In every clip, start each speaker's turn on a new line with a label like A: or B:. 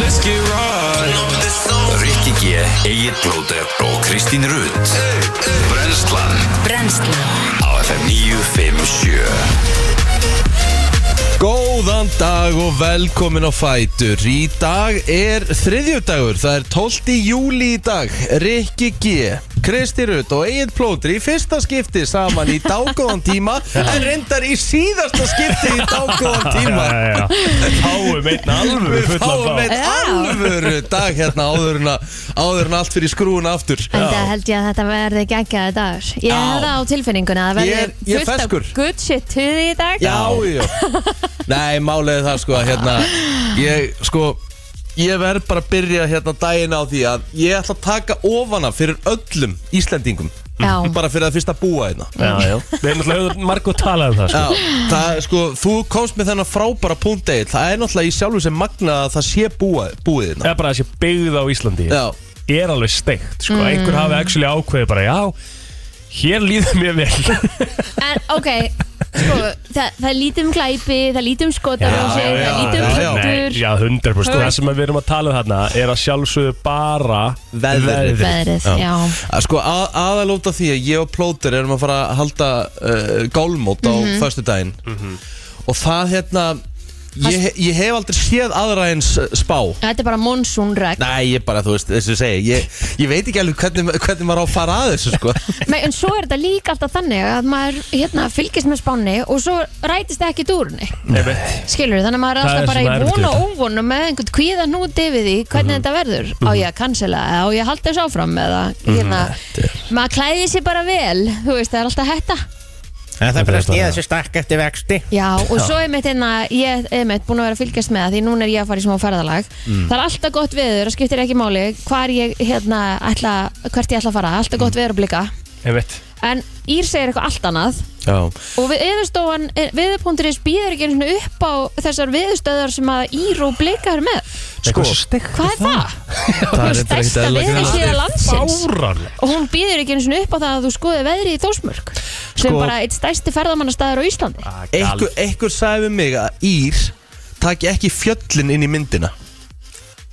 A: Let's get right
B: Rikki G, Egil Blóter og Kristín Rutt Brenslan
C: Brennslan
B: á FM 957
D: Góðan dag og velkomin á Fætur Í dag er þriðjudagur, það er 12. júli í dag Rikki G, Kristi Rutt og Egil Plótri í fyrsta skipti saman í dágóðan tíma En reyndar í síðasta skipti í dágóðan tíma
E: Fáum einn alvöru
D: Við
E: fulla
D: fáum
E: bát
D: einn
C: Já.
D: alvöru dag hérna áður en, að, áður en allt fyrir skrúin aftur
C: En það held ég að þetta verði geggjaði dagur Ég
D: Já.
C: hef það á tilfinninguna að
D: Ég er- ég
C: það
D: er
C: verði fullt
D: ferskur.
C: af good shit til því í dag
D: Já, já Nei, málega það sko að hérna Ég sko Ég verð bara að byrja hérna daginn á því að ég ætla að taka ofana fyrir öllum Íslendingum Mm.
C: Já.
D: Bara fyrir að fyrst að búa hérna
E: Já, já Við erum alltaf margótt talað um það sko.
D: Já, það er sko, þú komst með þennan frábæra púntegi Það er náttúrulega í sjálfu sem magna að það sé búa, búið hérna
E: Það er bara að sé byggð á Íslandi
D: Já,
E: er alveg steikt sko. einhver hafi actually ákveðið bara já, hér líður mér vel
C: En ok, sko, það, það er lítið um glæpi, það er lítið um skotarósi, það er lítið um
D: já.
C: plötur
E: já, 100% það sem við erum að tala um þarna er að sjálfsögðu bara
D: Veðrið.
C: Veðrið, já
D: að sko að, aðalóta því að ég og Plóter erum að fara að halda uh, gálmót á mm föstudaginn Og það hérna, ég, ég hef aldrei séð aðra eins eh, spá
C: Þetta er bara monsunregn
D: Nei, ég bara, þú veist, þessu segi Ég, ég veit ekki alveg hvernig, hvernig maður á að fara að þessu sko.
C: Nei, en svo er þetta líka alltaf þannig að maður hérna, fylgist með spánni og svo rætist það ekki úr henni
E: Einmitt.
C: skilur þannig að maður er
E: Það er
C: alltaf
E: svona
C: bara í
E: erfitt Mhm.
C: von og
E: við
C: óvonu með einhvern kvíða núti yfir því hvernig þetta verður á ég að cancela eða á ég að halda þessu áfram eða
E: Mhm,
C: hérna, maður klæði sér bara vel þú veist það er alltaf hætta
F: En það er bara
E: er
F: að stíða
E: það.
F: þessu stakk eftir vexti
C: já og svo er mitt hérna ég er mitt búin að vera að fylgjast með það því núna er ég að fara í smá ferðalag
E: Mhm.
C: það er alltaf gott veður það skiptir ekki máli hvar ég hérna ætla, hvert ég ætla að fara alltaf
E: Mhm.
C: gott veður að blika
E: einmitt
C: en Ír segir eitthvað allt annað
D: Já,
C: Og við eh, viðurstofan, viður.is býður ekki einu sinni upp á þessar viðurstöðar sem að Ír og Blika er með.
D: sko,
C: Hvað er það?
D: Það er
C: Hún
D: reyndar ekkert
C: stærsta
D: eðlilega
C: veðursíða landsins.
E: fáránlegt
C: Og hún býður ekki einu sinni upp á það að þú skoði veðrið í Þórsmörk. Sem
D: Sko-
C: bara eitt stærsti ferðamannastæður á Íslandi.
D: einhver, einhver sagði við mig að Ír taki ekki fjöllin inn í myndina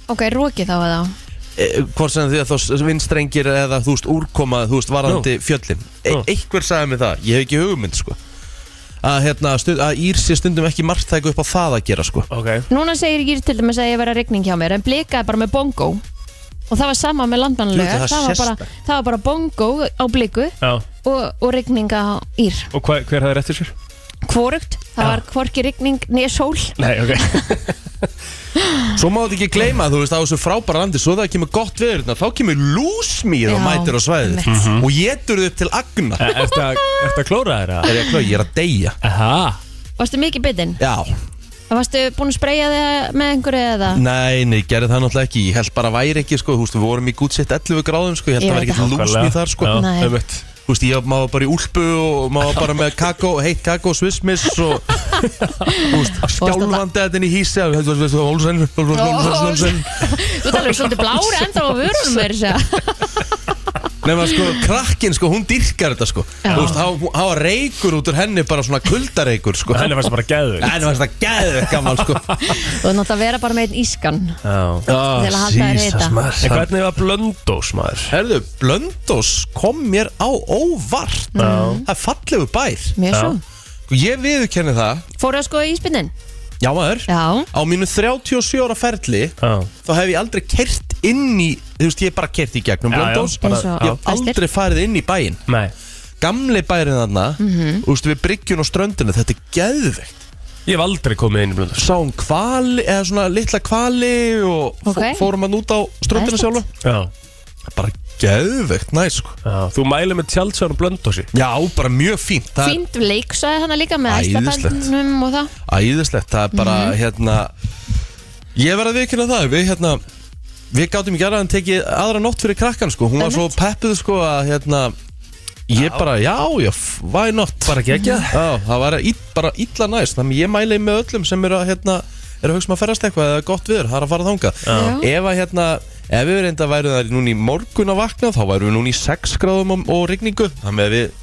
C: Ok, rókið þá að þá.
D: e, Hvort sem því að þá vinstrengir eða þú veist úrkoma, þú veist varandi fjöllin e,
E: Nú.
D: Einhver sagði mig það, ég hef ekki hugmynd sko Að, hérna, stund, að Ír sé stundum ekki margt það upp á það að gera sko
E: ok,
C: Núna segir Ír til dæmis að ég vera regning hjá mér, en Blika er bara með bongo. Og það var sama með landmannlega.
D: Jú, það er
C: Það, var bara-
D: sérstakt.
C: það var bara bongo á Bliku
E: já
C: og, og regninga á Ír.
E: og hva, hver hafði rétt fyrir sér?
C: Kvorugt, það var kvorki regning, nýja sól.
E: nei, ok
D: Svo má þetta ekki gleyma, þú veist, á þessu frábæra landi Svo það kemur gott veðurna, þá kemur lúsmíð og
C: Já,
D: mætir á svæðið
C: einmitt.
D: Og étur þau upp til agna
E: E- ertu að, ertu að klóra þeirra?
D: Er ég að klóa, ég er að deyja
E: aha
C: Varstu mikið bitinn?
D: Já,
C: Varstu búin að spreyja þig með einhverju eða?
D: Nei, nei, gerði það náttúrulega ekki Ég held bara væri ekki, sko, þú veist, við vorum í gútsett 11 gráðum, sko, ég held
C: Ég
D: að væri
C: veit
D: ekki lúsni þar, sko
E: já,
C: Nei.
E: einmitt
D: Þú veist, ég maður bara í úlpu og maður bara með kakó, heitt kakó, svissmiss og, þú veist, skjálfandi þetta inn í hísi að við höfum svo Olsen, Olsen, Olsen, Olsen
C: Þú talar um svolítið blári ennþá á vörunum er þess að
D: Nefna, sko, krakkin, sko, hún dyrkar þetta, sko
C: Já.
D: Þú veist, há- há að reykur út úr henni bara svona kuldareikur, sko
E: henni fannst bara gæður
D: Henni var þetta gæðið gammal, sko
C: Þú nátt að vera bara með einn ískan
E: en
C: Til að halda þér heita.
D: maður
E: hvernig var blöndós maður?
D: Herðu, Blöndós kom mér á óvart Það er fallegu bær
C: Mjög svo
D: Sko, Ég viðurkenni það,
C: Fóru að skoða íspinnin?
D: já maður
C: Já
D: Á mínu 37 ára ferli
E: já
D: Þá hef ég aldrei kert inn í Þú veist, ég hef bara kert í gegnum
E: Já, já,
D: Blöndós
E: bara-
C: Eins og
D: Ég hef
C: flestir.
D: aldrei farið inn í bæinn
E: nei
D: Gamli bærin þarna
C: Mhm.
D: Þú veist, við bryggjun og ströndinu Þetta er geðvegt
E: ég hef aldrei komið inn í blöndós
D: Sáum kvali, eða svona litla kvali Og fó-
C: Ok.
D: fórum hann út á ströndinu
C: Æðislegt.
D: sjálfa
E: já
D: Bara geðvegt, næ, sko
E: Já, þú mælið með tjaldsvæðan blöndósi
D: Já, bara mjög fínt Það er
C: Fínt leiksvæði hana líka með
D: Æðislegt.
C: æslabandnum og það
D: æðislegt Það er bara, hérna Ég verð að viðkynna það Við, hérna Við gátum ekki aðra en tekið aðra nótt fyrir krakkan, sko Hún var svo peppuð, sko, að, hérna Ég bara, já, já, f- why not Bara gegja Já, það var ít, bara illa næst Þannig ég mæli með öllum sem eru að, hérna eru að hugsa um að ferðast eitthvað eða gott viður, það er að fara þangað
C: Já.
D: Ef að, hérna Ef við reynda væru það núna í morgun að vakna þá væru við núna í 6 gráðum og, og rigningu þannig að við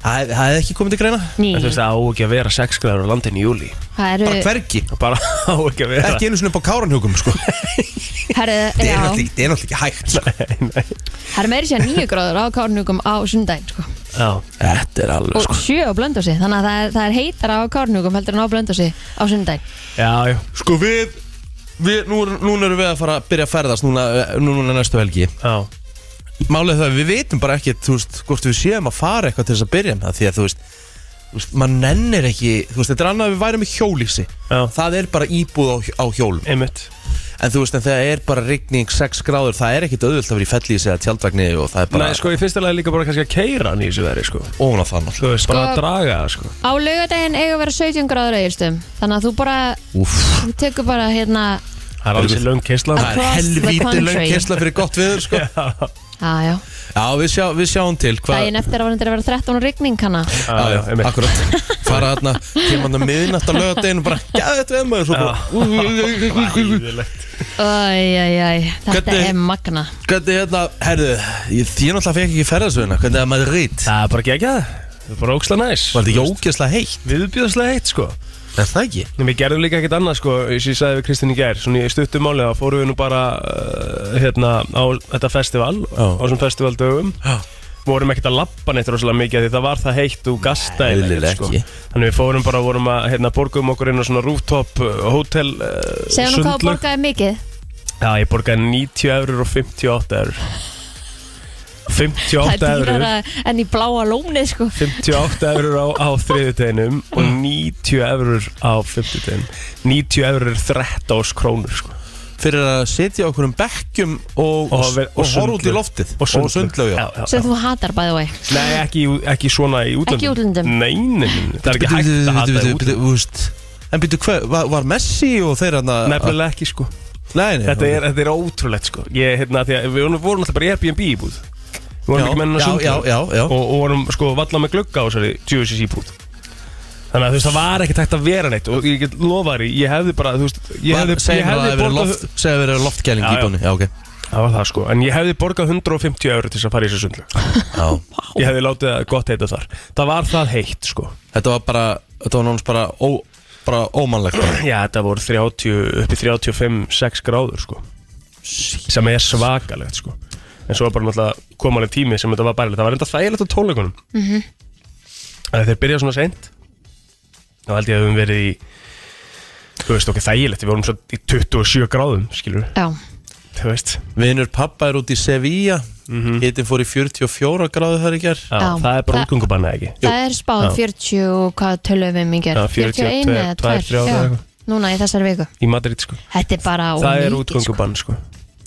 D: Það það hefði ekki komið til greina
C: Ný,
E: En þú veist, það á ekki að vera 6 gráður á landinu í júli
C: það eru
D: Bara hvergi
E: Það bara á ekki að vera
D: Ekki einu sinni upp á káranhugum sko
C: herðu,
D: Það er
C: já,
D: náttúrulega ekki- það er náttúrulega ekki hægt sko.
C: það eru meiri sér nýju gráður á kárnugum á sundaginn sko.
E: Já, þetta er alveg
C: og sjö á blöndósi þannig að það er, það er heitar á kárnugum heldur en á blöndósi á sundaginn
E: Já, já,
D: Sko við, við nú, Núna erum við að fara að byrja að ferðast Núna, eh, núna næstu helgi
E: já
D: Málið er það að við vitum bara ekki Þú veist, hvort við séum að fara eitthvað til þess að byrja með það Því að þú veist, þú veist mann nennir ekki Þú veist, þetta er annað að við værum í hjólísi
E: Já.
D: Það er bara íbúð á, á hjólum
E: Einmitt
D: En þú veist, en það er bara rigning 6 gráður Það er ekkit auðvöld að vera í fellísi eða tjaldvagni Og það er bara
E: Nei, sko, í fyrsta lagi líka bara kannski að keira hann í þessu veri, sko
D: ofan á það náttúrulega
E: Þú veist, bara að draga það, sko
C: á laugardaginn eiga að vera 17 gráður eiginstum þannig að þú bara,
D: Úff,
C: þú tekur bara hérna
E: Það er alveg sér löng kistla
D: Það er
C: Across the
D: helvítið
C: country.
D: löng kessla fyrir gott viður sko.
C: á, já,
D: Já, við, sjá, við sjáum til hvað
C: daginn eftir á hann að vera 13 og rigning hana
D: Já, já,
E: einmitt
D: akkurat Fara þarna, kemur hann að miðnatt á lögadeginu bara, gæði þetta við maður svo bara,
E: Æðilegt.
C: Æj, æj, æj, þetta
D: Hvernig-
C: er magna
D: Hvernig hérna, herðu ég, Því náttúrulega fekk ekki ferðarsöðuna, hvernig að maður rít
E: Það er bara gegja það Það er bara óksla næs
D: Var þetta jókjæslega heitt,
E: Viðbjöðslega heitt, sko
D: er það ekki?
E: Nei, við gerðum líka ekkert annað sko, eins og ég sagði við Kristinn í gær, svona í stuttum máli, þá fórum við nú bara uh, hérna á þetta festival,
D: Já.
E: á þessum festivaldögum,
D: Já.
E: vorum ekkert að labba neitt rosalega mikið af því það var það heitt og gasta sko.
D: eðlilega ekki.
E: Þannig við fórum bara, vorum að, hérna, borgum okkur inn á svona rooftop, uh, hótel, uh,
C: segja hann hvað þú
E: sundlaug.
C: borgaði mikið
E: Já, ég borgaði 90 eurur og 58 eurur.
C: það
E: 58
C: er
E: eurur.
C: dýrara enn í bláa lóni sko.
E: 58 eurur á, á þriðuteginum og 90 eurur á fymtuteginum 90 eurur er 13 krónur sko.
D: Fyrir að sitja okkur um bekkjum og,
E: Og ver- og
D: og horfa út í
E: sundlaug.
D: loftið
E: og
D: sundlaug, já
E: já,
C: sem þú hatar bæði vei
E: Nei, ekki, í- ekki svona í útlöndum
C: Ekki í útlöndum.
E: Nei, nei, nei, nei. það er ekki
D: Bíddu,
E: hægt
D: bíddu,
E: að
D: bíddu,
E: hata í
D: bíddu,
E: útlöndum
D: þú veist, En byrju, var, var Messi og þeir hann að
E: Nefnilega ekki sko
D: Nei, nei,
E: Þetta er, þetta er ótrúlegt sko ég, hérna, því að Við vorum- vorum alltaf bara í Airbnb íbúð Við vorum
D: Já,
E: ekki með hennar
D: já,
E: sundlaug.
D: já, já, já.
E: Og, og vorum sko valla með glugga á þessari djöfisins íbúð Þannig að þú veist það var ekkert hægt að vera neitt Og ég get lofað því, ég hefði bara þú veist, Ég hefði,
D: Segðu
E: ég
D: mér að það
E: hefði
D: hefur verið loft, segðu að það hefur verið loftkæling
E: Já,
D: í
E: já.
D: búinu Já, ok
E: Það var það sko, en ég hefði borgað 150 eurur til þess að fara í þessu sundlög
D: Já.
E: Ég hefði látið það gott heita þar Það var það heitt sko
D: Þetta var bara, þetta var náttúrulega bara, ó, bara ómannlegt
E: Já, þetta voru 30, upp í 35-6 gráður sko Sem er svakalegt sko En svo var bara náttúrulega koma alveg tími sem þetta var bærilegt Það var enda þægilegt á tónleikunum mm -hmm. Þeir byrjaði svona seint Þá held ég að við höfum verið í Þú veist okkur þægilegt, við vorum svo í 27 gráðum skilur,
C: já,
E: þú veist
D: Vinur pappa er út í Sevilla Hittin fór í 44 gráðu þar í ger
E: Já,
C: Já,
E: Það er bara
C: það-
E: útgöngubannað ekki
C: það er spáð 40 og hvað tölum við mingir
E: Já, 41
C: eða
E: tvær, þrjár
C: 2
E: eða
C: já,
E: eitthvað.
C: núna í þessari viku
E: Í Madrid sko
C: þetta er bara og
E: það er
C: mikið, sko.
E: útgöngubann sko.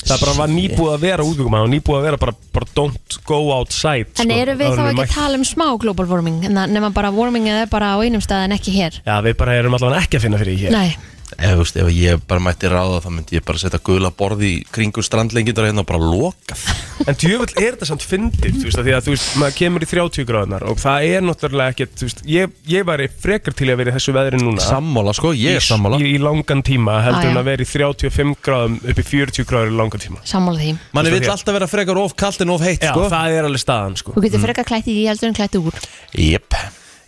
E: það bara var nýbúið að vera útgöngubann og nýbúið að vera bara, bara don't go outside
C: En
E: sko,
C: eru við
E: áður
C: þá
E: en
C: ekki að
E: mætt-
C: tala um smá global warming na- nema bara warmingið er bara á einum stað en ekki hér
E: Já, við bara erum allavega ekki að finna fyrir því hér
C: Nei,
D: Ef, þú veist, ef ég bara mætti ráða þá myndi ég bara setja gula borði í kringu strandlengjindar hérna og bara loka
E: En djöfull er þetta samt fyndið, þú veist, að því að þú veist, maður kemur í 30 gráðunar og það er náttúrulega ekkert, þú veist, ég, ég væri frekar til að vera í þessu veðri núna
D: Sammála sko, ég er
E: Í-
D: sammála
E: Í, í langan tíma heldur
C: Á,
E: en
C: já.
E: að vera í 35 gráðum upp í 40 gráður í langan tíma
C: sammála því
D: Manni
E: Þú veist,
D: vill
E: af því
D: alltaf vera frekar of kalt en of heitt
E: Já,
D: sko
E: það er alveg staðan, sko
C: Þú getur frekar klætt í því heldur en klætt úr
D: Jep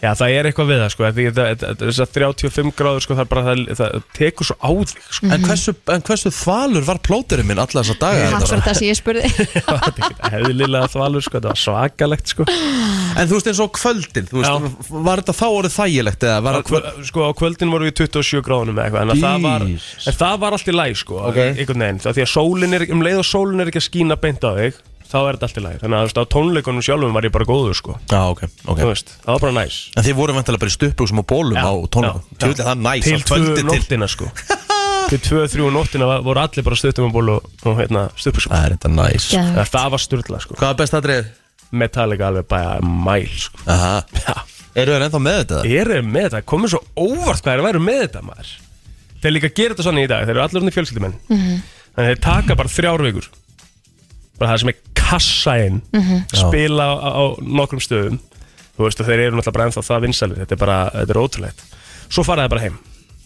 E: Já, það er eitthvað við það, sko, því þetta- þetta- þessar 35 gráður, sko, það er bara, það, það tekur svo á þig, sko
D: en, hversu, en hversu þvalur var plóturinn minn alla þessa daga
C: Takk fyrir það sem ég spurði
E: hefðlilega þvalur sko, þetta var svakalegt sko.
D: En þú veist eins og kvöldin, þú veist, var þetta þá orðið þægilegt eða var
E: Á, kvöl, sko, á kvöldin vorum við í 27 gráðunum eða eitthvað, en það var,
D: Dís.
E: en það var allt í læg sko,
D: Ok.
E: einhvern veginn, þá því að sólin er, um leið og sólin er ekki að skína beint á þig, þá er þetta allt í læg, þannig að þú veist, á tónleikunum sjálfum var ég bara góður sko,
D: Já, ok, ok
E: þú veist, það var bara næs.
D: En þið voru vantilega bara í stuppbrúsum og bólum á tónleikum
E: já, já.
D: Tjóðlega það er næs
E: Til
D: að
E: tvö
D: kvöldi
E: um nóttina sko, til tvö, þrjú um nóttina var- voru allir bara stuttum um ból og, og hérna, stuttum sko.
D: Það er þetta næs
C: Já.
E: Það var styrla sko,
D: Hvað er best aðrið?
E: Metallica alveg bara mæl sko.
D: Aha
E: Já.
D: Eru þeir ennþá með þetta?
E: Þeir eru með þetta, komið svo óvart hvað þeir væru með þetta maður Þeir líka gera þetta svona í dag, þeir eru allir undir fjölskyldumenn Þannig að þeir taka bara þrjár vikur Bara það sem er kassa inn Spila á, á nokkrum stöðum Þú veist að þeir eru náttúrulega bara ennþá það vinsælir Þetta er bara, þetta er ótrúlegt Svo fara þeir bara heim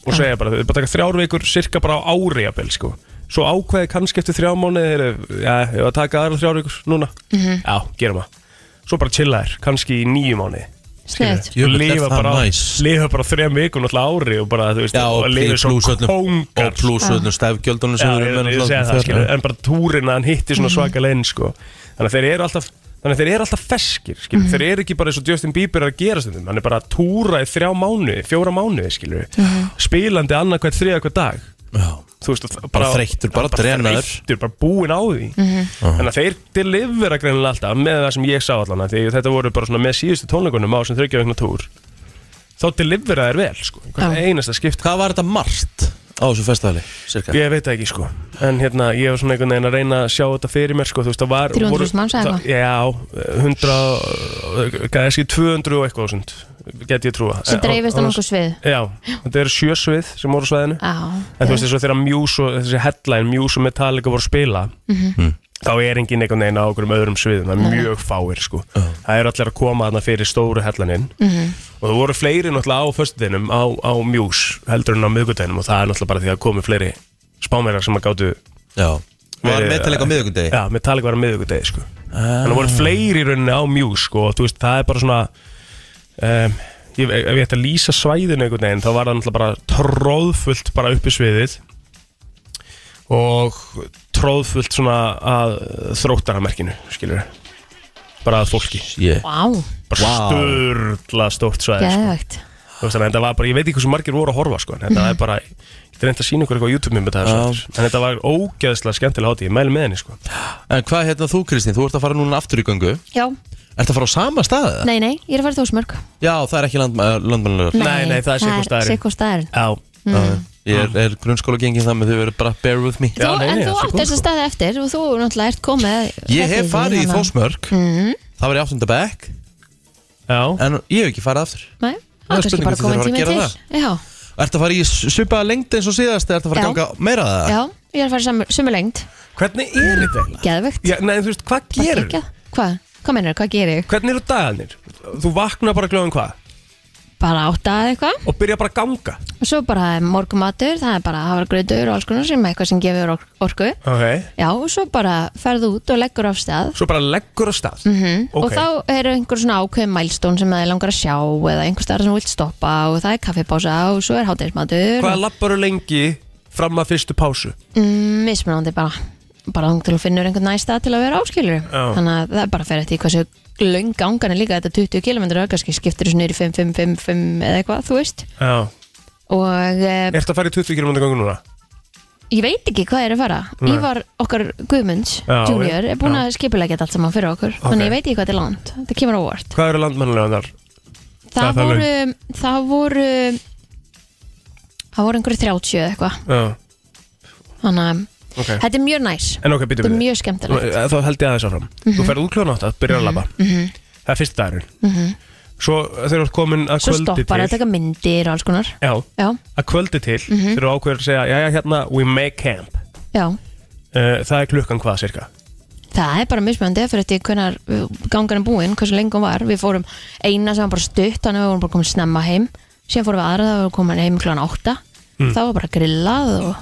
E: og segja bara, þeir bara taka þrjár vikur Cirka bara á ári að vel sko Svo ákveði kannski eftir þrjá mánu Þeir eru, já, ég var að taka aðra þrjár vikur núna Já, gerum það Svo bara chilla þeir, kannski í nýju mánuði
C: Sniðugt.
E: og
D: Jöfull, er
E: lifa
D: það
E: bara, á-
D: næs.
E: lifa bara þrem vikum náttúrulega ári og bara, þú veist,
D: Já,
E: og
D: og
E: lifa svo
D: plús öllum
E: kóngar
D: Og pluss öðnum stefgjöldunum
E: Já,
D: sem
E: ég,
D: við erum
E: ég,
D: að
E: ég
D: láta
E: segja það,
D: þeirra.
E: skilur, en bara túrin að hann hitti svona svaka leinn, sko Þannig að þeir eru alltaf, þannig að þeir eru alltaf feskir, skilur Þeir eru ekki bara eins og Justin Bieber er að gera stundum Hann er bara að túra í þrjá mánuði, fjóra mánuði, skilur Spilandi annað hvert þriða hvert dag
D: Já.
E: Þú veist, og
D: Bara þreyttur, bara drenaður.
E: Þreyttur, bara búinn á því
C: Mhm.
E: Þannig að þeir delivera greinilega alltaf með það sem ég sá allan af Því þetta voru bara svona með síðustu tónleikunum á sem þryggja vegna túr Þá delivera þeir vel, sko í hvert
C: Já.
E: Einasta skipti
D: Hvað var þetta margt á þessu festivali? Cirka?
E: Ég veit það ekki sko En hérna, ég var svona einhvern veginn að reyna að sjá þetta fyrir mér sko Þú veist, það var
C: 300.000
E: voru-
C: manns eða
E: það- Já, 100, kannski 200 og eitthvað þúsund Get ég trúa
C: Sem dreifist á nokkuð svið.
E: Já, þetta eru sjö svið sem voru á svæðinu
C: Já,
E: En þú veist, þessu þegar Muse og þessi headline Muse og Metallica voru að spila Þá er engin einhvern veginn á okkurum öðrum sviðum Það er mjög fáir sko Það eru allir að koma þarna fyrir stóru headlinein Og það voru fleiri náttúrulega á föstudeginum á, á Muse heldur en á miðgudeginum Og það er náttúrulega bara því að komi fleiri spámeirar sem að gátu
D: Já. Var
E: verið-
D: meðtalega á miðugundegi?
E: Já, Metallica var á miðugundegi sko.
D: Ah.
E: Þannig að voru fleiri í rauninni á Muse sko, og þú veist, það er bara svona um, ég, ef ég ætti að lýsa svæðinu einhvern veginn, þá var það náttúrulega bara tróðfullt bara upp í sviðið og tróðfullt svona að þróttaramerkinu, skilur bara að fólki,
D: Yeah.
C: vá,
E: bara
D: Vá.
E: sturla stórt svæði, sko.
C: geðvægt
E: Þú veist, þannig að þetta var bara, ég veit ekki hversu margir voru að horfa sko, en þetta er bara, ég reyndi að sína ykkur eitthvað á YouTube með þetta,
D: Já.
E: en þetta var ógeðslega skemmtilega hátíð, ég mæli með henni sko
D: En hvað hérna þú Kristín? Þú ert að fara núna aftur í gangu
C: Já,
D: Ert að fara á sama staði? eða?
C: nei, nei, ég er að fara í þósmörg
D: Já, það er ekki eh, landmannlegur
E: Nei, nei, það er sikkur staðurinn.
C: sikkur staðurinn.
E: Já,
D: Ég er, er grunnskóla gengið það með þau verið bara bear with me
E: Já,
C: Þú-
E: nei, nei,
C: En
E: það er
C: þú átt
E: sikkur,
C: þess að
E: sko.
C: staði eftir og þú náttúrulega ert komið hérna.
D: Ég hef farið í Þósmörk
C: Mhm.
D: Það var í áttunda bekk
E: já
D: En ég hef ekki farið aftur
C: Nei,
D: Það er
C: það er kannski
D: spurning
C: bara
D: hvort
C: komið
D: þeir
C: tíminn
D: fara að
C: til
D: gera
C: Já,
D: Ert að fara í svipaða lengd eins og síðast Ert að fara að
C: Já.
D: ganga meira
E: Ah.
D: að það?
C: já, ég er að fara í sömu lengt
E: Hvernig er þetta eiginlega?
C: Geðvægt
E: Já, nei, en þú veist, hvað gerir þú?
C: Hvað? Hvað meinar, hvað gerir ég?
E: Hvernig eru dagarnir? Þú vaknar bara glöðum hvað?
C: Bara átta eða eitthvað
E: Og byrja bara að ganga
C: og svo bara morgumatur, það er bara hafragrautur og alls konar sem er eitthvað sem gefur ork- orku
E: Ok
C: Já, og svo bara ferðu út og leggur af stað
E: Svo bara leggur á stað mm -hmm.
C: Mhm. og þá eru einhver svona ákveðin mælstón sem það er langar að sjá eða einhver starf sem þú vilt stoppa og það er kaffipása og svo er hátægismatur
E: Hvað lappar þú lengi fram að fyrstu pásu?
C: mm, mismunandi bara bara þung til að finnur einhvern næsta til að vera áskilur
E: Já.
C: þannig að það bara fer eftir því hversu löng gangan er líka þetta 20 km kannski skiptir þessu niður í 5, 5, 5, 5 eða eitthvað, þú veist
E: Já
C: og e,
E: Ertu að fara í 20 km gangu núna?
C: ég veit ekki hvað er að fara
E: Nei.
C: Ívar okkar Guðmunds
E: Já,
C: junior
E: já.
C: er búin að skipulega geta allt saman fyrir okkur
E: Ok.
C: þannig ég veit ekki hvað þetta er langt, þetta kemur á vort
E: Hvað eru landmannlega þar?
C: það,
E: Það er
C: voru, það voru það voru einhverju 30 eða eitthvað
E: Já,
C: þannig að
E: ok
C: þetta er mjög næs
E: En ok, býtum
C: þetta er mjög Mhm. skemmtilegt
E: Þá held ég aðeins áfram Þú ferð út kljóðan átt að byrja að labba
C: Mhm.
E: Það er fyrsti dagurinn Svo þegar þú ert komin að
C: svo
E: kvöldi
C: stoppar að
E: til
C: taka myndir og alls konar
E: Já,
C: já, Mhm.
E: að kvöldi til Þegar þú ákveður að segja, já, hérna, we make camp
C: já
E: uh, Það er klukkan hvað, cirka?
C: Það er bara mismjöndi fyrir eftir hvernar gangan er búinn, hversu lengum var. Við fórum eina sem var bara stutt, þannig að við vorum bara komin snemma heim. Síðan fórum við aðra þegar við vorum komin heim klána 8. Þá var bara grillað og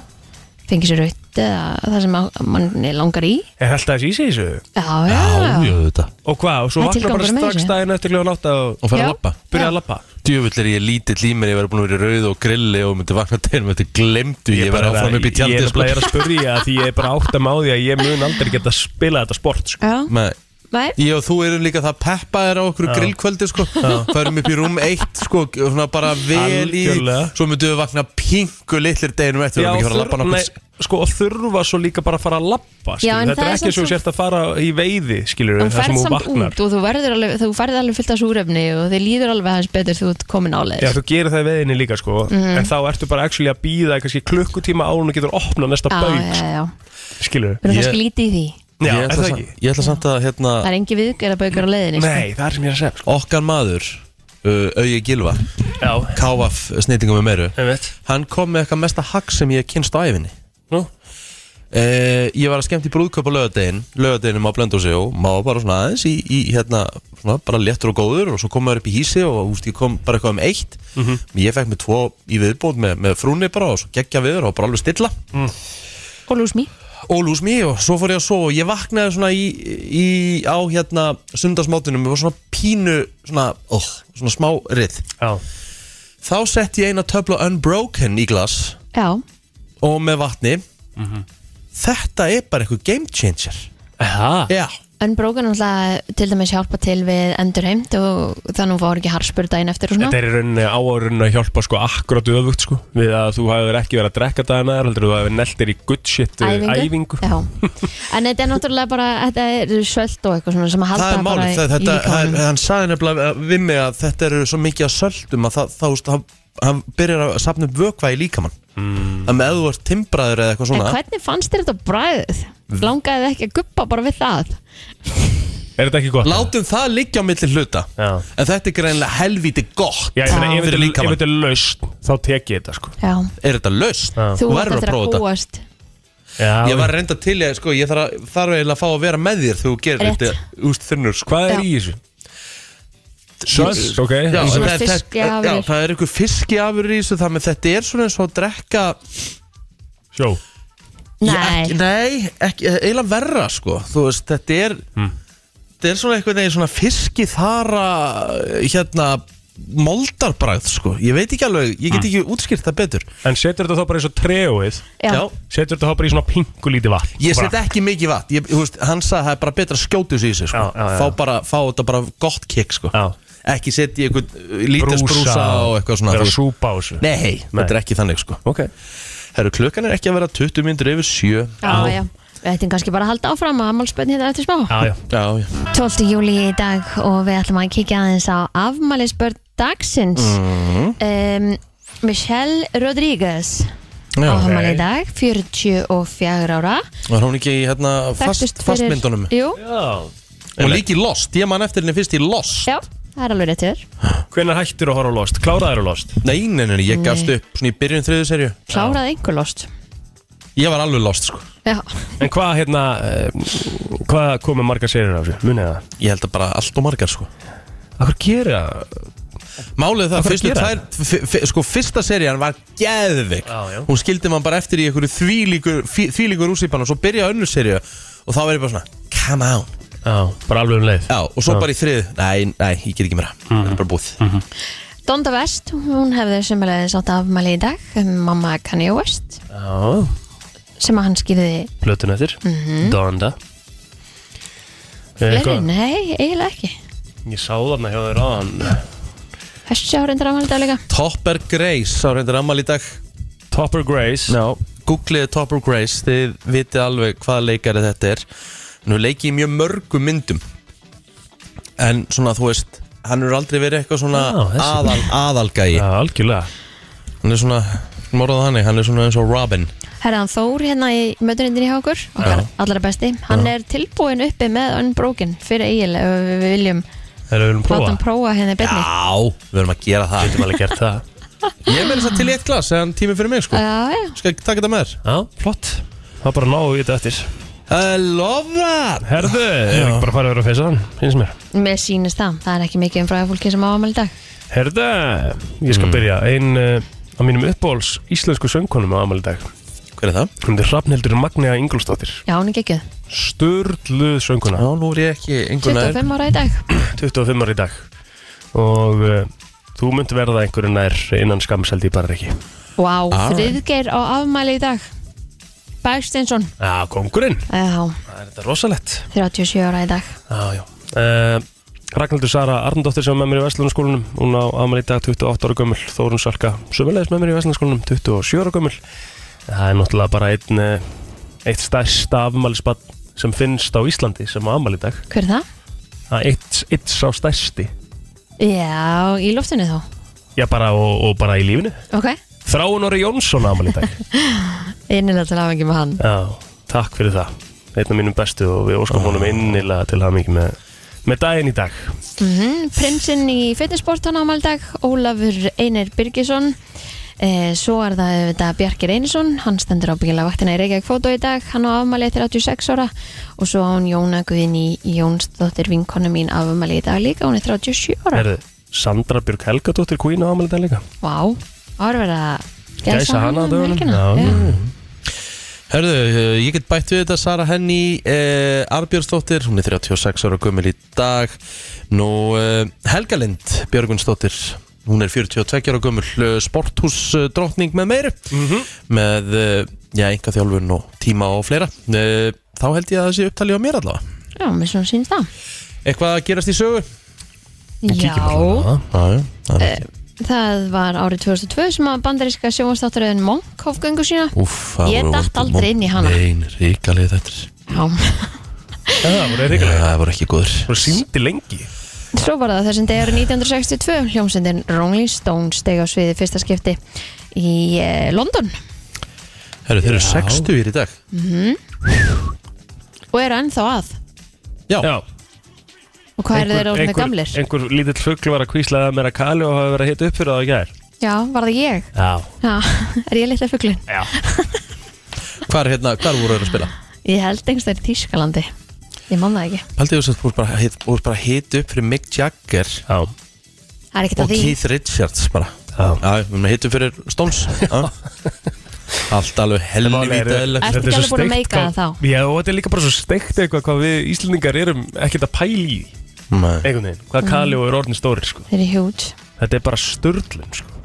C: fengið sér aukt eða það sem að- manni langar í.
E: Er alltaf þessi í sig þessu?
C: Já, já, já.
D: jú, þetta
E: Og hvað, og svo
C: Það er
E: vaknar bara
C: tilgangurinn með
E: strax
C: þessu.
E: daginn eftir kljóðan átt og
D: Og fara
C: Já.
D: að lappa
E: byrja að lappa
D: Djöfull er ég lítill í mér Ég var búin að vera í rauð og grilli Og myndi vakna til Myndi glemdu Ég var áfram upp í
E: Ég
D: tjaldi
E: er
D: sko.
E: bara að spyrja því ég er bara átt að máði að ég mun aldrei geta að spila þetta sport sko.
C: Já,
D: Nei.
C: Nei,
D: Ég og þú erum líka það peppa er á okkur grillkvöldi sko Förum upp í rúm eitt sko Svona bara vel í
E: Algjörlega.
D: Svo myndum við vakna pingu litlir deginum eftir Við erum ekki að fara að
E: þurf-
D: lappa nokkuð
E: nei, sko, og þurfa svo líka bara að fara að lappa skilur.
C: Já, en
E: Þetta
C: það
E: er
C: er
E: ekki
C: samt
E: svo
C: svo-
E: sért að fara í veiði skilur,
C: þú
E: það sem
C: ferð
E: þú
C: samt
E: vaknar
C: út og þú verður alveg, þú ferð alveg fyllt af súrefni og þið líður alveg hans betur þú ert komin
E: Já,
C: áleiðis.
E: þú gerir það í veiðinni líka sko
C: Mhm.
E: En þá ertu bara actually að býða kannski klukkutíma án og getur opnað næsta
C: Já,
E: baug
C: já, já.
E: Skilur
C: Við
D: Ég-
C: erum kannski lítið í því.
E: Já,
D: Ég
E: er
D: ætla
E: það
D: samt-
E: ekki?
D: Ég ætla samt að hérna
C: Það er engi viðgerða baugur á leiðinni. sko.
E: Nei, það er sem ég er að segja sko.
D: Okkar maður uh, Auði Gilva
E: Já,
D: KF snýtingum með meiru
E: einmitt
D: Hann kom með eitthvað mesta hagg sem ég kynst á æfinni
E: Nú,
D: Uh, ég var að skemmt í brúðköp á lögadegin lögadeginum á Blöndósi og maður var bara svona aðeins í, í hérna, svona bara léttur og góður og svo kom maður upp í hísi og úst, ég kom bara eitthvað um eitt ég fekk með tvo í viðbót með, með frúni bara og svo geggja viður og bara alveg stilla
C: Og lús mý.
D: ólús mér og svo fór ég að sofa og ég vaknaði svona í, í á hérna sundarsmátunum og svona pínu svona, oh, svona smá rið
E: Já,
D: þá sett ég eina töfla Unbroken í glas
C: Já,
D: og með vatni þetta er bara eitthvað game changer
E: það
D: já,
C: en brókan alltaf til dæmis hjálpa til við endurheimt og þannig fór ekki harspur daginn eftir og
E: Þetta
C: svona
E: er í rauninni á að rauninni að hjálpa sko akkurat öfugt sko Við að þú hefur ekki verið að drekka dagana þar heldur þú hefur neltir í good shit uh, æfingu.
C: Já, en þetta er náttúrulega bara þetta er svöld og eitthvað svona sem að halda
D: það er
C: bara
D: málið það,
C: í
D: þetta, hann,
C: líkamanum.
D: hann sagði nefnilega við mig að þetta eru svo mikið að söldum að það, það, það, hann byrjar að sapna upp vökva í líkamann mm. að með ef þú ert timbraður eða eitthvað
C: En
D: svona
C: hvernig fannst þér þetta bræðið? Langaði þið ekki að guppa bara við það?
E: Er þetta ekki gott?
D: látum það liggja á milli hluta
E: Já.
D: en þetta er greinlega helviti gott
E: Já, ég meina,
D: fyrir
E: ef þetta- ef
D: líkamann.
E: þetta er laust, þá tek ég þetta sko.
C: Já,
D: er þetta laust?
E: Já.
C: þú
D: verður
C: átt
D: að
C: eftir
D: prófa
C: að
D: þetta.
C: búast
E: Já,
D: Ég var reynda til ég, sko, ég þarf, að- þarf eiginlega að fá að vera með þér þegar þú gerir
C: Rétt.
D: þetta úst þunnur, sko.
E: Hvað er
C: Já.
E: í þessu? Sjöss, ok
D: Já,
E: Eins og-
C: Svona
D: það, er-
C: fiskiafurðir.
D: já, það er einhver fiskiafur í þessu, þannig að þetta er svona eins og að drekka
E: Sjó
D: Ég
C: Nei,
D: Ekki, nei, ekki, eiginlega verra, sko, þú veist, þetta er,
E: Hmm.
D: þetta er svona einhvern veginn svona fiski þara, hérna, moldarbræð, sko, ég veit ekki alveg, ég
E: Hmm.
D: get ekki útskýrt það betur.
E: En setur þetta þá bara eins og treóið
C: já,
E: Setur þetta þá bara í svona pingu lítið vatn
D: Ég set
E: Bara-
D: ekki mikið vatn, ég, þú veist, hann sagði að það er bara betra að skjóta þessu í sig, sko,
E: Já, já, já.
D: Fá, bara, fá þetta bara gott kikk, sko.
E: Já.
D: Ekki setja í einhvern uh, lítið sprúsa og eitthvað svona. þú
E: vera að
D: veist.
E: súpa á þessu
D: Nei, hei,
E: Nei.
D: þetta er ekki þannig, sko.
E: ok
D: Herru, klukkan er ekki að vera 20 myndir yfir 7.
C: já, já Við ættum kannski bara að halda áfram að ammálspönn hérna eftir smá
E: já, já.
D: Já, já.
C: 12. júli í dag og við ætlum að kíkja aðeins á afmælisbörn dagsins um, Michelle Rodriguez
D: já.
C: á afmæli í dag, 44 ára
D: Var hún ekki í hérna fast,
C: Þekktust
D: fastmyndunum?
C: Jú,
D: Og líki í Lost, ég man eftir henni fyrst í Lost.
C: já, það er alveg rétt réttur
E: hvenar hættir að horfa á lost kláraðir á lost
D: Nei, nei, nei, nei, ég gafst upp svona í byrjun þriðu serju.
C: Kláraði einhver lost
D: Ég var alveg Lost, sko.
C: Já,
E: en hvað hérna eh, hvað komið margar serið á þessu munið það
D: Ég held að bara allt og margar, sko.
E: hvað gera það
D: Málið er það,
E: Af hverju
D: fyrstu
E: gera
D: tvær, f- f- sko fyrsta serían var geðvig
E: Já, já.
D: Hún skildi mann bara eftir í einhverju þvílíkur, fí- þvílíkur úsipan og svo byrja önnur seríu og þá verið bara svona, come on
E: já bara alveg um leið
D: Já, og svo bara í þrið, nei, nei, ég get ekki meira,
E: Mm.
D: það er bara búið
C: Donda West, hún hefði semulega sátt afmæli í dag um Mamma Kanye West
E: já
C: sem að hann skýrði
E: plötun eftir Donda Eh,
C: fleiri, nei, eiginlega ekki
E: ég sá þarna hjá þér aðan
C: Þessi áreindur afmæli í dag líka
D: Topper Grace, á reyndir ammal í dag
E: Topper Grace
D: Já Googliði Topper Grace, þið vitið alveg hvaða leikari þetta er Nú leikið í mjög mörgum myndum En svona, þú veist, hann er aldrei verið eitthvað svona
E: Já, þessi-
D: aðal, aðalgægi
E: já algjörlega
D: Hann er svona, morðað þannig, hann er svona eins og Robin
C: Herðan Þór hérna í möturindinni hjá okkur okkar allra besti, hann er tilbúin uppi með Unbroken fyrir Egil ef við viljum
E: erum við viljum
C: láta
E: prófa
C: hann prófa hérna í byrni
D: Já, við verðum að gera það
E: getum alveg gert það
D: Ég meina þess að til í eitt glas, eða tími fyrir mig sko
C: Já, já,
D: Skal ég taka þetta með þér?
E: já flott það bara náðu í þetta eftir
D: I love that
E: Herðu, er ekki bara að fara að vera að feysa þann, finnst mér
C: mér sýnist það það er ekki mikið um fræða fólki sem á ámæli í dag
E: Herðu, ég skal byrja Einn uh, af mínum uppbóls íslensku söngkonum á amal í dag
D: Hver er það?
E: Hún er Hrafnildur Magnea Ingolstóttir
C: Já, hún er geggjöð,
E: Sturluð
D: Já,
E: söngkona
D: nú er ég ekki einhvern
C: 25 ára í dag
E: 25 ári í dag Og uh, þú mynd verða einhverju nær innan skamseldi í barriki
C: Vá, wow,
D: Alright.
C: friðgeir á afmæli í dag Bergsteinsson
E: Já, kongurinn
C: Já,
E: Það er þetta rosalett
C: 37 ára í dag
E: Já, já uh, Ragnhildur Sara Arndóttir sem er með mér í Vestlunarskólanum Hún á amal í dag 28 ára gömul Þórun Salka sömulegis með mér í Vestlunarskólanum 27 ára gömul Það er náttúrulega bara einn eh, eitt stærsta afmælisbann sem finnst á Íslandi sem á amal í dag
C: Hver er það?
E: Það er eitt, eitt sá stærsti
C: Já, í loftinu þá
E: Já, bara og, og bara í lífinu
C: Ok,
E: Þráun Orri Jónsson á amal í dag
C: innilega til hafa með hann
E: Já, takk fyrir það Einn af mínum bestu og við óskum honum innilega til hafa mikið með, með daginn í dag
C: Mhm, Prinsinn í fitnessport hann ámæli dag Ólafur Einar Birgisson eh, Svo er það þetta Bjarkir Einarsson Hann stendur ábyggilega vaktina í Reykjavík fótó í dag Hann á afmæli eftir 86 ára Og svo á hann Jóna Guðni Jónsdóttir vinkonu mín afmæli í dag líka Hún er 37 ára
E: Herðu, Sandra Björk Helgadóttir Kvín á amal í dag líka
C: Vá, það er verið að
E: Gæsa hana á
C: um
E: dögunum.
C: helgina.
E: Já,
C: Já.
D: Herðu, eh, ég get bætt við þetta Sara Henny eh, Arbjörnsdóttir, hún er 36 ára gömul í dag Nú, eh, Helgalind Björgunsdóttir Hún er 42 ára gömul eh, sporthúsdrottning með meiru Með, eh, já, enga þjálfun og tíma og fleira eh, Þá held ég að þessi upptalið á mér allavega
C: Já, mér svona sínst það
D: Eitthvað að gerast í sögu?
C: Já,
D: Já,
C: Eh,
D: já, það er ekki
C: það var árið 2002 sem að bandaríska sjónvastátturinn Monk hóf göngu sína
D: Úff, það
C: Ég
D: voru
C: datt
D: vondum
C: aldrei inn í hana.
D: mó- Nein, ríkalið þetta
C: Já,
E: Það voru reyngilega
D: Það voru ekki góður
E: Það voru síndi lengi
C: Svo var það þessum degar 1962 hljómsendin Rolling Stones steg á sviði fyrsta skipti í eh, London
D: Herru, þeir eru 60 í dag
C: og eru ennþá að
D: Já,
E: Já
C: og hvað eru þeir orðin
E: einhver-
C: gamlir?
E: Einhver lítill fuggl var að kvíslaða mér að kali og hafa verið að hita upp fyrir það í gær
C: Já, var það ég?
E: Já
C: Já, er ég litla fugglin?
E: Já
D: hvar, hérna, hvar voru þeir að spila?
C: Ég held einhvers þær í Tískalandi Ég man það ekki
D: Haldið þú að þú ert bara, hit- þú ert bara hit upp fyrir Mick Jagger
E: Já
C: Það er ekkert
D: og
C: að því
D: Keith Richards bara
E: Já.
D: Já, við erum að hit upp fyrir Stones Já. Allt alveg helvítið eðlilegt.
C: Ertu ekki alveg búin að meika það þá?
E: Já, og þetta er líka bara svo steikt eitthvað hvað við Íslendingar erum ekkert að pæla í
D: Nei.
E: einhvern veginn,
C: Mhm.
E: hvað kali og er orðin stórir sko.
C: Þeir eru hjúts
E: Þetta er bara störlun sko.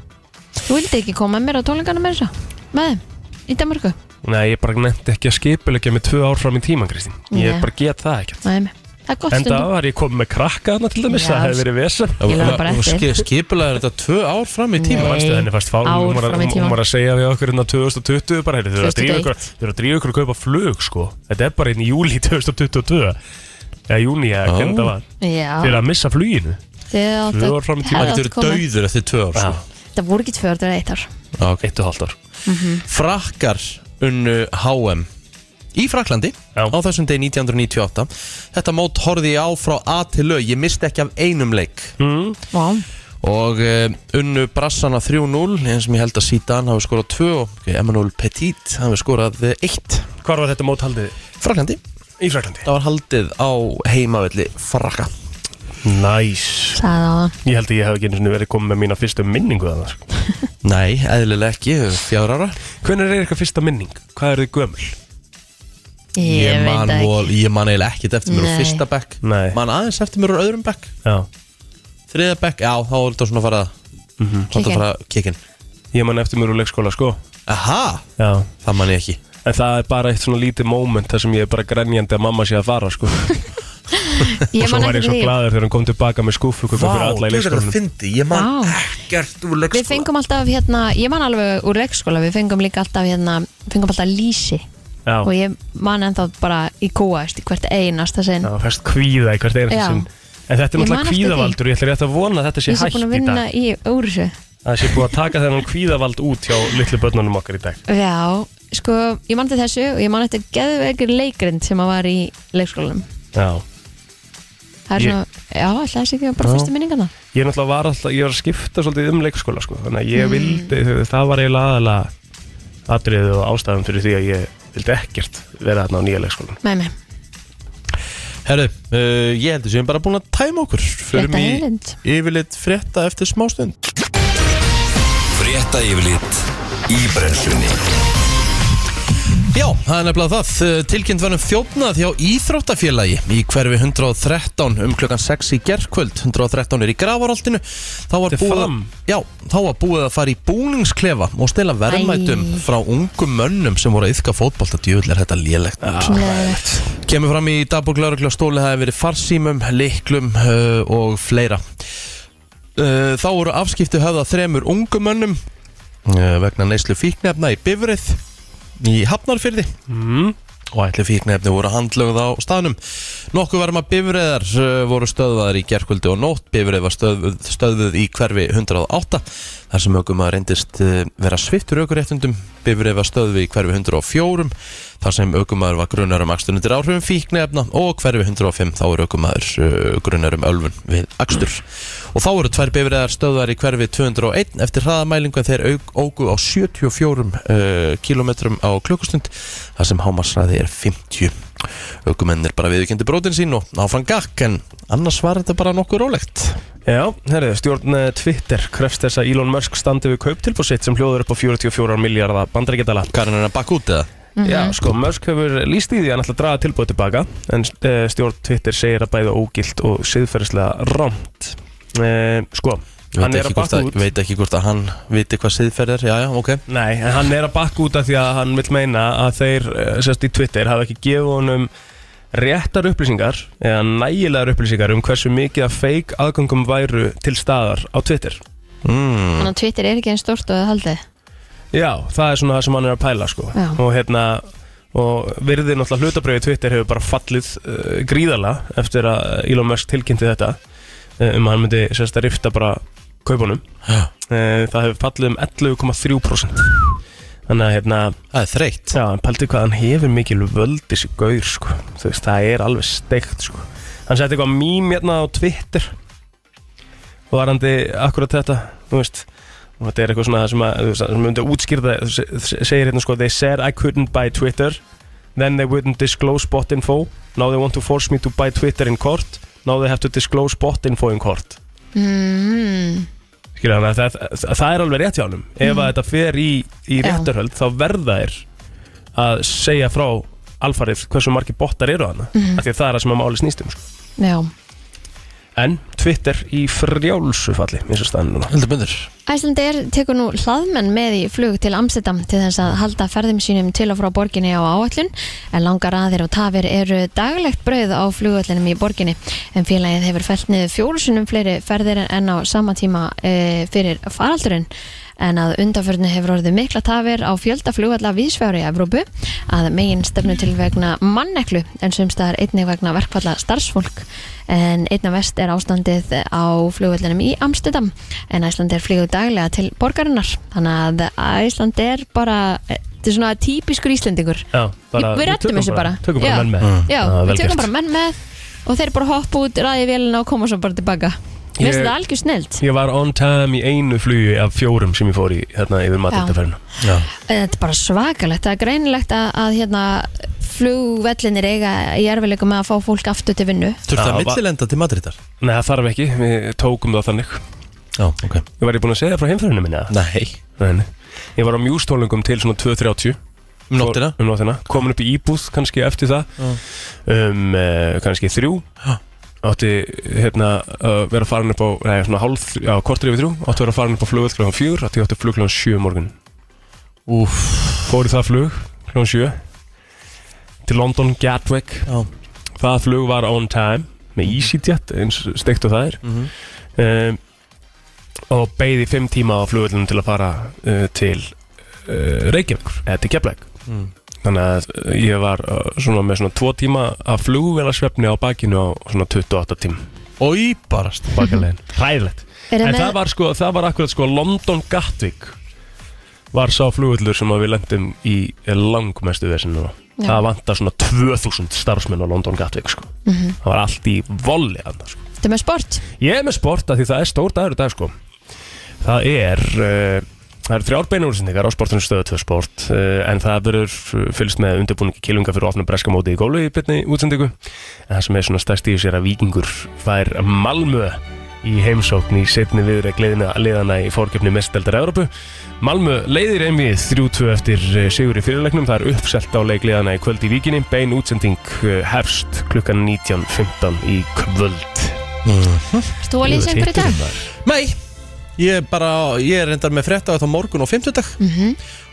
C: Þú vildi ekki koma með mér á tónleikana með þessa? Með þeim? Í Danmarku?
E: Nei, ég bara nefndi ekki að skipulegja með tvö ár fram í tíman, Kristín Ég
C: Nei.
E: bara get það ekkert
C: Nei, með Það er gott
E: Enda
C: stundum
E: var ég komið með krakka þarna til dæmis,
C: Já,
E: það hefði verið vesen
C: Ég lagði bara eftir.
D: Skipulega er þetta tvö ár fram í tíma
E: Manstu henni fast fá,
C: Ár
E: hún var, að-
C: fram í
E: hún
C: tímann.
E: var að segja við okkur hérna innan 2020 bara, heyrðu, þau eru að drífa
C: 2021.
E: ykkur- þau eru að drífa ykkur að kaupa flug sko. Þetta er bara inn í júli 2022 eða júni, eða
D: Ó.
E: hvernig það var Þau eru
C: Já,
E: að missa fluginu
C: þið áttu-
E: Tvö ár fram í tímann.
D: Það
C: hefðu
D: getur
C: átt að koma.
D: verið dauður eftir tvö ár sko.
C: Það voru ekki tvö ár, það var eitt ár
D: Já, ok.
E: Eitt og halvt ár
D: Frakkar unnu HM í Fraklandi
E: Já.
D: á þessum degi 1998 Þetta mót horfði ég á frá A til Ö Ég misti ekki af einum leik
E: Hmm.
C: Vá,
D: og uh, unnu Brassana 3-0 eins sem ég held að Sítan hafi skorað 2 og Emmanuel Petit hafi skorað 1
E: Hvar var þetta móthaldið
D: Fraklandi,
E: í Fraklandi?
D: það var haldið á heimavelli Frakka
E: Næs
C: sagði það
E: Ég held að ég hef ekki einu sinni verið komið með mína fyrstu minningu þannig sko.
D: Nei, eðlilega ekki, fjár ára
E: Hvernig er eitthvað fyrsta minning? Hvað eru þið gömul?
C: Ég, veit
D: man,
C: það
D: vol-
C: ekki
D: ég man eiginlega ekkert eftir mér á
C: Nei.
D: fyrsta bekk
E: Nei.
D: Man aðeins eftir mér á öðrum bekk
E: Já
D: Þriða bekk, já, þá var þetta svona að fara mm -hmm. Svona
C: Kikkin.
D: að fara kikkin
E: Ég man eftir mér úr leikskóla sko
D: Aha,
E: Já
D: það man ég ekki
E: En það er bara eitt svona lítið moment þar sem ég er bara grenjandi að mamma sé að fara sko Og
C: Ég
E: svo
C: man
E: var
C: ekki
E: ég svo
C: því
E: gladur þegar hún kom tilbaka með skúfu Hvað fyrir alla í leikskólanum
D: fyndi, ég
C: Vá.
D: ekkert úr
C: Við fengum alltaf hérna, ég man alveg úr leikskóla Við fengum líka alltaf hérna, fengum alltaf lýsi Og
E: Já
C: ég man ennþá bara í kúast Í hvert einasta sinn
E: Já, fæst kvíða í hvert
C: Já.
E: einasta sinn En þetta er
C: Ég man
E: náttúrulega
C: eftir því.
E: kvíðavaldur og ég ætla rétt að vona að þetta sé
C: Ég sé
E: hægt
C: búin að
E: í
C: vinna
E: dag
C: í úrsu
E: Það sé búið að taka þennan kvíðavald út hjá litlu börnunum okkar í dag
C: Já, sko, ég man til þessu Og ég man eftir geðveikir leikrind Sem að var í leikskólanum
E: Já
C: Það er
E: Ég-
C: svona, já, alltaf þessi ekki bara fyrstu minningarna
E: ég náttúrulega var alltaf, ég var að skipta svolítið um leikskóla sko, þannig að
C: Mm.
E: ég vildi það var eiginlega aðalega atriðið og ástæðan fyrir því að ég vildi ekkert vera þarna á nýja leikskólan
C: Með mig,
D: Herru, uh, ég heldur sem bara búin að tæma okkur Förum
C: Frétta
D: í
C: yfirlit.
D: yfirleitt frétta eftir smástund
B: Frétta yfirlit í brennslunni
D: Já, það er nefnilega það Tilkynnt var um þjófnað hjá Íþróttafélagi í hverfi 113 um klukkan 6 í gerkvöld 113 er í gravaroltinu Þá var,
E: Þetta er
D: búið,
E: fram.
D: já, þá var búið að fara í búningsklefa og stela verðmætum
C: Æ.
D: frá ungum mönnum sem voru að yfka fótbolta djöfull er þetta lélegt
E: Ah,
C: knöðvett
D: Kemur fram í dagbúk lauruglu að stóli hafi verið farsímum, liklum uh, og fleira. Uh, þá voru afskipti höfða þremur ungum mönnum uh, vegna neyslu fíknefna í Bifrið í Hafnarfyrði
E: mm.
D: og ætli fíknefni voru handlögð á staðnum. Nokkuð varum að bifriðar uh, voru stöðvaðar í gerkvöldi og nótt. Bifrið var stöðvuð, stöðvuð í hverfi 108 þar sem ökum að reyndist uh, vera sviftur aukuréttundum. Bifrið var stöðvuð í hverfi 104 þar sem aukumæður var grunar um akstur undir áhrifum fíknefna og hverfi 105 þá er aukumæður uh, grunar um ölfun við akstur. Og þá eru tvær bifriðar stöðvar í hverfi 201 eftir hraðamælingu en þeir auk, óku á 74 uh, kilometrum á klukkustund þar sem hámarsraði er 50. Aukumennir bara viðkendi brótin sín og áfram gakk en annars var þetta bara nokkuð rólegt.
E: Já, herrið, stjórn eh, Twitter krefst þess að Elon Musk standi við kauptilbúð sitt sem hljóður upp á 44 miljardar bandarækjadala
D: Karin er að bakka út eða?
E: Já, sko, Musk hefur líst í því að hann ætla að draga tilbúið tilbaka en eh, stjórn Twitter segir að bæði ógilt og siðferðislega rámt eh, Sko, hann er að bakka út
D: Veit ekki hvort að hann viti hvað siðferð er Já, já, ok
E: Nei, en hann er að bakka út af því að hann vil meina að þeir, eh, sérst í Twitter, hafa ekki gefið honum réttar upplýsingar eða nægilegar upplýsingar um hversu mikið að fake aðgangum væru til staðar á Twitter
D: Mm.
C: Þannig
E: sko.
C: að Twitter er ekki einn stort og það haldið
E: Já, það er svona það sem hann er að pæla sko.
C: Já.
E: og hérna og virðið náttúrulega hlutabröfið Twitter hefur bara fallið uh, gríðala eftir að Elon Musk tilkynnti þetta eh, um að hann myndi sérst að rifta bara kaupunum uh, það hefur fallið um 11,3% þannig að hérna
D: Það er þreytt
E: Já, en pældu hvað hann hefur mikil völd þessi gaur, sko. Þú veist, það er alveg steikt, sko. Hann setti eitthvað mím hérna á Twitter og varandi akkurat þetta, þú veist. Og þetta er eitthvað svona sem að, þú veist, sem myndi útskýrða, þú se- se- segir hérna, sko, they said I couldn't buy Twitter, then they wouldn't disclose bot info, now they want to force me to buy Twitter in court, now they have to disclose bot info in court.
C: mm,
E: Skilja, þannig að það, það, það er alveg rétt hjá hann ef að þetta fer í, í
C: Já.
E: réttarhöld þá verða þær að segja frá alfarið hversu margir bottar eru hann mm. af því að það er það sem að máli snýstum sko.
C: Já
E: en Twitter í frjálsu falli eins og staðan núna
D: Heldur bundur
C: Æslandeir tekur nú hlaðmenn með í flug til Amsterdam til þess að halda ferðum sínum til og frá borginni á áallun en langar aðir og tafir eru daglegt brauð á flugvallinum í borginni en félagið hefur fælt niður fjólusunum fleiri ferðir en á sama tíma e, fyrir faraldurinn en að undanförnu hefur orðið mikla tafir á fjölda flugvalla viðsfjári í Evrópu að megin stefnu til vegna manneklu en sumstaðar einnig vegna verkfalla starfsfólk en einna vest er ástandið á flugvöldinum í Amsterdam en Æsland er flygur daglega til borgarinnar þannig að Æsland er bara þetta er svona típiskur Íslendingur
E: Já,
C: Ég- við ræddum
E: tökum
C: þessu bara.
E: tökum bara
C: Já.
E: menn með
C: já,
E: Ah, vel
C: við tökum
E: gert.
C: bara menn með og þeir bara hoppa út, ræði vélina og koma svo bara tilbaka mér finnst
E: Ég-
C: þetta algjör snilt
E: Ég var on time í einu flugi af fjórum sem ég fór í hérna yfir matindaferðina
D: Já
C: Þetta er bara svakalegt, það er greinilegt að, að hérna, flugvellinir eiga í erfileikum með að fá fólk aftur til vinnu
D: Þurfti
E: Já,
D: að
E: va-
D: millilenda til Madridar
E: Nei, það þarf ekki, við tókum það þannig
D: Já, ok
E: Ég var ég búin að segja frá heimferðinu minna
D: Nei
E: Nei, nei. Ég var á mjústólungum til svona 2.30
D: Um nóttina
E: um nóttina komin upp í íbúð kannski eftir það um, uh, kannski þrjú átti hérna að vera farin upp á nei, svona hálf, já, kortur yfir þrjú átti að vera farin upp á flugvöld kl. 4 átti ég átti flug um kl. 7 morgun
D: Úf
E: fóri það flug kl. 7 til London Gatwick
D: Já.
E: það flug var on time með EasyJet eins steikt og það er
D: Mhm.
E: um, og beigði 5 tíma á flugvöldunum til að fara uh, til uh, Reykjavíkur eða til Keflæk
D: Mm.
E: þannig að uh, ég var uh, svona með svona 2 tíma af flugvélasvefni á bakinu á svona 28 tím
D: Ói, barast
E: bakalegin, hræðilegt
C: Er
E: en
C: með,
E: það var sko, það var akkurat sko London Gatwick var sá flugvöllur sem að við lendum í langmestu vesinu
C: Já.
E: það vantar svona 2000 starfsmenn á London Gatwick sko.
C: Mhm.
E: það var allt í volli annars sko.
C: Þetta er með sport
E: Ég er með sport að því það er stór dagur í dag sko Það er uh, Það eru þrjár beina úrsendingar á sportunum stöðu 2 sport uh, En það verður uh, fylgst með undirbúningi kilunga fyrir ofnum breskamóti í gólu í byrni útsendingu En það sem er svona stærst í þessu er að vikingur fær Malmö í heimsókn í setni viður að gleðina liðana í fórgefni mesteldar Evrópu. Malmö leiðir einvið 3-2 eftir eh, sigur í fyrirleiknum. Það er uppselt á leikliðana í kvöld í vikinni. Bein útsending eh, hefst klukkan 19.15 í kvöld.
D: Mm.
C: Þú að lýsa einhverju í dag
D: um Nei Ég er bara, ég er reyndar með frétta á þetta á morgun og fimmtudag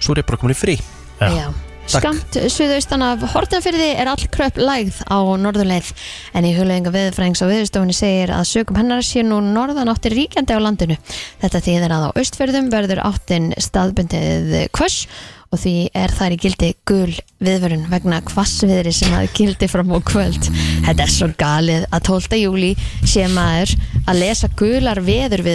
D: Svo er ég bara komin í frí
E: Já.
C: Já.
D: Takk.
C: Skamt suðaustan af Hortnafyrði er all kröp lægð á norðurleið en í hulöðinga viðfrængs og viðstofunni segir að sögum hennar sé nú norðan áttir ríkjandi á landinu. Þetta þýðir að á austfyrðum verður áttin staðbundið hvöss og því er þar í gildi gul viðvörun vegna hvassviðri sem að gildi fram á kvöld. Þetta er svo galið að 12. júli sé maður að lesa gular veður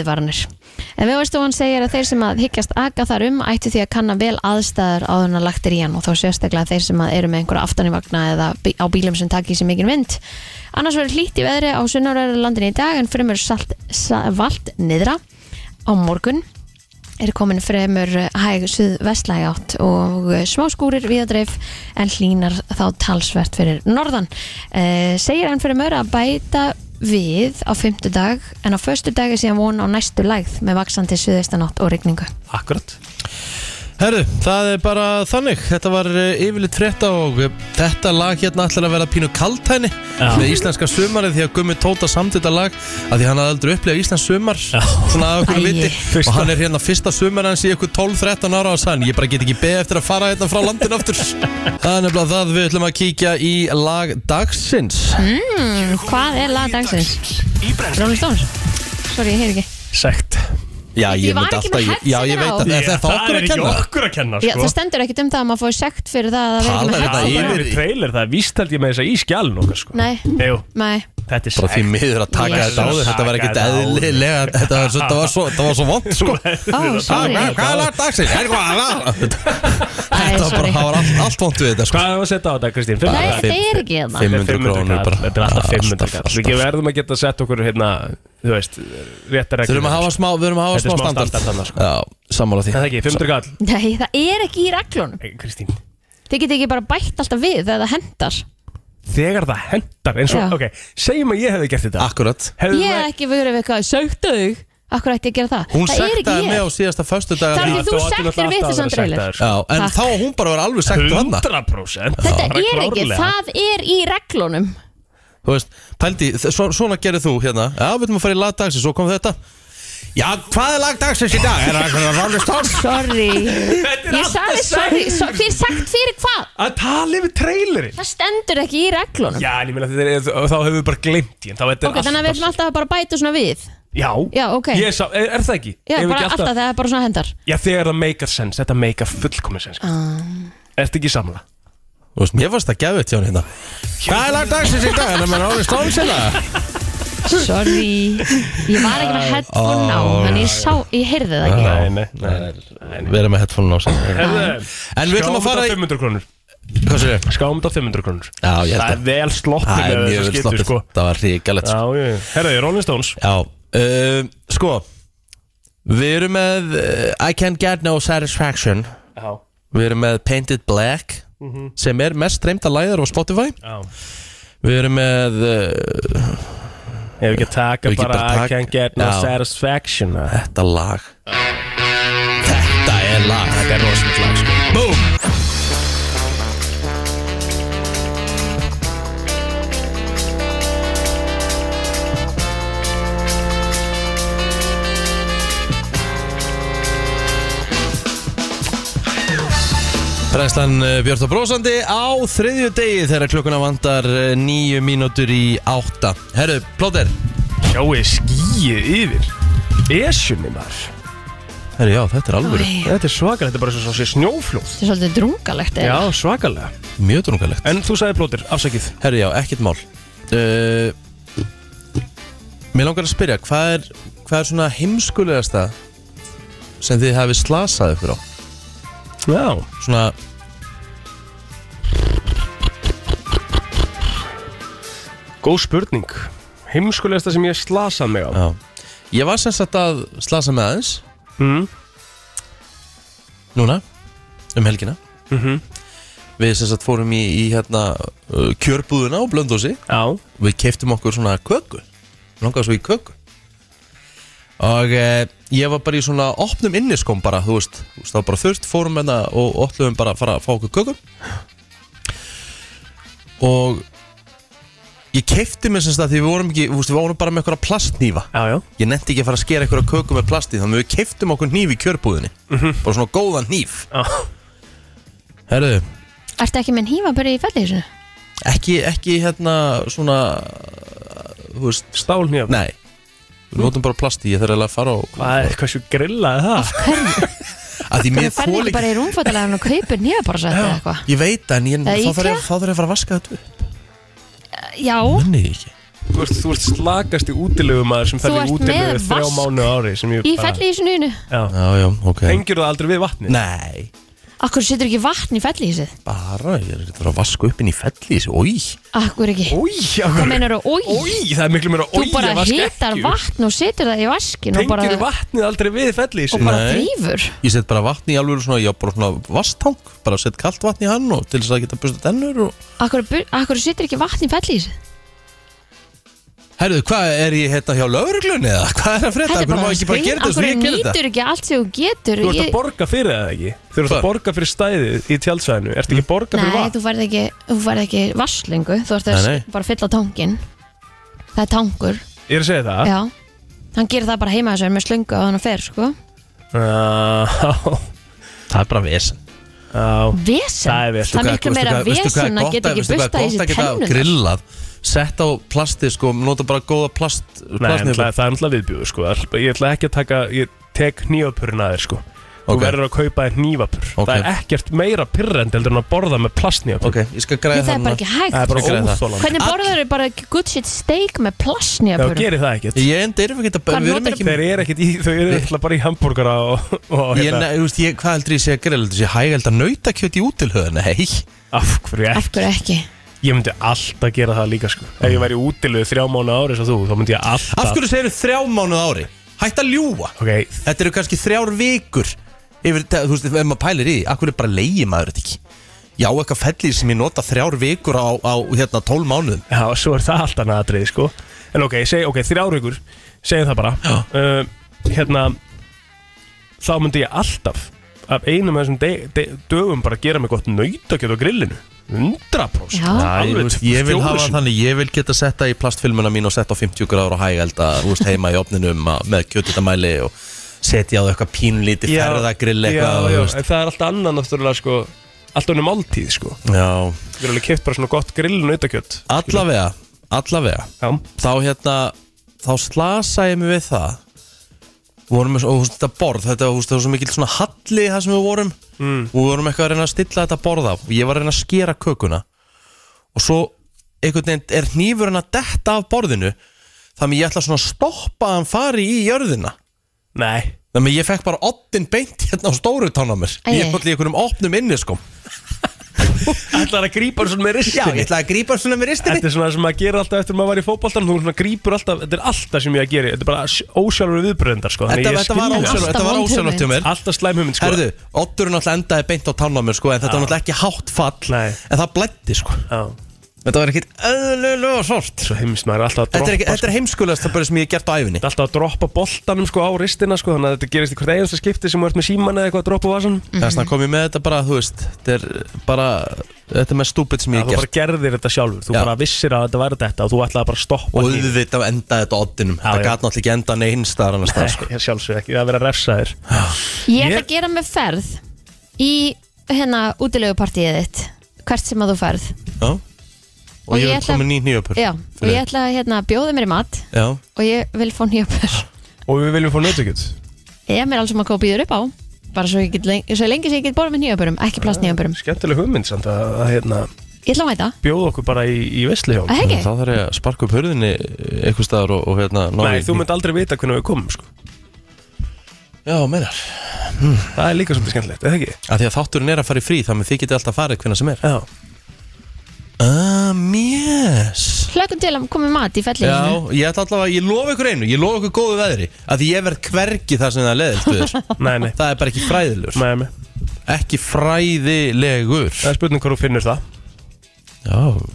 C: En viðstofan segir að þeir sem að hyggjast aga þar um ættu því að kanna vel aðstæður áður en að lagt er í hann og þá sérstaklega þeir sem að eru með einhverja aftanivagna eða bí- á bílum sem taki sér mikinn vind. Annars verður hlýtt í veðri á sunnarverðarlandinni í dag en fremur salt, sa, vald niðra á morgun er komin fremur hæg suðvestlæg átt og smáskúrir viðadreif en hlínar þá talsvert fyrir norðan. Eh, segir hann fremur að bæta við á fymtudag en á föstudag er síðan von á næstu lægð með vaksandi suðaustanátt og rigningu.
E: Akkurat
D: Herru, það er bara þannig Þetta var eh, yfirleitt frétta og eh, þetta lag hérna ætlar að vera pínu kaltæni
E: Já.
D: með íslenska sumarið því að Gummi Tóta samt þetta lag að því hann hafði aldrei upplegað íslensk sumar svona að okkur
C: Æi.
D: viti
E: Fyrsta.
D: og hann er hérna fyrsta sumar hans í ykkur 12-13 ára og sann ég bara get ekki beð eftir að fara hérna frá landin aftur Það er nefnilega það við ætlum að kíkja í lag dagsins
C: Hvað er lag dagsins? Rolling Stones Sorry, ég heyr ekki
E: Sekt
D: Já,
C: Ég
D: ég
C: var
D: veit
C: ekki með
D: alltaf ég- Já, ég
C: headsetin
D: veit að
C: á.
D: þetta er það okkur að
E: er ekki
D: kenna
E: okkur að kenna
C: Já,
E: sko.
C: það stendur ekkit um það að maður fóði sekt fyrir það að
D: Talaðu
C: vera ekki
D: þetta
E: Það er
C: með
D: yfir.
C: headset
E: yfir trailer, það er víst held ég með þess að í skjálun okkar sko.
C: Nei.
E: Jú,
C: Nei,
E: þetta er
D: bara því
E: sekt
D: miður að taka
C: Jesus.
D: þetta á þér þetta var ekkert
E: Taka þetta á þig.
D: eðlilega þetta var svo, þetta var svo, þetta var svo vond sko
C: ó, sorry
D: Hvað hvað er lag dagsins? Er hvað er lag? Þetta var
C: Æ,
D: bara,
C: sorry
D: það var allt, allt vond við þetta sko
E: Hvað er að setja á þetta Kristín? 500?
C: Nei, þetta er ekki hérna. það
D: 500 krónur
E: kall,
D: bara
E: Þetta er alltaf 500 kall
D: alltaf.
E: Við verðum að geta sett okkur hérna Þú veist, réttar reglum
D: Þurfum að hafa smá, við erum að hafa
E: Þetta
D: smá
E: er smá
D: standard
E: standard þarna, sko.
D: Já, sammála því
E: Það er ekki, 500 kall
C: Nei, það er ekki í reglunum
E: Nei, Kristín
C: Þið geti ekki bara bætt alltaf við þegar það hendar
E: Þegar það hendar eins
C: Já.
E: og, ok, segjum að ég hefði gert þetta
D: Akkurat
E: Hefði
C: Ég hef
E: það-
C: ekki verið við eitthvað Söktu þau Akkur ætti ég að gera það
D: Hún
C: Það er ekki
D: sektaði mig á
C: ég
D: síðasta föstudag
C: Það er
E: Já,
C: ekki þú
E: átti
C: sektir
E: náttúrulega
C: við
E: alltaf
C: þessan
E: að vera
C: trailer.
E: sektaður, sko.
D: Já, en
C: Takk.
D: þá hún bara var alveg sekt hann
E: 100% bara
C: Þetta er ekki,
E: klárlega.
C: það er í reglunum
D: Þú veist, pældi, þ- svo- svona gerir þú hérna Já, við erum að fara í lag dagsins, svo kom þetta Já, hvað er lag dagsins í dag? Er það eitthvað Rolling Stones?
C: Sorry
E: Þetta er
C: Ég sagði
E: alltaf
C: sorry
E: sekt.
C: so, Fyrir sagt fyrir hvað?
E: Að tala yfir trailerinn
C: Það stendur ekki í reglunum
E: Já, en ég meina þeir, þá hefur við bara glemt ég
C: Ok, þannig að við ætlum alltaf að bara bæta svona við
E: Já,
C: Já, ok.
E: Ég sá, er, er það ekki?
C: Já,
E: Ef ekki
C: bara alltaf, það er bara svona hendar
E: Já, þegar það make a sense, þetta make a fullkomin sense
C: Ah.
E: um. Ertu ekki samla?
D: Þú veist, mér fannst það gefið hjá hann hérna Hvað er lag dagsins í dag? Er það með Rolling Stones hérna?
C: Sorry Ég var ekki með headphone á Þannig ég sá, ég heyrði það ekki
E: Nei, nei, nei, nei, nei.
D: Við erum með headphone á sér En
E: En
D: við ætlum að fara í-
E: 500 krónur
D: Hvað sér ég?
E: Skáum þetta á 500 krónur
D: Já, ég held
E: Það er
D: að
E: vel sloppið
D: Það
E: með
D: er mjög
E: þessu
D: vel
E: skiptu
D: sloppið
E: sko
D: Það var ríkalegt
E: Já, já, já. herraði, Rolling Stones
D: Já, um, sko Við erum með uh, I Can't Get No Satisfaction
E: Já,
D: Við erum með Painted Black
E: Mhm.
D: Sem er mest streymda læðar á Spotify
E: já
D: Við erum með uh,
E: Ef ekki að
D: Ef
E: taka
D: ekki
E: bara
D: bara
E: I
D: taka-
E: can't get no
D: Já.
E: satisfaction Þetta
D: Þetta lag Þetta er lag Þetta
E: er rosalega lag sko
D: Boom Brænslan Björn eh, og Brósandi á þriðju degi þegar klukkuna vandar eh, níu mínútur í átta Herru, plóter
E: Sjáu skýið yfir Esjunni maður
D: Herru, já, þetta er alveg
C: Æ,
E: Þetta er svakalega, þetta er bara svo svo sé snjóflóð
C: Þetta er svolítið drungalegt
E: Já,
C: eða?
E: svakalega
D: mjög drungalegt
E: En þú sagði blótir, afsakið
D: Herru, já, ekkert mál uh, Mér langar að spyrja Hvað er, hvað er svona heimskulegasta sem þið hafið slasað ykkur á?
E: Já
D: Svona
E: Góð spurning Heimskulegasta sem ég slasað mig á
D: já. Ég var sem sagt að slasa með aðeins
E: Mm.
D: Núna, um helgina Við sem sagt fórum í, í hérna, uh, kjörbúðuna á Blöndósi
E: Já
D: Við keiftum okkur svona köku Mér Langaði svo í köku Og eh, ég var bara í svona opnum inniskom bara, þú veist, þú veist Það var bara þurft, fórum hérna og ótluðum bara að fara að fá okkur köku Og Ég keifti mér sem sagt því við vorum ekki, þú veist, við vorum bara með eitthvað plastnýfa
E: Já, já
D: Ég nefndi ekki að fara að skera eitthvað köku með plasti Þannig að við keiftum okkur nýf í kjörbúðinni Bara svona góðan nýf
E: Já.
D: Herðu,
C: Ertu ekki með hýfa bara í fellið þessu?
D: ekki, ekki hérna svona Þú veist,
E: Stálnýja
D: Nei Við notum bara plasti, ég þarf eiginlega að fara á
E: Hvað er, hversu grillaði það?
D: að Því mér
C: Þú ferði
D: þóli
C: ekki bara í rúmfattalega og kaupir nýja bara sætt eða eitthvað
D: Ég veit en ég, þá
C: Eða
D: þarf ég,
C: IKEA?
D: þá þarf ég að fara að vaska þetta upp
C: Já,
D: Nenni því ekki
E: Þú ert, þú ert slakasti útilegumæður sem
C: Þú
E: ferði
C: ert
E: útilegu
C: með
E: þrjá
C: vask
E: mánu ári sem ég
C: í
E: bara-
C: fellið þessu nýnu
E: Já
D: Já, já, ok
E: Hengjur það aldrei við vatni?
D: Nei,
C: Akkur setur ekki vatn í fellið þessu?
D: bara, ég er að fara að vaska upp inn í felli þessu, ói
C: Akkur ekki
E: Új,
C: Hvað meinar þú? Ói?
E: Új, það er miklu meira
C: Þú
E: új
C: bara hitar vatn og setur það í vaskin og bara,
E: Hengjur vatnið aldrei við fellið
C: og bara
D: Nei.
C: þrýfur
D: Ég set bara vatn í alveg svona, ég á bara svona vastang Bara set kalt vatn í hann og til þess að geta busta tennur og
C: Akkur, akkur setur ekki vatn í fellið þessu?
D: Herðu, hvað er ég hérna hjá lauruglunni eða? Hvað er að frétta? Hvernig má ég ekki bara gera þetta sem ég
C: Akkur
D: gerir þetta?
C: nýtur ekki allt sem þú getur
E: Þú ert
C: Ég-
E: að borga fyrir það ekki Þú ert
D: Hvar?
E: að borga fyrir stæðið í tjaldsæðinu Ertu ekki að borga fyrir
C: Nei,
E: vatn?
C: þú færð ekki, þú færð ekki vasslingu Þú ert að
D: Nei, nei.
C: bara að fylla tankin Það er tankur,
E: Ég er að segja
D: Ah.
E: það
C: já Hann gerir það bara heima þessu með slöngu á hann að fer, sko
E: Ah, Já,
D: Það er bara vesen
E: já
C: Vesen,
E: Það er vesen.
C: það er miklu meira vesen að geta ekki busta í þessu tennuna
D: Grillað, sett á plasti sko, nota bara góða plast
E: Nei, en
D: plastnefla.
E: það það er náttúrulega viðbjóður sko Það er- Ég ætla ekki að taka, ég tek nýjapurinn aðeir sko Þú
D: Ok.
E: verður að kaupa þér nýjapur
D: Ok.
E: Það er ekkert meira pyrrend heldur en að borða með plastnýjapur
D: Ok, ég skal græða
C: Það er bara ekki
E: Það er
C: hægt
E: bara
D: Ég græði það.
E: óþólandi
C: Hvernig borðar þau bara good shit steak með
E: Já,
C: plasnjöpur?
E: gerir það ekkert
D: Ég endi erum við ekki
C: Hvað
D: Við erum
C: notarðu-
D: ekki
E: Þeir eru ekkert í, þau eru alltaf bara í hambúrgara og,
D: Ég,
E: og hérna,
D: ne, þú veist, ég, hvað heldur ég sé að grilla? Þetta sé hægæld að nauta kjöt í útilhöðu? Nei,
E: af hverju
C: Af
E: ekki
C: hverju ekki?
E: Ég myndi alltaf gera það líka sko Ef ég væri útiluð þrjá mánu ári svo þú, þá myndi ég alltaf
D: af hverju segir þrjá mánuð á ári? Hætt að ljúa
E: Ok,
D: Þetta eru kannski þrjár vikur yfir, te- Þú veist, ef maður pælir í því, Akkur er bara leiði maður þetta ekki Já, eitthvað fellir sem ég nota þrjár vikur á, á hérna, tól mánuðum
E: Já, svo er það allt annað atrið, sko En ok, seg, ok, þrjár vikur, segjum það bara uh, Hérna Þá myndi ég alltaf Af einum af þessum de, de, dögum bara gera mig gott nautakjöt á grillinu 100%
C: Já.
D: Æ, þú
E: Ah, Alveg
D: veist, ég vil hafa
E: fjólusin.
D: þannig, ég vil geta setta í plastfilmuna mín og setta á 50 gráður og hægælda þú veist, heima í opninum að- með kjötitamæli og setja á það eitthvað pínlítið
E: Já,
D: ferðagrill
E: já,
D: eitthvað
E: já,
D: þú veist.
E: en það er allt annað náttúrulega sko Allt önnum máltíð sko
D: já,
E: Ég er alveg keft bara svona gott grill nautakjött
D: allavega, allavega
E: Já,
D: þá hérna þá slasa ég mig við það vorum með, svo- og þú veist, þetta borð þetta þú veist, það var svo mikil svona halli það sem við vorum mm. og við vorum eitthvað að reyna að stilla þetta borð á og ég var að reyna að skera kökuna og svo einhvern veginn er hnífurinn að detta af borðinu þannig ég ætla svona að stoppa að hann fari í jörðina
E: nei
D: þannig að ég fekk bara oddin beint hérna á stóru tánum mér
C: Æi.
D: ég fótt í einhverjum opnum inni sko
E: Ætlar að grípa hann svona með ristinni
D: ætla að grípa svona með ristinni
E: Þetta er svona sem maður gerir alltaf eftir maður var í fótboltan Þú svona grípur alltaf, þetta er alltaf sem ég að gera Þetta er bara ósjálfur viðbröðendar sko
D: Þetta,
E: Þannig ég
D: þetta var
E: skil-
C: ósjálfur-
D: ósjálf-
C: Alltaf
D: þetta var
C: vond
D: ósjálfnátt hjá
C: hugmynd.
D: mér
E: Alltaf slæm hugmynd sko
D: Herðu, Oddur náttúrulega endaði beint á tánum á mér sko, en þetta var náttúrulega ekki hátt fall
E: Nei.
D: en það blætti sko
E: Já,
D: Þetta var ekkit öðlulega svort
E: svo heimist maður er alltaf að
D: Þetta
E: droppa
D: er, ekki, þetta
E: sko.
D: er heimskulegast bara sem ég hef gert á æfinni
E: Alltaf að droppa boltanum sko á ristina sko Þannig að þetta gerist í hvert einasta skipti sem þú ert með síman eða eitthvað að droppa vasan
D: Þess vegna kom ég með þetta bara, þú veist Þetta er bara, þetta er með stúpid sem
E: Þú
D: ég hef
E: bara
D: gert
E: gerðir þetta sjálfur Þú
D: Já.
E: bara vissir að þetta væri þetta og þú ætlaði bara að stoppa
D: Og
E: hnífinn.
D: auðvitað endaði þetta á oddinum Það
E: já.
D: gæti náttúrulega ekki enda neins staðar annars staðar sko
E: Nei, sjálfsög Eh, ekki, það er verið að refsa þér
C: Ég ætla
E: Ég-
C: að gera með ferð í hérna útilegupartíið þitt hvert sem að þú ferð
D: Já. Og,
C: Og
D: ég
C: ég
D: er
C: ætla-
D: komin í nýjöpur
C: Já, og ég ætla að hérna, bjóða mér í mat
D: Já,
C: og ég vil fá nýjöpur
E: Og við viljum fá nautakjöt
C: Ég er mér alls sem að kópa býður upp á bara svo, ég get, lengi, svo lengi sem ég get borð með nýjöpurum ekki plast nýjöpurum,
E: Skemmtileg hugmynd samt að, að hérna,
C: ég ætla að mæta
E: bjóða okkur bara í, í vesli hjá okkur.
C: að hegi,
D: Mm, þá þarf ég að sparka upp hurðinni eitthvað staðar og, og hérna ná
E: Nei,
D: í-
E: þú mynd aldrei vita hvernig við komum sko.
D: Já, meinar
E: Það er líka svolítið skemmtilegt, eða ekki?
D: Af því að þátturinn er að fara í frí, þannig að þið getið alltaf farið hvenna sem er
E: Já
D: Um, yes
C: hlökkum til að koma með mat í
D: Já,
C: fellinu
D: ég ætla allavega, ég lofa ykkur einu, ég lofa ykkur góðu veðri að því ég verð hvergi það sem það er leðilt við þér.
E: Nei, nei,
D: Það er bara ekki fræðilegur
E: nei, nei
D: Ekki fræðilegur
E: Það er spurning hvað þú finnur það
D: Já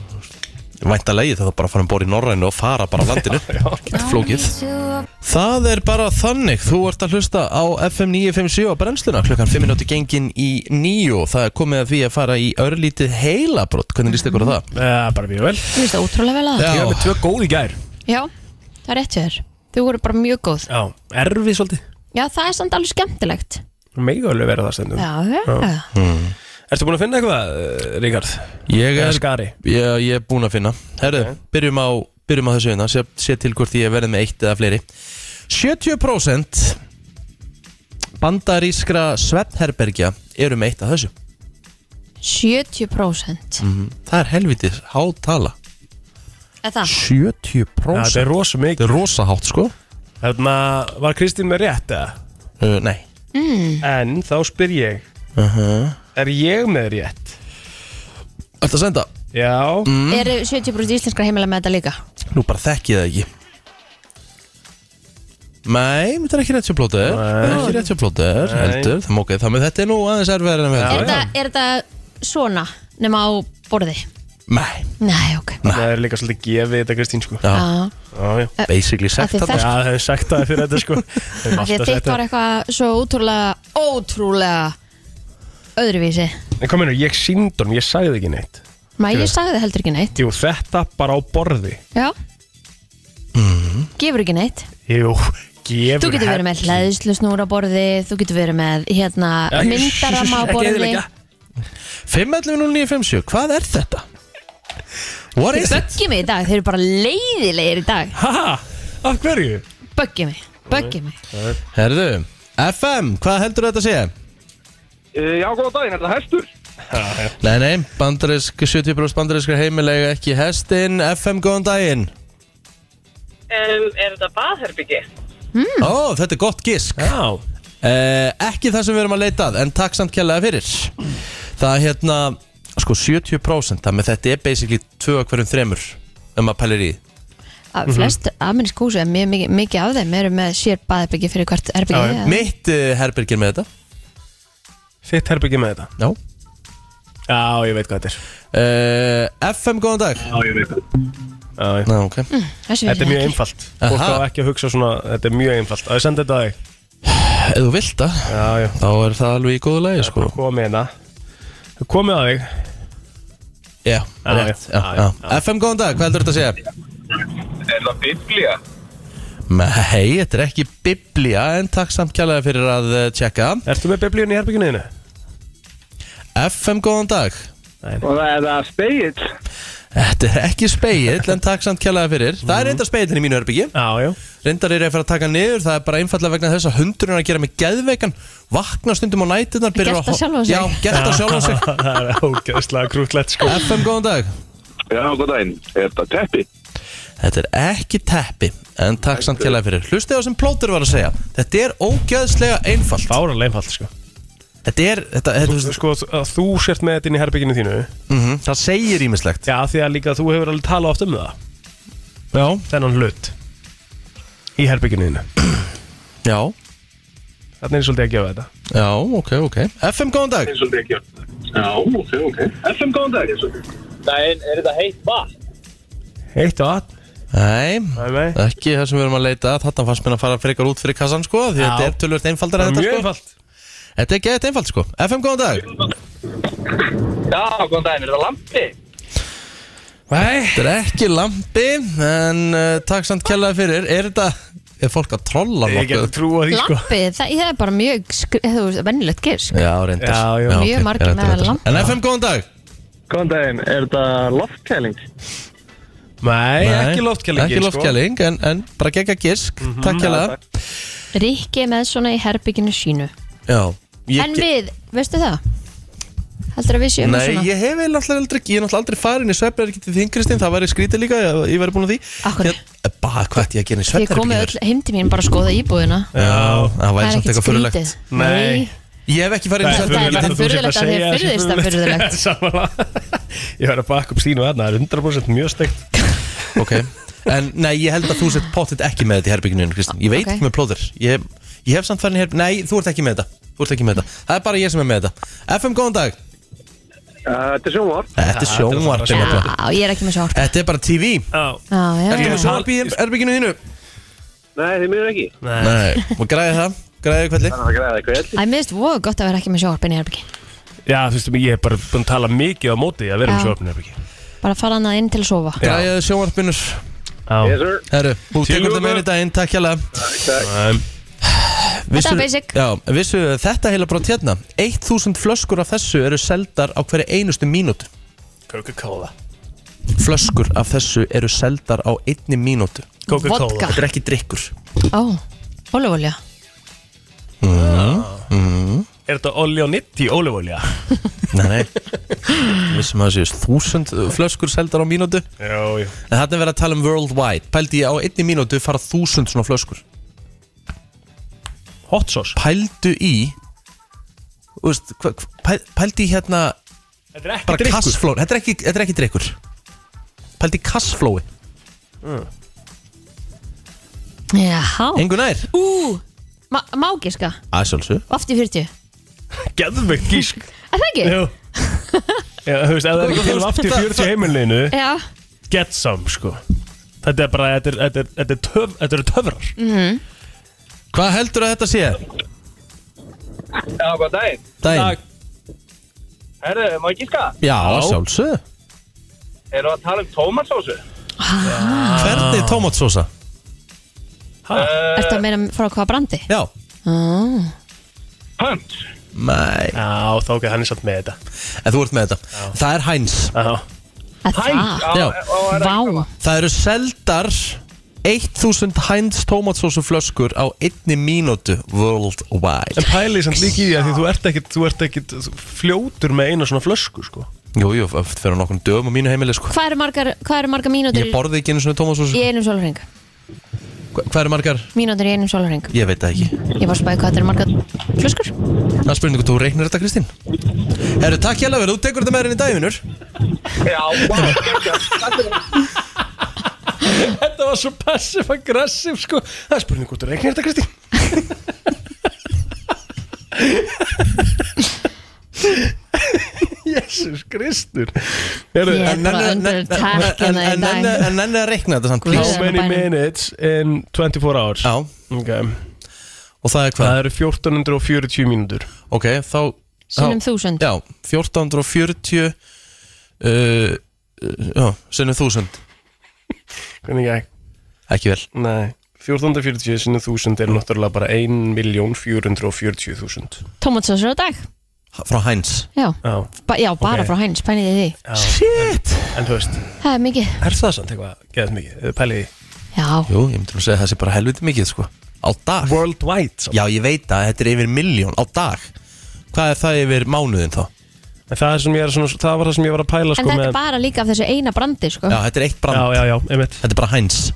D: Væntalegi það bara að fara um borð í Norrænu og fara bara af landinu Ekkert Flókið Það er bara þannig, þú ert að hlusta á FM 957 á brennsluna klukkan 5 minúti gengin í 9 og það er komið að því að fara í örlítið heilabrott, hvernig líst ykkur á það?
E: uh, Bara mjög vel
C: þú veist það útrúlega vel að
D: Já.
E: Ég var með tvö góð í gær
C: Já, það er rétt hjá þér þau voru bara mjög góð
E: Já, erfið svolítið
C: Já, það er samt alveg skemmtilegt
E: Mega alveg vera það stundum
C: Já, já, já.
E: Ertu búin að finna eitthvað, eh, Ríkard?
D: Ég
E: Eða
D: er
E: skari
D: Ég, ég er búinn að finna Herðu, byrjum, á, byrjum á þessu hérna sé, sé til hvort ég verði með eitt eða fleiri 70% bandarískra sveppherbergja eru með eitt af þessu
C: 70% mm.
D: Það er helvitis hátala
C: Það,
D: 70%
E: Já, þetta er rosa
D: Þetta
E: mikið
D: er rosa hátt sko
E: Þarna var Kristín með rétt eða?
D: uh, Nei
E: En þá spyr ég Er ég með rétt?
D: Þetta senda
E: Já
C: eru 70% íslenskra heimila með þetta líka
D: Nú bara þekki ég það ekki Nei, þetta er ekki rétt hjá blóter Þetta er ekki rétt hjá blóter
E: Nei.
D: heldur Það mókið, þannig þetta er nú aðeins erfæður en við
C: Er
D: heldur
C: þetta- er þetta svona nema á borði?
D: Nei,
C: Nei, ok
E: Það er líka svolítið gefið þetta Kristín sko
D: já,
C: Já,
E: Já, já
D: basically sagt
C: Af því
D: þarna.
E: Já, það er sagt það fyrir þetta sko Það
C: af því að þitt var eitthvað svo ótrúlega, ótrúlega öðruvísi
E: En hvað meina, ég sínd honum, ég sagði ekki neitt
C: Mæ, ég sagði það heldur ekki neitt
E: Jú, þetta bara á borði
C: Já Gefur ekki neitt
E: Jú, gefur
C: Þú getur verið með hlæðslu snúra borði Þú getur verið með hérna
E: Já,
C: myndarama á
E: ekki
C: borði
E: eyðileggja.
D: 511957, hvað er þetta? What is it?
C: Böggi mig í dag, þeir eru bara leiðilegir í dag
E: Haha, af hverju?
C: Böggi mig, böggi mig
D: Herðu, FM, hvað heldur þetta að segja?
G: Eh, Já, góðan daginn, er þetta hestur?
D: Nei, nei, bandarísk, 70% bandarískar heimilega ekki hestinn FM, góðan daginn
H: Um, er þetta baðherbyggi?
G: Mm.
D: Ó, þetta er gott gisk
E: Já,
D: Eh, ekki það sem við erum að leita að en takk samt kjærlega fyrir það er hérna sko 70% þannig að þetta er basically 2 af hverjum þremur um maður pælir í því.
C: að Flest amerísk hús er mjög mikið, mikið af þeim eru með sér baðherbyggi fyrir hvert herbyggi eða-
D: mitt uh, herbyrgir með þetta
E: þitt herbyggi með þetta
D: já.
E: Já, ég veit hvað þetta er
D: Uh, FM góðan dag
E: Já, ég veit hvað
D: Ná, okay.
C: Þessu vil
E: Þetta er
C: ég
E: mjög
C: ekki.
E: einfalt Fólk
D: Aha.
E: á ekki að hugsa svona Þetta er mjög einfalt Það er sendið þetta að þig
D: ef þú vilt það
E: Já, já
D: þá er það alveg í góðu lagi sko.
E: Komið hérna Þú Komið að þig
D: já,
E: Já,
D: rétt,
E: já,
D: já,
E: já,
D: já. FM góðan dag, hvað heldur þetta að segja?
G: Er það biblía?
D: Nei, þetta er ekki biblía en takk samt kjærlega fyrir að eh, tjekka
E: Ertu með biblíun í herbygginu þínu?
D: FM góðan dag
G: Og það er það speill
D: Þetta er ekki speill, en takk samt kjærlega fyrir Það er reyndar speillin í mínu herbyggi
E: Já, já
D: Reyndar er ég að fara að taka hann niður Það er bara einfallega vegna þess að hundurinn er að gera mig geðveikan Vakna stundum á nætunar byrjar að
C: Gert það
D: ho-
C: sjálfan sig.
D: Já, gert það sjálf á sig
E: Það er ógeðslega krútlegt sko
D: FM, góðan dag
G: Já, góðan daginn, er þetta teppi?
D: Þetta er ekki teppi, en takk samt kjærlega fyrir Hlustið á sem plótur var að segja Þetta er ógeðslega einfalt
E: Fáran leimfald sko
D: Þetta er, þetta, þetta,
E: Þú- Sko, að þú sért með þetta inn í herbygginu þínu
D: mm það segir ímislegt
E: Já, því að líka þú hefur alveg talað oft um það
D: Já,
E: Þennan hlut Í herbygginu þínu
D: já,
E: Þannig er ég svolítið að gefa þetta
D: já, ok, ok FM, góðan dag
G: FM, góðan daginn
H: Daginn, er þetta heitt bað?
E: Eitt og að
D: Nei,
E: Nei, nei
D: ekki það sem við erum að leita Þetta fannst mér að fara frekar út fyrir kassan sko Því
E: Já.
D: þetta er tölvöld einfaldar
E: Það er
D: þetta
E: mjög
D: sko
E: einfalt
D: Þetta er gett einfalt sko FM góðan dag
G: Já, góðan daginn, er það lampi?
E: Nei
D: Þetta er ekki lampi En uh, takk samt kjallaði fyrir Er þetta Er fólk að trolla
E: Ég
D: nokkuð?
E: getur trúa því sko
C: Lampi, það það er bara mjög skr- þú veist, venjulegt sko. gisk
D: Já reyndar
E: Já, já.
C: Mjög
D: ok,
C: margir
D: reyndar,
C: með
D: reyndar.
C: lampa.
D: En FM góðan dag
G: Góðan daginn, er þetta loftkæling?
E: Nei, ekki sko.
D: Nei,
E: loftkjælingi
D: Ekki loftkjæling en, en bara gegga gisk Takk kjallaði
C: Rikki er með svona í herbygginu sínu
D: Já ég
C: En
D: ge-
C: við, veistu það? Heldur að við séum með
D: Nei,
C: svona?
D: ég hef eiginlega alltaf aldrei, ég er náttúrulega aldrei farin í svefnherbergi til þín Kristín, það væri skrítið líka, ég, ég væri búin að því
C: Af hverju?
D: Ég- Bara, hvað ætti ég að gera í
C: Ég komið
D: svefnherbergi?
C: öll heim til mín bara að skoða íbúðina
D: Já, það
C: Það
D: væri
C: er
D: samt
C: ekkert
D: eitthvað
C: skrítið
D: fyrirlegt
E: Nei.
D: Ég hef ekki farin í
E: Nei,
C: Það er
D: svefnherbergi
C: bara
E: furðulegt að þú sért segja
C: furðulegt að þið
E: þessi
C: furðuðist að furðulegt.
E: Sammála. Ég verð að baka upp Stínu þarna, það er 100% mjög steikt
D: Ok, en nei, ég held að þú sett pottit ekki með þetta í herbygginu, Kristín Ég veit
C: Ok.
D: ekki með plóður ég, ég hef samt farin í herbygginu, nei, þú ert ekki með þetta Þú ert ekki með þetta, það er bara ég sem er með þetta FM, góðan dag
G: Þetta er sjónvarp
D: Þetta er sjónvarp
C: Já,
D: nefnilega.
C: ég er ekki með sjórt
D: Þetta er bara TV
E: Já
C: Já, já,
D: Ertu
C: já
D: með sjónvarp í her- herbygginu þínu?
G: Nei, þið miður ekki
D: Nei, og græði það, græði kvelli
G: Það er að græða eitthvað
C: Æ, miðst voða gott að vera ekki með sjóarpinn í herbyggi
E: Já, þú veist, ég hef bara búin að tala mikið á móti því að vera um
C: Já.
E: sjófnir ekki
C: Bara fara hann inn til að sofa
D: Græði sjónvarpinu
E: Já,
G: sir
D: Herru, þú tekur
E: Tillögu.
D: það með einu daginn, takk hjá
E: um,
C: Þetta var basic.
D: Já, vissu þetta heila brot hérna 1000 flöskur af þessu eru seldar á hverju einustu mínútu
E: Coca-Cola
D: Flöskur af þessu eru seldar á einni mínútu
E: Coca-Cola
C: Vodka
D: Þetta er ekki drikkur
C: Ó, ólöfólja
E: Er þetta oleonitti ólífólja?
D: Nei, nei Vissum að það séu þúsund flöskur seldar á mínútu En
E: Já, já
D: þetta er verið að tala um worldwide Pældi ég á einni mínútu fara þúsund svona flöskur
E: Hot sauce
D: Pældu í þú veist, hva, hva- pæl, Pældu í hérna
E: Þetta er ekki
D: Bara
E: drikkur
D: kassfló Þetta er ekki, þetta er ekki drikkur Pældu í kassflói
C: Jáhá
D: Engu nær
C: Ú, má- má giska
D: Æsjálfsög
C: Oft í 40
E: Geðvegt gísk
C: Er það ekki?
E: Jú Já, þú veist, ef það er ekki til aftur 40 heimilinu
C: Já,
E: Get some, sko Þetta er bara, þetta er, þetta er, þetta er, töf, þetta er töfrar
D: Hvað heldur að þetta sé?
H: Já, góð daginn.
D: Dæin?
H: Herðu, má ég gíska?
D: Já, að sjálfsögðu
H: Erum við að tala um tómatsósu?
D: Hvernig tómatsósa?
C: ertu að meina frá hvaða brandi?
D: Já
C: Ah.
H: Pönt.
D: Nei,
E: Já, þá ok, hann er samt með þetta
D: en þú ert með þetta Það er hæns
E: Já,
C: að Það,
D: Já.
C: vá
D: Það eru seldar 1000 hæns tómatsósu flöskur á einni mínútu worldwide
E: en pælið samt líka í því að því þú ert ekkit, þú ert ekkit fljótur með eina svona flösku, sko
D: Jú, jú, oft fyrir nokkrum dögum á mínu heimili sko.
C: Hvað eru margar, hvað eru margar mínútur
D: Ég borði ekki einu svona tómatsósu
C: í einum sólhring?
D: Hva- Hvað eru margar?
C: Mínútur í einum sólhring
D: Ég veit það ekki
C: Ég var að spæði hvað þetta eru margar flöskur
D: Það er spurningu, þú reiknir þetta Kristín Herru, takk hjá þú tekur þetta með henni í dagvinnur
H: Já,
E: Þetta var svo passive-aggressive, sko Það er spurning hvort þú reiknir þetta, Kristín Jésus Kristur Heru,
C: Ég er
D: En
C: bara
D: nenni-
C: undir takk
D: en-
C: hérna í
D: en
C: dag.
D: nenni- en nenni að reikna þetta samt
C: Guð.
E: How
C: Vísar hérna á
E: many
C: bænum.
E: minutes in 24 hours
D: Já,
E: okay.
D: og það er hvað?
E: Það eru 1440 mínútur
D: Ok, þá
C: Sinnum
D: þá-
C: þúsund
D: Já, 1440 uh, Já, sinnum 1000
E: Hvernig ég?
D: Ekki vel
E: Nei 1440 sinni 1000 er náttúrulega bara 1.440.000
C: Tómatsósur á dag
D: Frá Heinz
C: Já,
E: Já,
C: ba já bara
E: Ok.
C: frá hæns, pæniði því
E: já Shit En þú veist,
C: Það er mikið
E: er það samt eitthvað geðað mikið? Eða Pæli
C: Já,
D: Jú, ég myndi nú að segja að það sé bara helviti mikið sko Á dag
E: worldwide samt.
D: Já, ég veit að þetta er yfir miljón á dag Hvað er það yfir mánuðin þá?
E: En það, er sem ég er svona, það var það sem ég var að pæla
C: en
E: sko,
C: þetta
E: með,
C: er bara líka af þessu eina brandi sko.
D: Já, þetta er eitt brand
E: Já, já, já, einmitt
D: Þetta er bara Heinz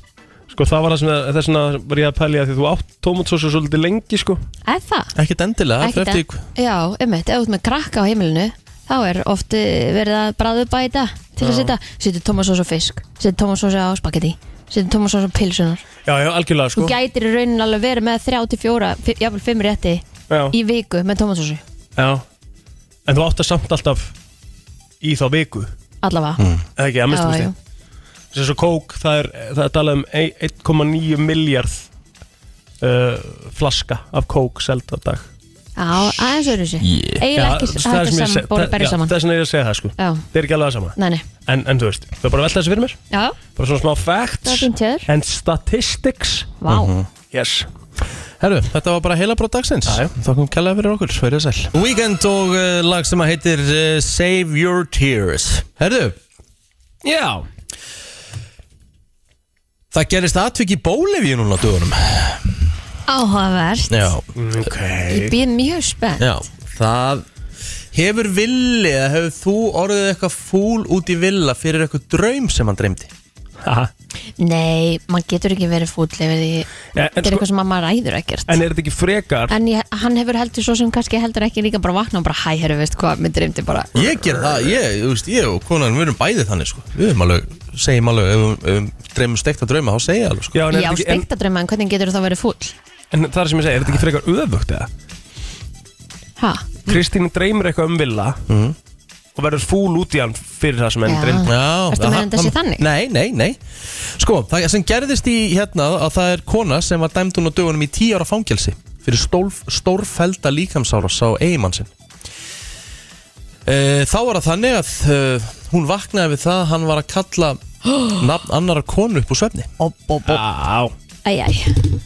E: Sko það var það sem það, þess vegna var ég að pæla í að því þú átt tómatsósu svolítið lengi sko
C: Er það?
D: Ekkert endilega, það
C: Ekkert
D: er eftir
C: en- Já, einmitt, ef þú ert með krakka á heimilinu þá er oft eh, verið að bræðu bæta til að setja, setja tómasós á fisk setja tómasós á spagetti setja tómasós á pilsunar
E: Já, já, algjörlega
C: þú
E: sko
C: gætir í raunin alveg verið með 3-4, jafnvel 5 rétti
E: Já.
C: í viku með tómasósu
E: Já En þú átt það samt alltaf í þá viku
C: allavega
E: Eða ekki, að minnstu
C: Já, já.
E: kosti Þess að kók, það er, það er talað um ein- 1,9 miljard uh, flaska af kók seld á dag
C: Já, aðeins verður þessi eiginlega ekki
E: það er sem ég
C: hægt að saman,
E: seg-
C: bóra
E: það-
C: berja
E: já,
C: saman
E: Það er sem ég er að segja það sko
C: Já,
E: Það er ekki alveg það sama
C: næni,
E: en, en þú veist, þú er bara að velta þessu fyrir mér
C: já,
E: Bara svona smá
C: það er
E: facts
C: fínt hér
E: and statistics
C: Vá,
E: Mhm. Yes
D: Herru, þetta var bara heila brot dagsins
E: Já, já.
D: Þá kom kellaði fyrir okkur, verið sæl Weekend og uh, lag sem að heitir uh, Save Your Tears Herru,
E: Já
D: það gerist atvik í Bólivíu núna á dögunum
C: áhugavert
D: Já,
E: Ok
C: Ég býð mjög spennt
D: já Það hefur villi eða hefur þú orðið eitthvað fúl út í villa fyrir eitthvað draum sem hann dreymdi
E: Aha.
C: Nei, maður getur ekki verið fúll ef því
E: Ja, en
C: þetta er
E: sko-
C: eitthvað sem maður ræður ekkert
E: En er þetta ekki frekar
C: En ég, hann hefur heldur svo sem kannski heldur ekki líka bara vakna og bara hæ, herru, veist hvað, mér dreymdi bara
D: Ég ger það, ég, þú veist, ég og konan við erum bæðið þannig sko Við erum alveg, segjum alveg, ef við- ef við dreymum stekta drauma þá segja alveg sko
E: Já, en er
C: Já,
E: þetta ekki- en-
C: steikta drauma, en hvernig getur það verið fúll?
E: En það er sem ég segi, er þetta ekki frekar öfugt eða?
C: Ha?
E: Kristín dreymir eitthvað um villa og verður fúl út í hann fyrir það sem henni
C: Já.
E: dreymdi
D: Já,
C: Ertu að meina þetta sé þannig?
D: Nei, nei, nei Sko, það sem gerðist í hérna að það er kona sem var dæmd hún á dögunum í 10 ára fangelsi fyrir stólf, stórfelda líkamsárás á eigimann sinn e, Þá var það þannig að e, hún vaknaði við það að hann var að kalla nafn annara konu upp úr svefni
E: Já,
C: Æj, æj,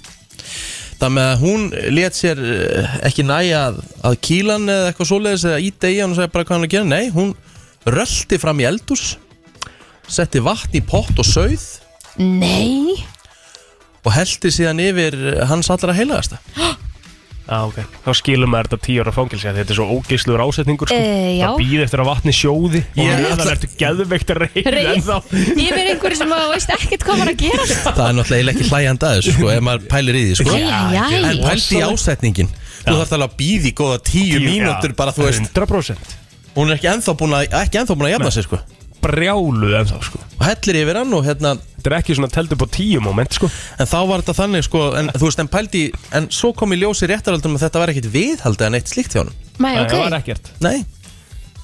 D: Það með að hún let sér eh, ekki næja að, að kýlan eða eitthvað svoleiðis eða íta í hann og segja bara hvað hann er að gera Nei, hún rölti fram í eldús setti vatn í pott og sauð
C: nei
D: og heldi síðan yfir hans allra heilagasta
E: já ok Þá skilum maður þetta tíu ára fangilsi að þetta er svo ógeisluður ásetningur sko.
C: Eh, já.
E: Það býð eftir að vatni sjóði og
D: Ég
E: meðan
D: ætla-
E: ertu geðveikt að reyna en
C: Reyð
E: þá
C: yfir einhverju sem maður veist ekkert hvað var að gera sko.
D: það er náttúrulega eiginlega ekki hlægjandi að þessu sko, ef maður pælir í því sko.
C: Æj, æj,
D: en
C: æj
D: pældi í ásetningin þú þarf alveg að býði góða tíu, mínútur bara þú veist,
E: 100%
D: hún er ekki ennþá búin að, ekki ennþá búin að jafna sig sko.
E: brjáluð en þá sko
D: og hellir yfir hann og hérna
E: Þetta er ekki svona teldu på tíu moment sko
D: en þá var þetta þannig sko, en, þú veist, en pældi í- en svo kom í ljósi réttaröldum að þetta var ekkit viðhaldið en eitt slíkt hjá hann
C: Mæ,
E: Nei,
C: Eh, ok,
E: það var ekkert
D: nei,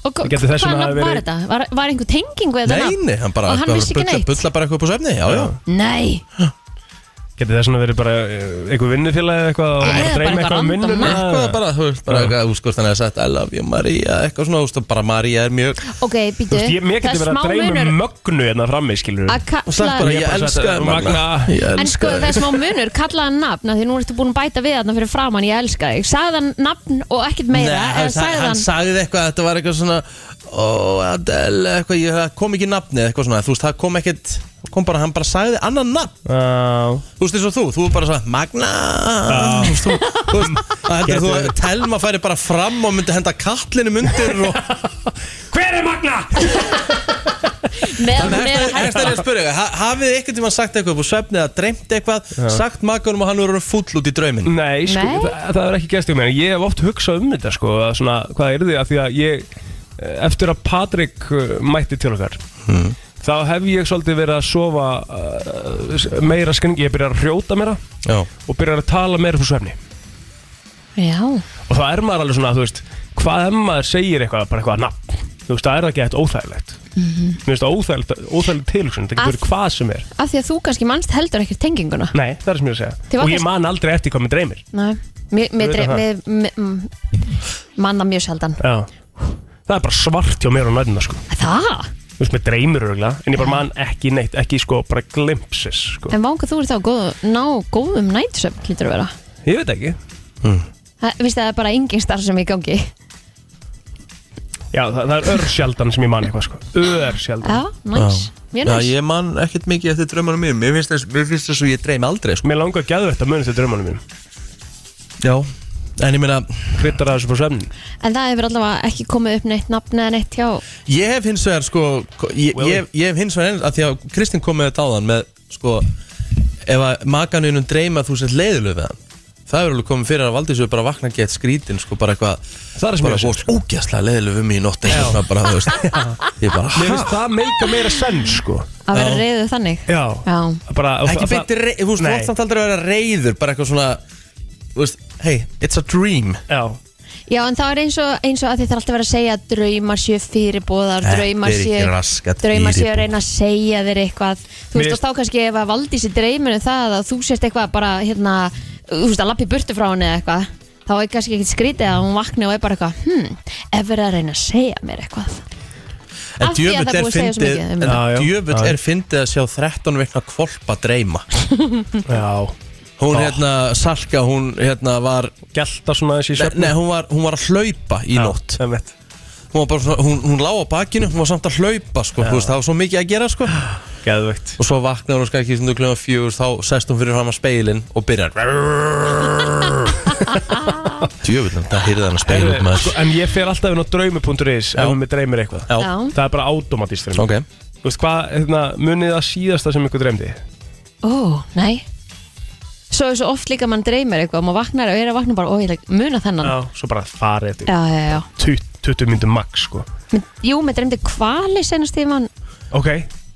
C: Og hva-
E: Það gæti þess
C: hvað
E: vegna
C: nafn
E: hafa
C: var
E: verið-
C: þetta? Var, var einhver tenging við þetta
D: Nei,
C: nafn?
D: nei, hann bara
C: Og hann
D: bara
C: vissi ekki
D: bulla-
C: neitt?
D: Bulla bara eitthvað upp á söfni, já, já
C: Nei,
E: Geti það svona verið bara eh, einhver vinnufélagi eða eitthvað og bara
C: Æ, Eh, bara
E: dreyma
C: eitthvað
E: eitthvað um
C: random
E: vinnuna
D: Eitthvað bara, þú veist, bara
E: Já.
D: eitthvað, þú veist, hann hefði sagt I love you Maria, eitthvað svona, þú veist, bara Maria er mjög
C: ok, býtu
E: Þú veist, ég, mér
C: Það
E: geti
C: er
E: verið
C: smá
E: að dreyma
C: munur
E: um mögnu hérna frammi, skilur
C: að
D: Og sagt
C: kalla
D: bara, ég
E: bara sagt,
D: elska þig, Magna
E: Magna.
D: Ég
C: En sko
D: elska
C: það er
D: þig
C: smá munur, kallaði hann nafn af Því nú ertu búin að bæta við þarna fyrir framann, ég elska þig Sagði hann nafn og ekkert meira
D: Nei, hann sagði,
C: Eða sagði
D: hann
C: hann
D: sagði eitthvað, þetta var eitthvað svona Ó, Adele, eitthvað, ég, það kom ekki nafni eitthvað svona, þú veist, það kom ekkert það kom bara, hann bara sagði annan nafn
E: Já,
D: þú veist, eins og þú, þú er bara svona, Magna þú veist, þú- þú veist, að þetta er þú Telma færi bara fram og myndi henda kallinum undir og
E: Hver er Magna?
C: Meðan hún
D: Þannig
C: er að
D: að
C: hætta
D: það er að spyrja eitthvað, Ha- hafið þið einhvern tíma sagt eitthvað upp úr svefni eða dreymt eitthvað, sagt makanum og hann verður fúll út í draumin
E: Nei, sko,
C: Nei.
E: Það, það er ekki gæst hjá mér en Ég hef oft hugsað um þetta, sko að svona, Hvað er því að því að ég eh, Eftir að Patrik eh, mætti til okkar Þá hef ég svolítið verið að sofa uh, s- meira skringi, ég byrjar að hrjóta meira
D: Já,
E: og byrjar að tala meira fyrir svefni
C: Já,
E: og þá er maður alveg svona, þú veist hvað ef maður segir eitthvað, bara eitthvað nafn þú veist, það er það ekki eitthvað óþægilegt mér finnst það óþægilegt, óþægilegt tilhugsun það
C: Af-
E: getur verið hvað sem er,
C: af því að þú kannski manst heldur ekkert tenginguna
E: nei, það er sem ég er að
C: Þið
E: segja
C: var
E: og ég
C: kannski-
E: man aldrei eftir hvað mér dreymir
C: Nei, mér, mér,
E: Þú veit
C: dreif,
E: það.
C: mér, mér mm, manna mjög sjaldan
E: Já. það er bara svart hjá mér á nættina sko.
C: Það?
E: þú veist, mér dreymir örgulega, en ég bara man ekki neitt, ekki sko, bara glimpsis sko.
C: En vanga þú ert þá góð, ná góðum nætsöfn hlýtur að vera
E: ég veit ekki,
C: Það, Vist það er bara engin starf sem í gangi
E: já, það, það er örsjaldan sem ég man eitthvað, sko, örsjaldan
C: Já, næs, mjög
D: Já
C: næs
D: ég man ekkert mikið eftir draumanum mínum Mér finnst þess, mér finnst þess að ég dreym aldrei sko.
E: mér langar að geða þetta munið til draumanum mínum
D: Já, en ég meina
E: kryttar að þessu frá svefnin
C: En það hefur allavega ekki komið upp neitt nafn eða neitt hjá
D: Ég hef hins vegar sko Ég,
E: Willy.
D: ég, ég hef hins vegar enn að því að Kristinn kom með þetta áðan með sko Ef að makanunum dreyma að þú sett leiðilöf við hann Það hefur alveg komið fyrir að valdi þessu bara vakna gett skrítin sko bara eitthvað
E: Það er sko. sem
D: bara
E: ég
D: fórst ógæslega leiðilöf um mig í nótt eitthvað svona bara þú veist Ég bara
E: mér finnst það meika meira senn sko.
C: að vera
D: Já.
C: reyðu þannig
E: já,
C: Já.
E: Bara,
D: ekki
E: það-
D: beint reyður, þú veist,
E: Nei.
D: þú átt samt aldrei að vera reyður bara eitthvað svona, þú veist, hey, it's a dream
E: Já,
C: Já, en það er eins og, eins og að þið þarf alltaf að vera að segja að draumar séu fyrirbúðar,
D: Þetta er
C: draumar
D: ekki
C: séu
D: raskat
C: draumar séu
D: fyrirboð.
C: að reyna að segja þér eitthvað Þú
E: Mér-
C: veist, og þá kannski ef að valdi sér dreyminu um það að þú sért eitthvað bara, hérna þú veist, að lappi burtu frá henni eða eitthvað þá er kannski ekkert skrítið að hún vakni og er bara eitthvað hmm, ef verið að reyna að segja mér eitthvað
D: En
C: Af því að það
D: djöfull er
C: er búið að segja svo
D: fyndið
C: mikið um
D: En
E: þetta. Já, já.
D: djöfull
E: Já, já.
D: er fyndið að sjá 13 vikna kvolpa dreyma
E: já
D: Hún
E: Ó.
D: hérna, Salka, hún hérna var
E: Gælta svona þessi
D: Nei, nei, hún var, hún var að hlaupa í nótt
E: Það veit
D: Hún var bara svona, hún, hún lá á bakinu Hún var samt að hlaupa, sko, þú veist, það var svo mikið að gera, sko Og
E: Gæðvögt
D: svo vaknar hún, sko, ekki sem þú kljóðan fjögur Þá sest hún fyrir fram að speilin og byrjar Djöfull, það heyrði hann að speilin maður
E: Sko, En ég fer alltaf inn á draumi.is
D: Já.
E: Ef mér dreymir eitthvað
D: Já,
C: Já,
E: Það er bara automatist fyrir mig
D: ok
E: Þú veist hvað, hérna, munið það síðasta sem ykkur dreymdi
C: ó, nei Svo er svo oft líka mann dreymir eitthvað og maður vaknar og er að vakna bara, ó, ég ætla að muna þennan
E: Já Svo bara farið
C: Já,
E: þetta
C: já, já, já.
E: 20 myndum max sko
C: Men, Jú, mér dreymdi hvali senast því mann
E: Ok,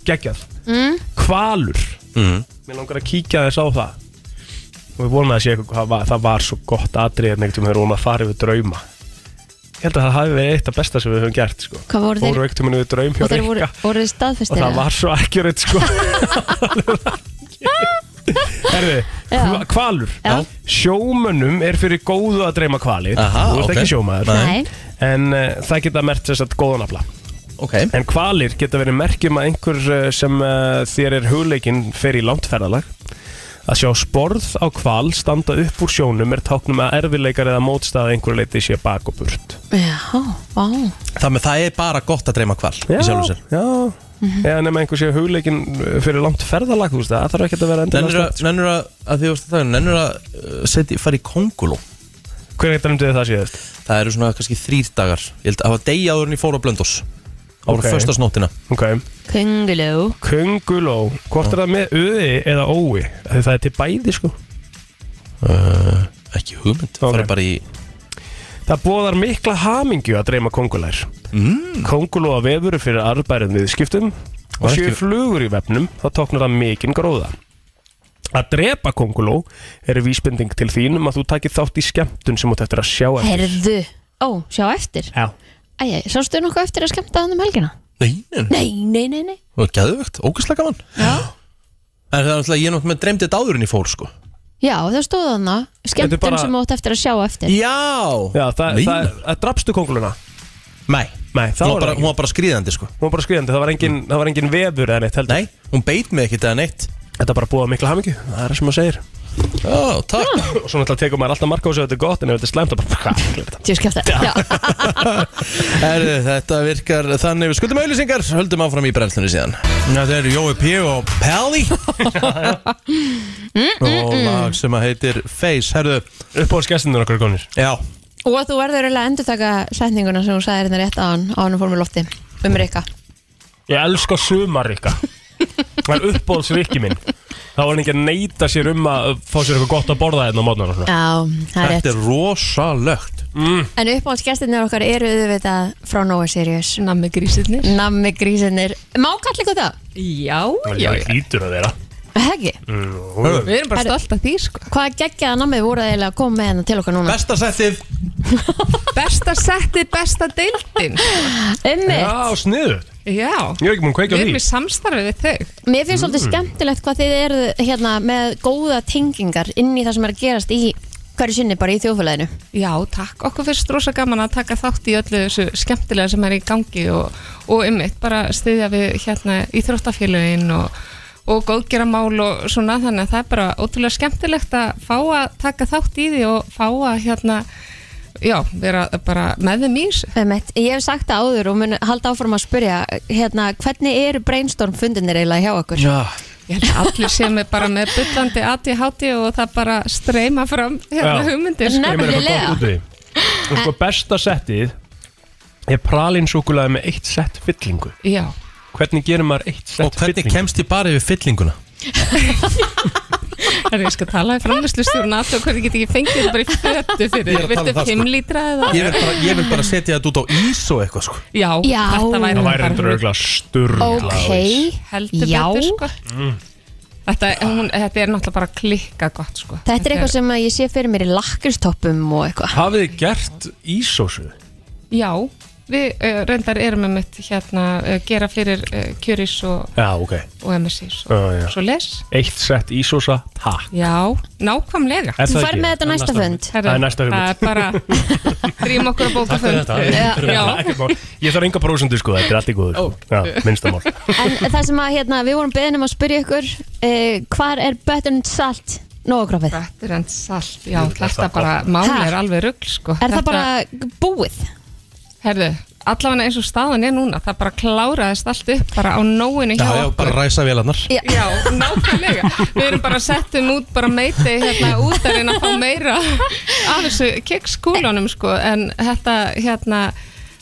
E: geggjað mm. Kvalur
D: Mm.
E: Mér langar að kíkja þess á það Og við vonum að það sé eitthvað hvað var, Það var svo gott atrið Þegar við vorum að fara yfir drauma Ég held að það hafi verið eitt af besta sem við höfum gert sko.
C: Hvað voru þeir-
E: Fóru eitt um henni við draum hjá
C: og þeir voru,
E: Rikka.
C: voru
E: og
C: staðfestir
E: það var svo akkurat sko Herði,
C: Já.
E: hva- hvalur
C: Já.
E: Sjómönnum er fyrir góðu að dreyma hvali
D: Aha,
E: Þú ert
D: ok.
E: ekki sjómaður
C: Nei.
E: En uh, það geta merkt þess að góðan afla
D: Ok,
E: En hvalir geta verið merkjum að einhver eh, sem uh, þér er hugleikinn fer í langt ferðalag Að sjá sporð á hval standa upp úr sjónum er táknum að erfileikar eða mótstaða að einhverju leiti sé bak og burt
C: Já, vá
D: það með það er bara gott að dreyma kval í sjálfum sér
E: já Eða nema einhver sé hugleikinn eh, fyrir langt ferðalag þú veist, Það þarf ekki að vera endilega
D: Nennur að, nennur að, að því að það er Nennur að uh, setja, fara í konguló
E: Hver eitt dæmdi þið það síðast?
D: Það eru svona kannski þrýr dagar Ég held að hafa degi áður en ég fór á blöndos Það voru
E: Ok.
D: föstasnóttina
E: Ok
C: Kungulú
E: Könguló Hvort er það með öði eða ói? Þegar það er til bæði sko
D: uh, Ekki hugmynd, okay.
E: Ok.
D: farið bara í
E: Það bóðar mikla hamingju að dreyma kongulær mm. Konguló að vefur er fyrir arbærið viðskiptum Og
D: Var
E: séu
D: ekki-
E: flugur í vefnum þá tóknar það mikinn gróða Að drepa konguló er vísbending til þín um að þú takir þátt í skemmtun sem þú ættir að sjá eftir
C: Herðu Ó, sjá eftir
E: Já
C: Æja, sástu nokkuð eftir að skemmta hann um helgina?
D: Nei, nei, nei,
C: Nei, nei, nei, nei
D: það var gæðvögt, ógæslega gaman
C: Já,
D: En það er náttúrulega, ég er náttúrulega dreymdi þetta áður en ég fór, sko
C: Já það stóð hann að skemmtum
E: bara-
C: sem þú átt eftir að sjá eftir
D: Já!
E: Já, það,
D: Nei.
E: það, það drapstu kónguluna
D: Nei,
E: Nei, það
D: hún var
E: var
D: bara,
E: ekki.
D: hún var bara skrýðandi, sko
E: Hún var bara skriðandi, það var engin, það var engin vefur eða neitt heldur
D: Nei, hún beit mig ekkert eða neitt
E: Þetta bara búið að mikla hamingju, það er það sem maður segir
D: Já, takk
E: Og svo náttúrulega tekur maður alltaf marka á sig að þetta er gott En ef þetta er slæmt, þá bara hvað, er þetta?
C: Ég skemmta Já,
D: Herru, þetta virkar þannig við skuldum auðlýsingar Höldum áfram í brennslunni síðan Þetta eru Jói P. og Pally Og lag sem að heitir Face Herru,
E: Uppáhaldsgestirnir okkar konir
D: já
C: Og þú verður eiginlega að endurtaka setninguna sem þú sagði hérna rétt á hann á hann fór með lofti um Rikka
E: Ég elska sumar ykkar Það er uppáhaldsrikki minn Það var engin að neita sér um að fá sér eitthvað gott að borða hérna á mótnar og svona
C: Já, það er
D: Þetta
C: rétt
D: er rosalögt
C: En uppáhaldsgestirnir okkar eru auðvitað frá Nóa Sirius
I: Nammi grísirnir
C: Nammi grísinir Má kalla ykkur það?
I: Já,
E: Það
I: já,
E: er
I: já
E: hlýtur að vera
C: Heggi
I: Við erum bara
C: Herru.
I: stolt af því sko
C: Hvaða geggjaða nammið voru eiginlega að koma með hennar til okkar núna?
D: Besta settið
I: Besta setti, besta deildin
C: Ummi,
E: Já, sniðu
I: Já
E: Ég er ekki múin að kveikja á
I: Við erum
E: því
I: í samstarfi við þau
C: mér finnst
E: Mm.
C: svolítið skemmtilegt hvað þið eruð hérna með góða tengingar inn í það sem er að gerast í hverju sinni bara í þjóðfélaginu
I: Já, takk, okkur fyrst rosa gaman að taka þátt í öllu þessu skemmtilega sem er í gangi og, og einmitt bara styðja við hérna íþróttafélögin og, og góðgeramál og svona þannig að það er bara ótrúlega skemmtilegt að fá að taka þátt í því og fá að hérna Já, vera bara með þeim í þessu
C: Einmitt. Ég hef sagt það áður og mun halda áfram að spyrja hérna, hvernig eru brainstorm fundinir eiginlega hjá okkur?
D: Já
I: Ég held að allir séu með bara með byllandi ADHD og það bara streyma fram hérna
E: Já.
I: hugmyndir sko.
C: Nei.
E: Ég meina eitthvað
C: Nefnilega.
E: gott út í því. Og sko besta settið er pralin súkulaði með eitt sett fyllingu
I: Já,
E: Hvernig gerir maður eitt
D: Og
E: sett
D: hvernig
E: fyllingu?
D: kemst ég bara yfir fyllinguna?
I: það er ég skal tala í framlýslustjórn að og hvernig get ég fengið þetta bara í fötu fyrir
D: Ég er að tala um
I: þér Viltu
D: það, sko.
I: 5 lítra eða?
D: Ég vil bara, ég vil bara setja þetta út á ís og eitthvað, sko
I: Já,
C: Já.
I: þetta
C: Það
I: væri
E: Það væri
I: nú bara
E: endur
I: hugmynd.
E: örgulega sturla
C: Ok,
I: Heldur
C: já
I: betur sko
D: Mm.
I: Þetta, hún, þetta er náttúrulega bara klikka gott sko
C: Þetta er eitthvað sem að ég sé fyrir mér í lakkerstoppum og eitthvað
E: Hafið þið gert ísósu?
I: Já, við uh, reyndar erum með mitt hérna uh, gera fyrir uh, Curis og,
E: Já, ok
I: og MSIs og
E: Já, já.
I: svo les
E: Eitt sett ísósa, takk
I: Já, nákvæmlega
E: Er
C: Þú
E: það
C: fær
E: ekki?
C: með þetta næsta fund
I: Herra,
E: Það er næsta hugmynd.
I: Það er bara, drým okkur að bóka fund.
E: Þetta er
C: Já.
I: Já,
E: ekkert mál. Ég þarf enga prósundu sko, þetta er allt í góður Já, minnstamál
C: En það sem að hérna, við vorum beðin um að spyrja ykkur eh, Hvar er bötun salt nógakroppið?
I: brettur en salt, já, þetta bara, máli er
C: Ha?
I: alveg rugl, sko.
C: Er það bara búið?
I: Herðu, allavega eins og staðan er núna, það bara kláraðist allt upp bara á nóinu hjá
D: Já, já,
I: okkur.
D: bara ræsa vélarnar
C: Já,
I: Já, nákvæmlega. Við erum bara settum út bara meiti hérna út að reyna að fá meira af þessu kekskúlunum sko en þetta hérna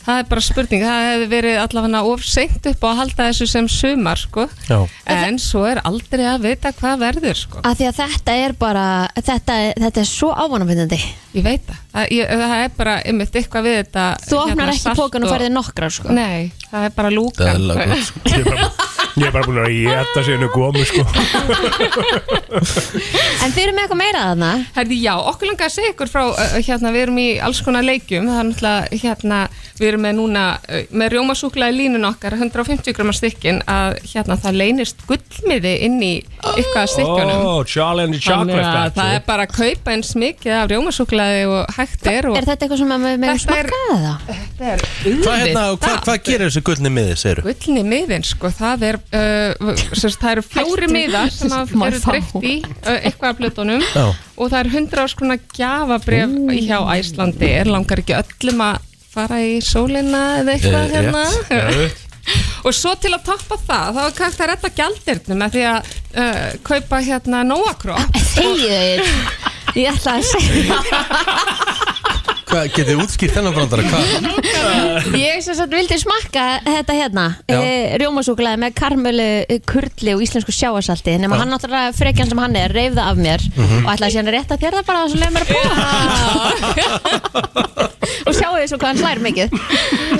I: það er bara spurning, það hefði verið allavega of seint upp á að halda þessu sem sumar sko
D: Já.
I: en svo er aldrei að vita hvað verður sko
C: Af því að þetta er bara, þetta, er- þetta er svo ávanabyndandi
I: ég veit það, það, ég, það er bara einmitt eitthvað við þetta
C: Þú opnar ekki
I: Hérna salt
C: pókan og færði nokkrar sko
I: Nei, það er bara lúkan
D: Dæðilega gott, sko
E: Ég er bara, ég er bara búin að geta sér hennu gómi sko
C: En þið eru með eitthvað meira þarna
I: Herði, já, okkur langar að segja ykkur frá uh, hérna, við erum í alls konar leikjum það er náttúrulega, hérna, við erum með núna uh, með rjómasúklaði línun okkar 150 grama stykkin að hérna, það leynist gullmiði inn í ykkar af stykkunum
E: Ó, challenge chocolate
I: Þannig að það er
E: factory
I: bara að kaupa eins mikið af rjómasúklaði og hægt er og
C: Er þetta eitthvað sem að við meðum
I: Þetta er-
C: smakka eða?
I: þetta er
D: Hvað hérna, hva,
I: auðvitað-
D: hva gerir þessi gullni miði, segir
I: Gullni miðin, sko, það er uh, sérst, það eru fjóri
C: Hættu.
I: miðar sem að
C: Má ég
I: eru
C: fá?
I: dreift í uh, eitthvað af blötunum
D: Já.
I: og það er 100 áskrona gjafabref hjá Æslandi, er langar ekki öllum að fara í sólina eða eitthvað
D: Eh,
I: hérna og svo til að toppa það þá er kannski að redda gjaldirnum með því að uh, kaupa hérna
C: Ah.
I: nóakróp
C: Þegið Ég ætla að segja
D: Hvað, getið þið útskýrt þennan brandara? Hvað?
C: Ég sem sagt vildi smakka þetta hérna
D: Já.
C: e, Rjómasúklaði með karmölu, eh, kurli og íslensku sjáarsalti Nefna hann náttúrulega frekjan sem hann er reyfða af mér Og ætlaði síðan rétt að þér það bara og svo leið mér að búa Og sjáu þið svo hvað hann slær mikið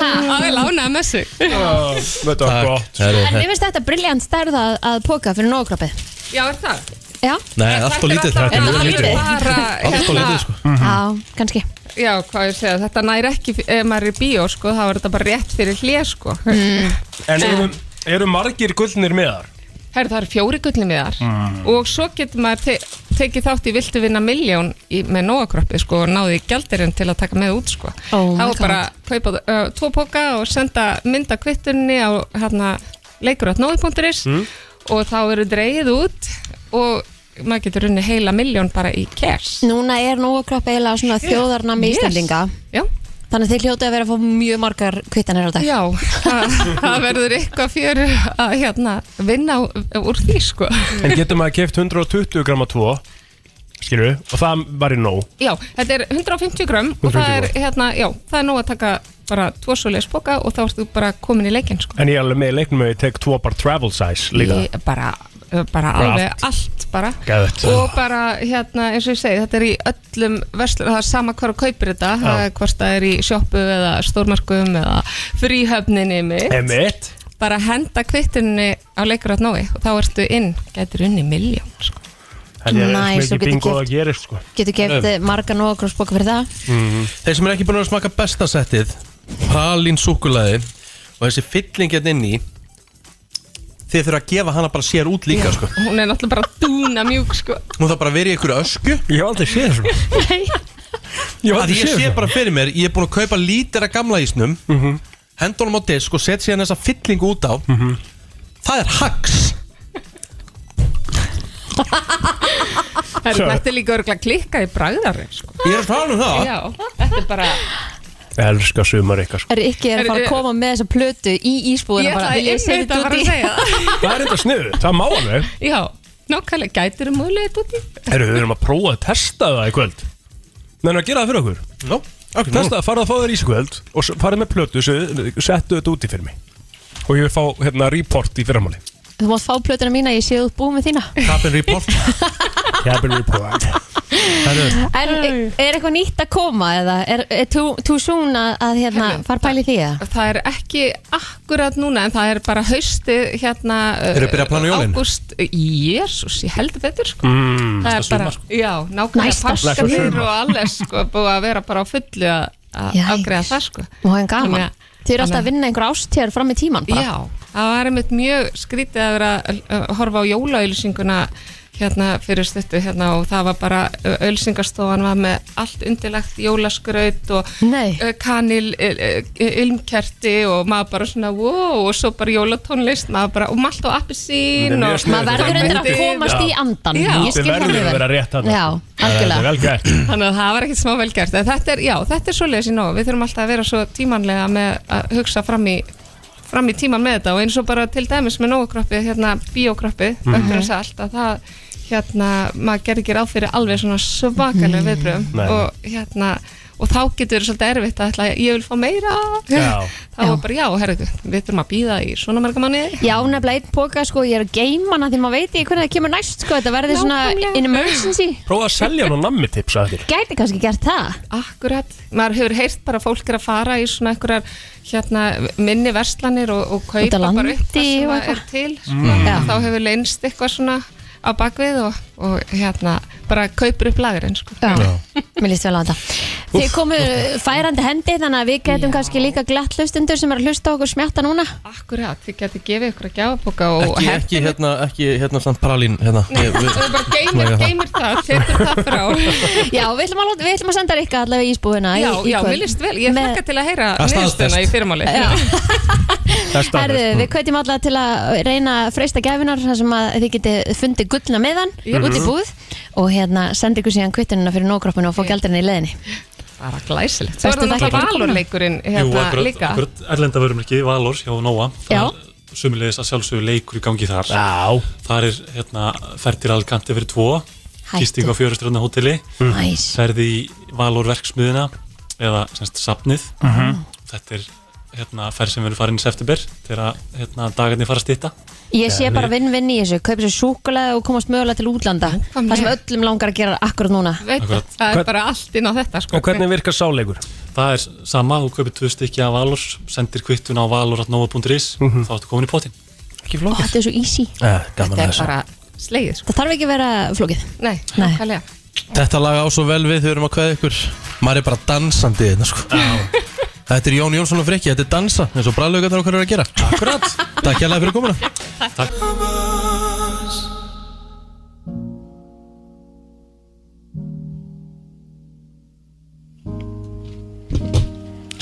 C: ha.
I: að við lánaði með sig
E: Þetta var gott
D: Herru,
C: En
D: þetta-
C: mér finnst þetta briljant stærð að, að póka fyrir nógkroppið
I: Já, er það?
C: Já,
D: Nei, allt og lítið, þetta er
I: Þetta
D: mjög
I: er
D: lítið
I: bara
D: Allt og
I: hérna,
D: lítið, sko
C: já, kannski
I: já, hvað ég segja, þetta næri ekki f- ef maður er í bíó, sko, þá er þetta bara rétt fyrir hlið, sko
C: Mm.
E: En eru, eru margir gullnir miðar?
I: Herðu, það eru fjóri gullimiðar mm. og svo getur maður te tekið þátt í viltu vinna miljón í, með nóakroppi sko og náði gjaldirinn til að taka með út sko.
C: Oh my
I: það var
C: God.
I: bara að kaupa uh, tvo póka og senda mynda kvittunni á hérna leikurotnói.is og þá eru dreigið út og maður getur unni heila miljón bara í cash.
C: Núna er nógakropp eiginlega svona þjóðarnami
I: Yes.
C: Íslandinga
I: Já,
C: Þannig að þið hljótið að vera að fá mjög margar kvittanir á dag
I: já, það það verður eitthvað fyrir að hérna vinna á- úr því sko.
E: En getur maður keft 120 gramma 2 Skilju, og það var í nóg
I: Já, þetta er 150 grömm og
E: 150
I: það er,
E: grömm.
I: hérna, já, það er nóg að taka bara tvo svoleiðis boka og þá ertu bara komin í leikinn, sko.
E: En ég er alveg með í leiknum að ég tek 2 bara travel size líka
I: Í bara, bara alveg allt, bara.
E: Geðveikt.
I: Og bara, hérna, eins og ég segi, þetta er í öllum verslur, það er sama hvar þú kaupir þetta, það er hvort það er í sjoppu eða stórmarkum eða fríhöfninni mitt.
E: Emitt
I: Bara henda kvittunni á leikurat nói og þá ertu inn, getur unni miljón, sko.
E: Það er
C: Næs,
E: nice,
C: þú
E: mikið
C: getur
E: bingo
C: keypt-
E: að gera sko
C: Getur gefið margar nógakroppsbóka fyrir það
D: Þeir sem er ekki búin að smaka besta settið Pralín súkulaði Og þessi fylling hérna inn í Þið þurfa að gefa hana bara sér út líka sko.
I: Hún er náttúrulega bara dúna mjúk, sko.
D: Hún þarf bara að vera í einhverju ösku
E: Ég hef aldrei séð svona Ég hef
D: Að
E: aldrei
D: ég
E: séð
D: sé
E: svona
D: bara fyrir mér Ég er búin að kaupa lítir af gamla ísnum mm -hmm. Hendunum á disk og set síðan þessa fyllingu út á Það er hax
I: Herru,
E: Sure.
I: Þetta er líka örgulega klikka í bragðarinn, sko.
D: Ég er að tala um það
I: Já, þetta er bara
E: Elska sumar ykkar sko
C: Er ekki að fara að
I: Er-
C: koma með þessa plötu í ísbúðina bara Vil ég setja þetta út í
I: það
E: Það er þetta sniðu, það má alveg
I: Já, nákvæmlega, gætir um múlið þetta út í
E: Herru, við erum að prófa að testa það í kvöld Menna að gera það fyrir okkur
D: Nó, ok, nú.
E: Testa það, farið að fá þér í kvöld Og s- farið með plötu, s- settu þetta úti fyrir mig Og ég vil fá hérna report í fyrramáli
C: Þú mátt fá plötuna mína, ég sé út búið með þína
D: Captain Report
E: Cabin report Herru,
C: Er, er eitthvað nýtt að koma eða er, er too, too soon að, að hérna,
I: Herru,
C: fara pæli því eða?
I: Það er ekki akkurat núna en það er bara haustið hérna
D: Eru að byrja að plana jólin?
I: Ágúst, jésús, ég held þetta sko mm, Það er
E: sko.
I: bara, já, nákvæmlega
C: Næsta
I: paskanir
E: sumar.
I: og alles sko búið að vera bara á fullu að- að
C: Jæks.
I: ágreða það sko
C: Og það er gaman
I: Þannig að-
C: Þið eru alltaf að
I: þannig-
C: vinna einhver ástér fram í tíman bara.
I: Já, það var einmitt mjög skrítið að vera að að horfa á jólaauðlýsinguna hérna fyrir stuttu hérna og það var bara, auðlýsingastofan var með allt undirlagt jólaskraut og
C: Nei.
I: ö, kanil ö, ö, ilmkerti og maður bara svona wow og svo bara jólatónlist maður bara, og malt og
E: Þetta
I: appisín
E: er mjög
I: og
E: sniðugt.
C: Maður verður endur að
I: Myndið
C: komast í
E: Já.
C: andan
I: Já.
C: Ég skil
E: Þetta
C: það
E: verður
C: mjög
E: að vera
C: vel
E: rétt þarna
C: Já,
E: Þetta er
C: algjörlega
E: vel gert
I: Þannig að það var ekkert smá velgjart en þetta er, já, þetta er svoleiðis í nóg við þurfum alltaf að vera svo tímanlega með að hugsa fram í, fram í tíman með þetta og eins og bara til dæmis með nógkroppi hérna bíókroppi,
E: Mhm.
I: öllur þess að allt að það, hérna, maður gerir ekki ráð fyrir alveg svona svakalega viðbröðum
E: Mhm. Nei.
I: og hérna og þá getur þetta svolítið erfitt að ætla að ég vil fá meira
E: Já.
I: þá var bara já, herrðu, við þurfum að býða í svona marga manni
C: Já, nefnilega einn póka, sko, ég er að geima hana því maður veit ekki hvernig það kemur næst, sko, þetta verður svona
I: Nákvæmlega.
C: in emergency
E: Prófa að selja nú nammi tips að þér
C: Gæti kannski gert það
I: Akkurat, maður hefur heyrt bara að fólk er að fara í svona einhverjar hérna, minni verslanir og, og
C: Út á
I: kaupa bara
C: landi
I: upp það sem
C: og
I: að
C: eitthvað.
I: er til mm.
C: Já.
I: þá hefur leynst eitthvað svona á bakvið og, og hérna bara kaupir upp lagurinn sko.
C: Já, mér líst vel á þetta Þið komu færandi hendi þannig að við getum kannski líka glatt hlustundur sem er að hlusta á okkur smjáta núna
I: Akkurat, þið getur gefið ykkur að gjafaboka og
D: ekki,
I: hent-
D: ekki, hérna, ekki hérna samt Pralín hérna. Ég- við-
I: Þau bara geymir,
D: Nei, já.
I: geymir það, tekur það frá
C: Já, við ætlum að, láta- við ætlum að senda Rikka allavega í ísbúðina í-
I: Já,
C: í
I: já,
C: kvöld.
I: mér líst vel, ég
C: Með-
I: hlakka til að heyra
D: Það staðfest.
I: niðurstöðuna í fyrirmáli
C: Já.
E: Það er
C: Herðu,
E: staðfest.
C: við kveitjum alla til að reyna að freista gefinar þar sem að þið getið fundið gullna meðan út í búð og hérna sendi ykkur síðan kvittunina fyrir nógkroppinu og fá gældirinn í leðinni
I: Það var glæsilegt Svo er
C: Bestu
I: það
C: þakkir fyrir
I: náttúrulega
C: komuna.
I: valurleikurinn
J: Jú,
I: hérna
J: akkurat,
I: líka
J: akkurat erlenda vörumriki, Valors hjá Nóa
C: Já.
J: Sumulegis að sjálfsögur leikur í gangi þar
E: Já,
J: Þar er hérna, ferð til Alcanti fyrir tvo
C: Hættu.
J: Gisting á fjörustranna hóteli
C: Næs,
J: Ferð í Valor verksmiðina Eða semst sapnið Þetta er hérna, ferð sem verður farin í september Þegar hérna, dagarnir fara að stýta
C: ég sé bara vinn-vinn í þessu kaupa sér súkulega og komast mögulega til útlanda
I: Hvað
C: það sem
I: með?
C: öllum langar að gera akkurat núna
I: Veit,
J: Akkurat.
I: það
E: Hvern-
I: er bara allt inn á þetta sko.
E: og hvernig virkar sáleikur?
J: Það er sama, þú kaupir tvö stykki af Valors Sendir kvittun á valor.nova.is Þá ertu komin í potin
E: Ekki
C: Ó, þetta er svo easy
E: Eh, Gaman
I: þetta
E: að
I: er
E: þessu
I: bara slegið sko.
C: Það þarf ekki að vera flókið
I: Nei,
C: Nei.
I: nákvæmlega
D: Þetta lag á svo vel við þegar við erum að kveða ykkur Maður er bara dansandi þetta sko Þetta er Jón Jónsson og Frikki, þetta er dansa eins og bræðlaugarnar okkar eru að gera Akkurat Takk hérlega fyrir komuna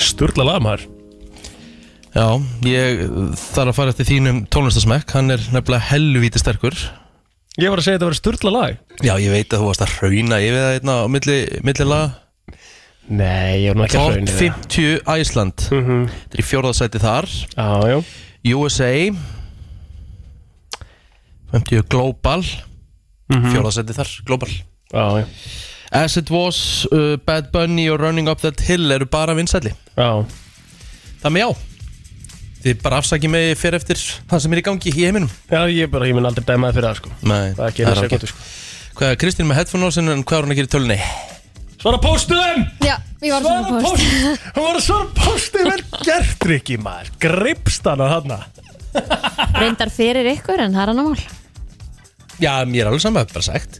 E: Sturla lag maður
D: Já, ég þarf að fara eftir þínum tónlistasmekk Hann er nefnilega helvíti sterkur
E: Ég var að segja þetta var sturla lag
D: Já, ég veit að þú varst að hrauna yfir það einna á milli, milli laga
E: Nei, ég var nú ekki að
D: Top
E: hraun
D: 50 Æsland
E: Mhm.
D: Þetta er í fjórðasæti þar
E: Já, já
D: USA 50 Global mm
E: Mhm.
D: Fjórðasæti þar, Global
E: Já, já,
D: As It Was, uh, Bad Bunny og Running Up That Hill eru bara vinsælli
E: já
D: Það með já Þið bara afsakið mig fyrir eftir það sem er í gangi í heiminum
E: Já, ég bara, ég mun aldrei dæmaði fyrir það sko
D: Nei,
E: Það er ekki einu sekundu sko
D: Hvað er Kristín með headphone á sinni en hvað er hún að gera í tölunni?
E: Svara póstum!
C: Já, ég var svona
E: Svara
C: post
E: póstum! Hún var að svara póstum vel gert, Rikki maður Gripst hana þarna
C: Reyndar fyrir ykkur en það er annar mál
D: Já, mér er alveg saman, bara sagt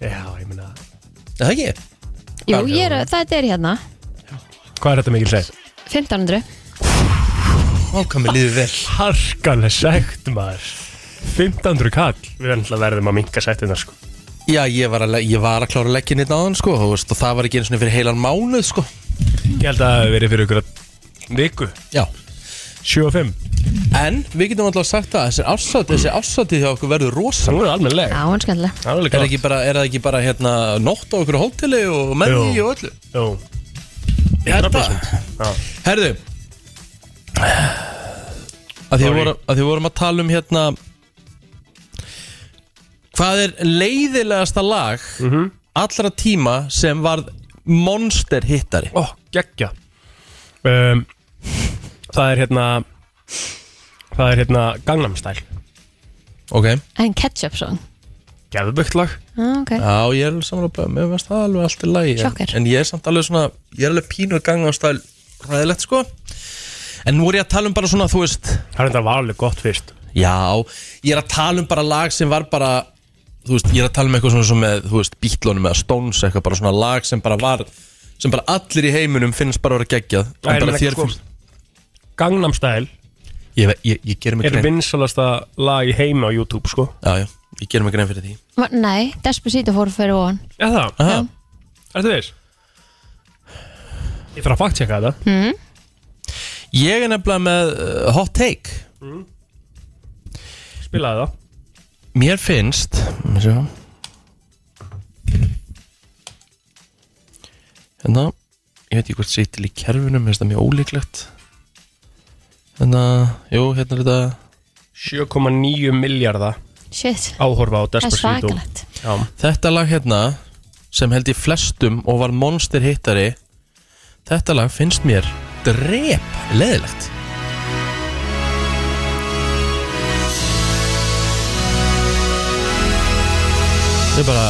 E: Já, ég meina
D: Er Það ekki?
C: Jú, ég er, þetta er hérna
E: Hvað er þetta mikil segið?
C: 1500
D: Ó, hvað mér líður vel
E: Harkalega segt maður 1500 kall Við erum alltaf verðum að minka sættina sko
D: Já, ég var að, le- ég var að klára að leggja nýtt áðan sko þú veist, og það var ekki einu svona fyrir heilan mánuð sko
E: Ég held að það hafi verið fyrir ykkur að viku
D: Já
E: 7 og 5
D: En við getum alltaf sagt að þessi ásat, þessi ásatíð hjá okkur verður rosa
E: Það voru almennileg
C: Já, hún skemmtileg
E: Það var alveg
D: Er,
E: gott
D: ekki bara, er það ekki bara hérna nótt á okkur hóteli og menni
E: Jú.
D: og öllu?
E: Jú.
D: Þetta Herðu að því,
E: Sorry.
D: voru, að því vorum að tala um hérna Hvað er leiðilegasta lag allra tíma sem varð monster hittari
E: Ó, geggja um, Það er hérna Það er hérna Gangnam Style
D: Ok
C: En ketchup song
E: Geðbögt lag
C: ah, Ok,
D: Já, ég er samanlega, mér finnst það alveg allt í lagi en-
C: Sjokker.
D: En ég er samt alveg svona, ég er alveg pínu að ganga á stæl ræðilegt sko En nú er ég að tala um bara svona, þú veist
E: Það er þetta var alveg gott fyrst
D: Já, ég er að tala um bara lag sem var bara Þú veist, ég er að tala um eitthvað svona sem með, þú veist, Beatlonum eða Stones eitthvað bara svona lag sem bara var sem bara allir í heiminum finnst bara að vera geggjað en
E: ég
D: bara
E: meina, sko, Gangnam Style
D: ég, ve- ég, ég gerir mig
E: er
D: grein
E: vinsalasta lag í heimi á YouTube sko
D: Já, já, ég gerir mig grein fyrir því
C: Va- nei, Despacito fór fyrir ofan
E: Er það?
D: Aha,
E: Er þetta viss? Ég þarf að faktkjekka
C: Hm.
E: þetta
D: Ég er nefnilega með uh, hot take
E: Spilaði það
D: Mér finnst mér sjá. Hérna Ég veit ekki hvort sýttil í kerfinu Mér finnst það mjög ólíklegt Hérna, jú, hérna er þetta
E: 7,9 miljardar
C: Shit,
E: áhorfa á
C: það er
D: um
E: Despacito
C: svakalegt
D: Þetta lag hérna Sem held ég flestum og var monster hittari Þetta lag finnst mér Drep leðilegt Þetta er bara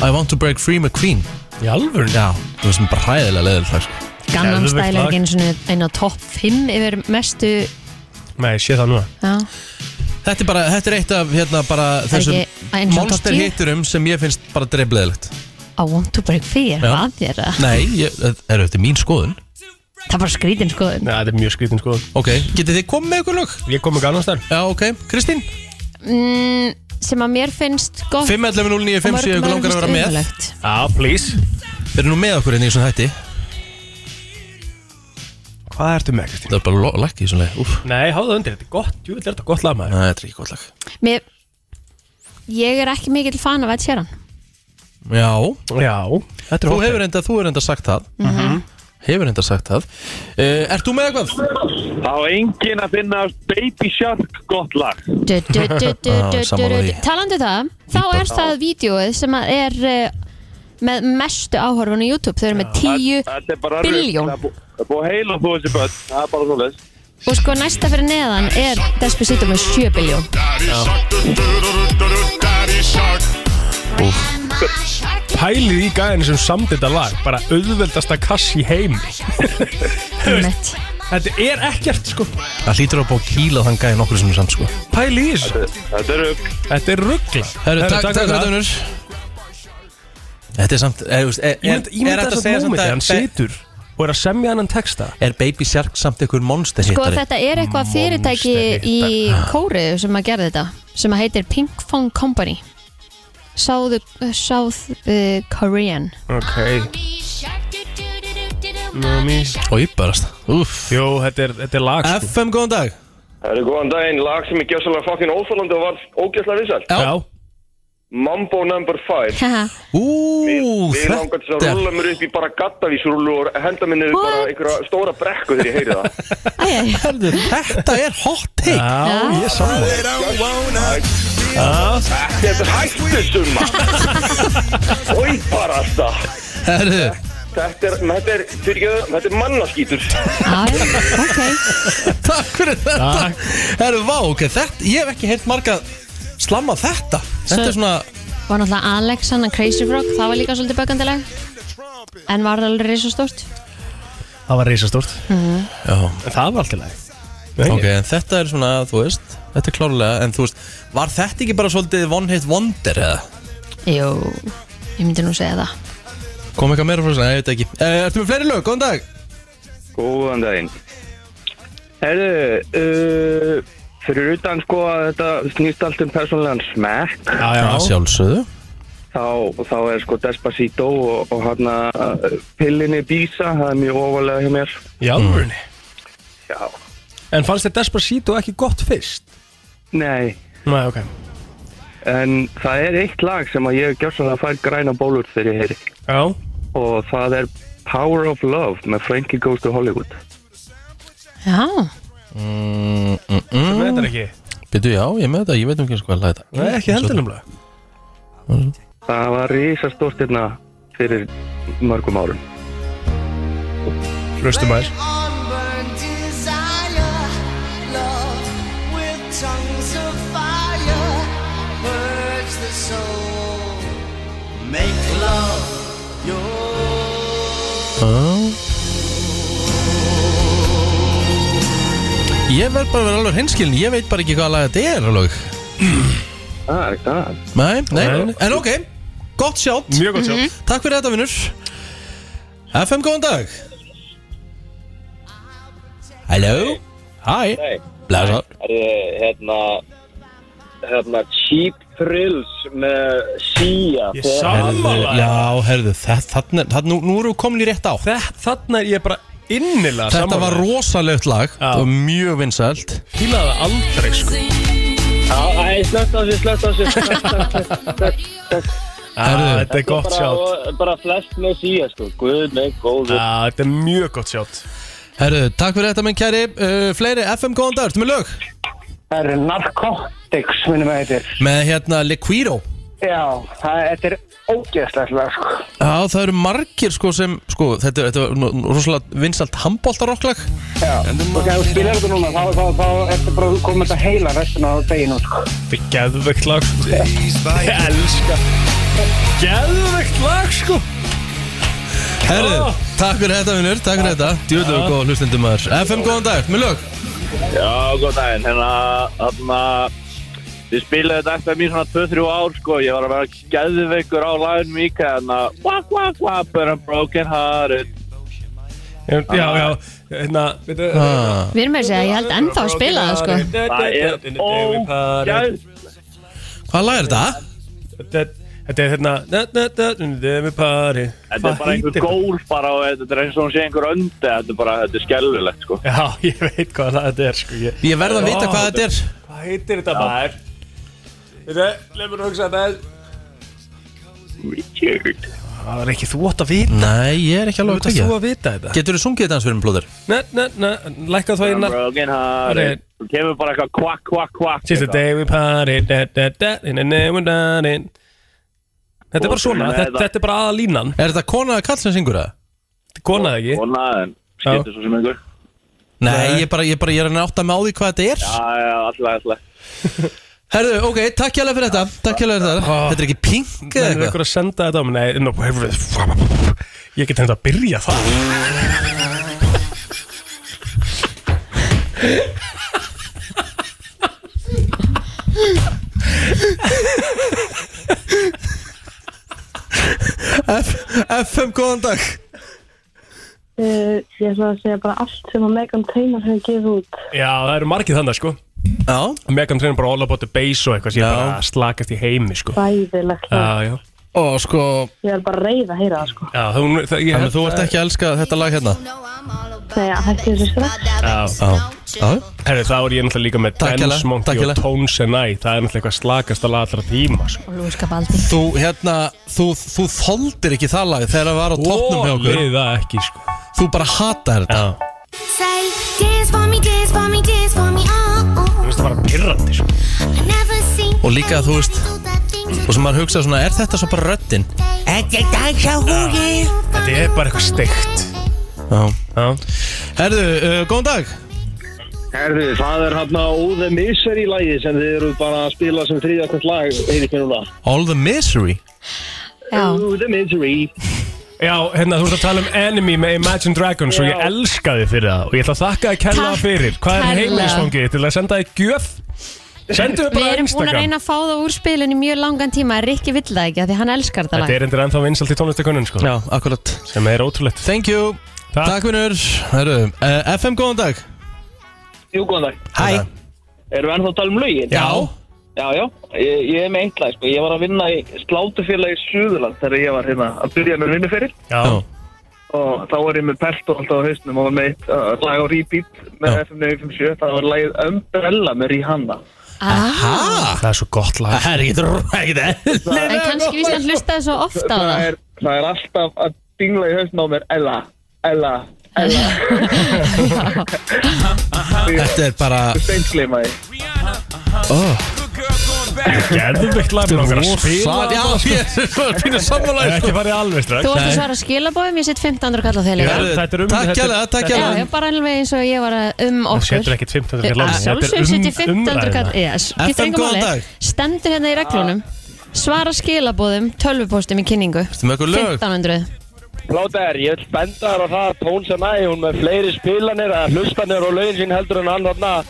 D: I want to break free McQueen
E: Í alvörun?
D: Já, það var sem bara hæðilega leðilegt lag sko.
C: Gangnam
E: Geðveikt
C: Style er
E: lag.
C: ekki einu sinni einu á topp 5 yfir mestu
E: Nei, ég sé það núna
C: Já,
D: Þetta er bara, þetta er eitt af hérna bara
C: það er
D: þessum
C: ekki einu sinni á topp
D: monster
C: 10
D: hitturum sem ég finnst bara drep leðilegt
C: I want to break free, er
D: Já.
C: það þér eða?
D: Nei, ég, er þetta er mín skoðun
C: Það er bara skrítin sko
E: Nei, þetta er mjög skrítin sko
D: Ok, getið þið komið með ykkur lög?
E: Ég kom ekki annars þar
D: Já, ok, Kristín
C: mm, Sem að mér finnst gott
D: 5.11.09.5 séu ykkur langar að vera með
C: með
E: Já, please
D: Við erum nú með okkur hérna í svona hætti
E: Hvað ertu með, Kristín?
D: Það er bara lakki í svona leið Úf,
E: Nei, háðu það undir, þetta er gott, jú, þetta er þetta gott lag maður
D: það er ekki gott lag
C: Mér, Ég er ekki mikill fan af Ed Sheeran
D: Já,
E: Já, þetta er
D: þú
E: hot
D: hefur enda, þú hefur enda sagt það Hefur enda sagt það uh, Ert þú með eitthvað?
G: Á engin að finna Baby Shark gott lag
C: Du, du, du, du,
D: Ah,
C: du, du,
D: sammála
C: du,
D: því.
C: du. Talandi um það, þá er það vídjóið sem að er uh, með mestu áhorfun á YouTube, þau eru með 10
G: Þetta er bara
C: Billjón.
G: rugl. Það er bú- Það er búið að heila þú þessi börn Það er bara svoleiðis
C: og sko næsta fyrir neðan er Despacito með 7 biljón
E: Pælið í gæðinu sem samt þetta lag Bara auðveldasta kass í heimi
C: Einmitt.
E: Þetta er ekkert sko
B: Það hlýtur að bá kíla þann gæði nokkur sem er samt sko
E: Pæli í þessu
G: Þetta er upp
E: Þetta er ruggla
B: Herru, takk, takk, takk, Dönur Þetta er samt Er, er, er,
E: Ég myndi
B: er, er,
E: að þetta
B: er,
E: mómenti, hann
B: er,
E: situr og er að semja annan texta
B: er Baby Shark samt einhver monster
C: Sko
B: hittari?
C: þetta er eitthvað fyrirtæki í kóriðu sem að gera þetta sem að heitir Pink Fong Company South, South uh, Korean
E: Ok
B: Og íbarast Úff
E: Jó, þetta er, þetta er lag sko
B: FM, góðan dag
G: Það eru góðan daginn, lag sem ég gef svolítið fokkin óþálandi og var ógæslega vinsæl
E: Já
G: Mambo number 5
C: Haha,
B: Ú,
G: Við langar til að
B: þetta
G: rulla mér upp í bara gattavísrúlu og henda mér niður bara
C: What?
G: einhverja stóra brekku þegar ég heyri það
C: æ, æ, æ.
B: Herðu, Þetta er hot take
E: Já, ég sá það
K: They don't wanna
G: Þetta er hættu summa Ói bara alltaf
B: Herðu,
G: Þetta er, þetta er, fyrirgeðu, þetta er mannaskítur
C: Á, já, ok
B: takk fyrir þetta Herðu, vá, ok, þetta Ég hef ekki heilt marga slamma þetta Þetta
C: Svo-
B: er svona
C: Var náttúrulega Alex hann að Crazy Frog það var líka svolítið böggandileg en var það alveg reysa stort
E: Það var reysastort
B: Já,
E: En það var allt í lagi
B: ok, en þetta er svona, þú veist Þetta er klárlega, en þú veist Var þetta ekki bara svolítið one hit wonder eða?
C: Jú, ég myndi nú segja það
B: Kom eitthvað meira frá þessu? Nei, ég veit ekki Eh, Ertu með fleiri lög? Góðan dag
G: Góðan daginn Herðu, uh, fyrir utan sko að þetta snýst allt um persónlegan smekk
E: Já, já
B: Að Sjálfsögðu
G: þá, þá er sko Despacito og, og hann að pillinni Bísa, það er mjög ofalega hjá mér
E: Já, Bruni
G: Já
E: Mm. En fannst þér Despacito ekki gott fyrst?
G: Nei,
E: Nei, ok
G: en það er eitt lag sem að ég gjör svona að fær græna bólur þegar ég heyri
E: Já
G: og það er Power of Love með Frankie Goes to Hollywood
C: Já,
E: Þú veitar ekki
B: Býtu, já, ég er með þetta, ég veit um ekki hvað að læta
E: Mm. Nei, ekki heldur nefnilega
G: Það var risastórt hérna fyrir mörgum árum
E: Hlustum aðeins
B: Ég verð bara að vera alveg hinskilin, ég veit bara ekki hvað að laga þetta er alveg
G: Það er ekki það
B: Nei, nei,
E: Nei.
B: en ok, gott sjátt
E: Mjög gott sjálf
B: Takk fyrir þetta vinnur FM, góðan dag Halló Hæ, blæsa
L: Er þið, hérna, hérna, Cheap Thrills með Sia.
E: Ég samanlega
B: Já, herðu, þetta, þarna, þarna, nú, nú erum við komin í rétt á
E: Þetta, þarna er ég bara innilega
B: Þetta var rosalegt lag
E: Já.
B: og mjög vinsælt
E: Hýlaði aldrei sko
L: Æ, slögt á sér, slögt á sér, slögt á sér.
E: Herðu Þetta er gott sjálf
L: Bara, bara flest með Sia, sko. Guð með góður.
E: Þetta er mjög gott sjálf
B: Herðu, takk fyrir þetta minn kæri uh, Fleiri FM, góðan dag, ertu með lög?
L: Það eru narkotics, minnum að þetta er.
D: Eh,
B: Með hérna Liquido
L: Já, það, þetta er ógeðslega, sko.
B: Já, það eru margir sko sem sko, þetta, þetta var nú- nú rosalega vinsalt handbóltarokklag
L: Og þegar þú spilar þetta núna, þá, þá, þá, þá ertu bara komið þetta heila restina á deginu, sko.
E: Þetta er geðveikt lag sko. Ég elska Geðveikt lag sko
B: Herðu, takk fyrir þetta vinnur, takk fyrir þetta Djúðlega góð hlustendum maður FM, góðan dag, með lög
G: Já, góð daginn, hérna, hérna, þið spilaði þetta eftir mér svona 2-3 ár, sko, ég var að vera geðveikur á lagin mika, hérna, wak, wak, wak, but I'm broken hearted.
E: Já, já, hérna veitu-
B: ah,
C: við erum með að segja, ég held ennþá að spila það sko
G: Það er ógeð,
B: Hvað lag er þetta?
E: Þetta er hérna Þetta
G: þetta er bara einhver gól bara og þetta er eins og hún sé einhver öndi, þetta er bara, þetta er skelvilegt, sko.
E: Já, ég veit hvað það þetta er sko ég,
B: Ég verð að vita
E: Ó,
B: hvað þetta er
E: Hvað heitir þetta maður? Þetta, leið mér að hugsa þetta
G: Richard.
E: Það er ekki þú átt að vita
B: Nei, ég er ekki alveg að
E: Þú átt
B: tekja
E: að vita þetta
B: Getur þú sungið þetta hans fyrir mig, blóður?
E: Næ, næ, næ, lækka þá
G: I'm
E: hérna
G: broken hearted. Þú kemur bara eitthvað kvakk, kvakk, kvakk.
E: Since the day we party da, da, da, in the name of done in. Þetta er bara svona, þetta, þetta er bara aða línan
B: Er þetta kona að kall sem syngur það?
E: Konaði ekki
G: Svona, en skiptir svo sem einhver.
B: Nei, Ég, bara, ég, bara, ég er að nátt að með á því hvað þetta er
G: Já, já, alltaf, alltaf.
B: Herðu, ok, takk hjálpa fyrir þetta Takk hjálpa fyrir þetta Þetta er ekki pink eða
E: Það er
B: eitthvað
E: eitthvað að senda þetta á mig Nei, no, hefur við Ég get hendur að byrja það
B: F FM, góðan dag
J: Uh, ég ætla að segja bara allt sem að Megan Trainor hefur gefið út.
E: Já, það eru margir þannig sko
B: Já
E: Megan Trainor bara all about the bass og eitthvað sem ég bara slakast í heimi sko
J: Bæðilegt.
E: Já, já
B: Og sko
J: Ég er bara reyð að heyra það, sko.
E: Já, þú, það, ég,
B: Þannig að þú ert ekki að elska þetta lag hérna
J: Þegar að hætti þessu strax.
E: Já,
B: já
E: Herri, þá er ég náttúrulega líka með
B: Takk hérlega,
E: Dance
B: takk
E: Monkey og
B: hérlega.
E: Tones and I Það er náttúrulega eitthvað slakast að allra tíma sko.
C: Og Lúiska Baldi
B: Þú, hérna, þú, þú þoldir ekki það lag þegar það var á toppnum hjá okkur
E: Þolið það ekki, sko
B: Þú bara hatar þetta Já
M: Say, dance for me, dance for me, dance for me, oh, oh.
E: Þú veist það bara pyrrandi, sko
M: I never seen
B: Og líka, þú veist Og sem maður hugsa svona, er þetta svo bara röddin?
M: Þetta er dag hjá húgi
E: Þetta er bara eitthvað steikt
B: Já,
E: já
B: Herðu, uh, góðan dag
N: Herðu, það er
G: hérna
N: hann á The Misery lagi sem þið eru bara að spila sem þriðjastens lag, heyrðist mér núna.
B: All the misery
C: Já.
N: The Misery.
E: Já, hérna, þú ert að tala um Enemy með Imagine Dragons og ég elska þið fyrir það og ég ætla að þakka þið kærlega
C: Takk
E: fyrir Hvað er
C: kærlega.
E: heimilisfangið til að senda þið gjöf? Sendu þið
C: Við
E: bara á
C: erum búin að
E: Instagram
C: reyna að fá það úr spilinu í mjög langan tíma Rikki vill það ekki af því hann elskar þetta
E: Þetta
C: lag
E: er endur ennþá vinsalt í tónlistakunnun, sko
B: Já, akkurat
E: Sem er ótrúlegt
B: Thank you Takk, vinnur Herru, uh, FM, góðan dag
G: Jú, góðan dag.
B: Hæ
G: Erum við ennþá að tala um lögin?
B: Já.
G: Já, já. Ég, ég er með eitt lag, sko. Ég var að vinna í slátufélagi Suðurland þegar ég var hérna að byrja með vinnuferil.
E: Já.
G: Og þá var ég með pelt og alltaf á hausnum og var með eitt uh, lag á repeat með FM 957. Það var lagið Umbrella með Rihanna.
E: Aha. Það er svo gott lag
B: Það er ekkert ekkert
C: En kannski víst hann hlustaði svo ofta á það
G: er, það er alltaf að dingla í hausnum á mér Ella, Ella, Ella.
B: Þetta er bara
G: Steinglema því.
B: oh.
E: Gerðum veikt lag með langar að spila
B: Rosa- Já, ég er svona pínu
E: Það
B: sammálaði
E: er
B: sko.
E: ekki farið alveg strax
C: Þú ert að svara skilabóðum, ég set 1500 kall á þeir líka
B: Herðu,
E: þetta er um-
B: Takk
E: þetta er-
B: hérlega, takk
C: Já,
B: hérlega
C: ég bara alveg eins og ég var að- um
E: Þú
C: okkur
E: setur ekkert 15 fyrir
C: Að
E: langar
C: Sjálfsögur setjum
E: um-
C: 1500 kall yes,
B: FM,
C: skiptir engu
B: góðan
C: máli.
B: dag.
C: Stendur hérna í reglunum Svara skilabóðum, tölvupóstum í kynningu
B: með okkur lög?
C: 1500
N: Plóter, ég vil benda þér á það að tón sem æg, hún með fleiri spilanir að hlustanir og lögin sín heldur en hann þarna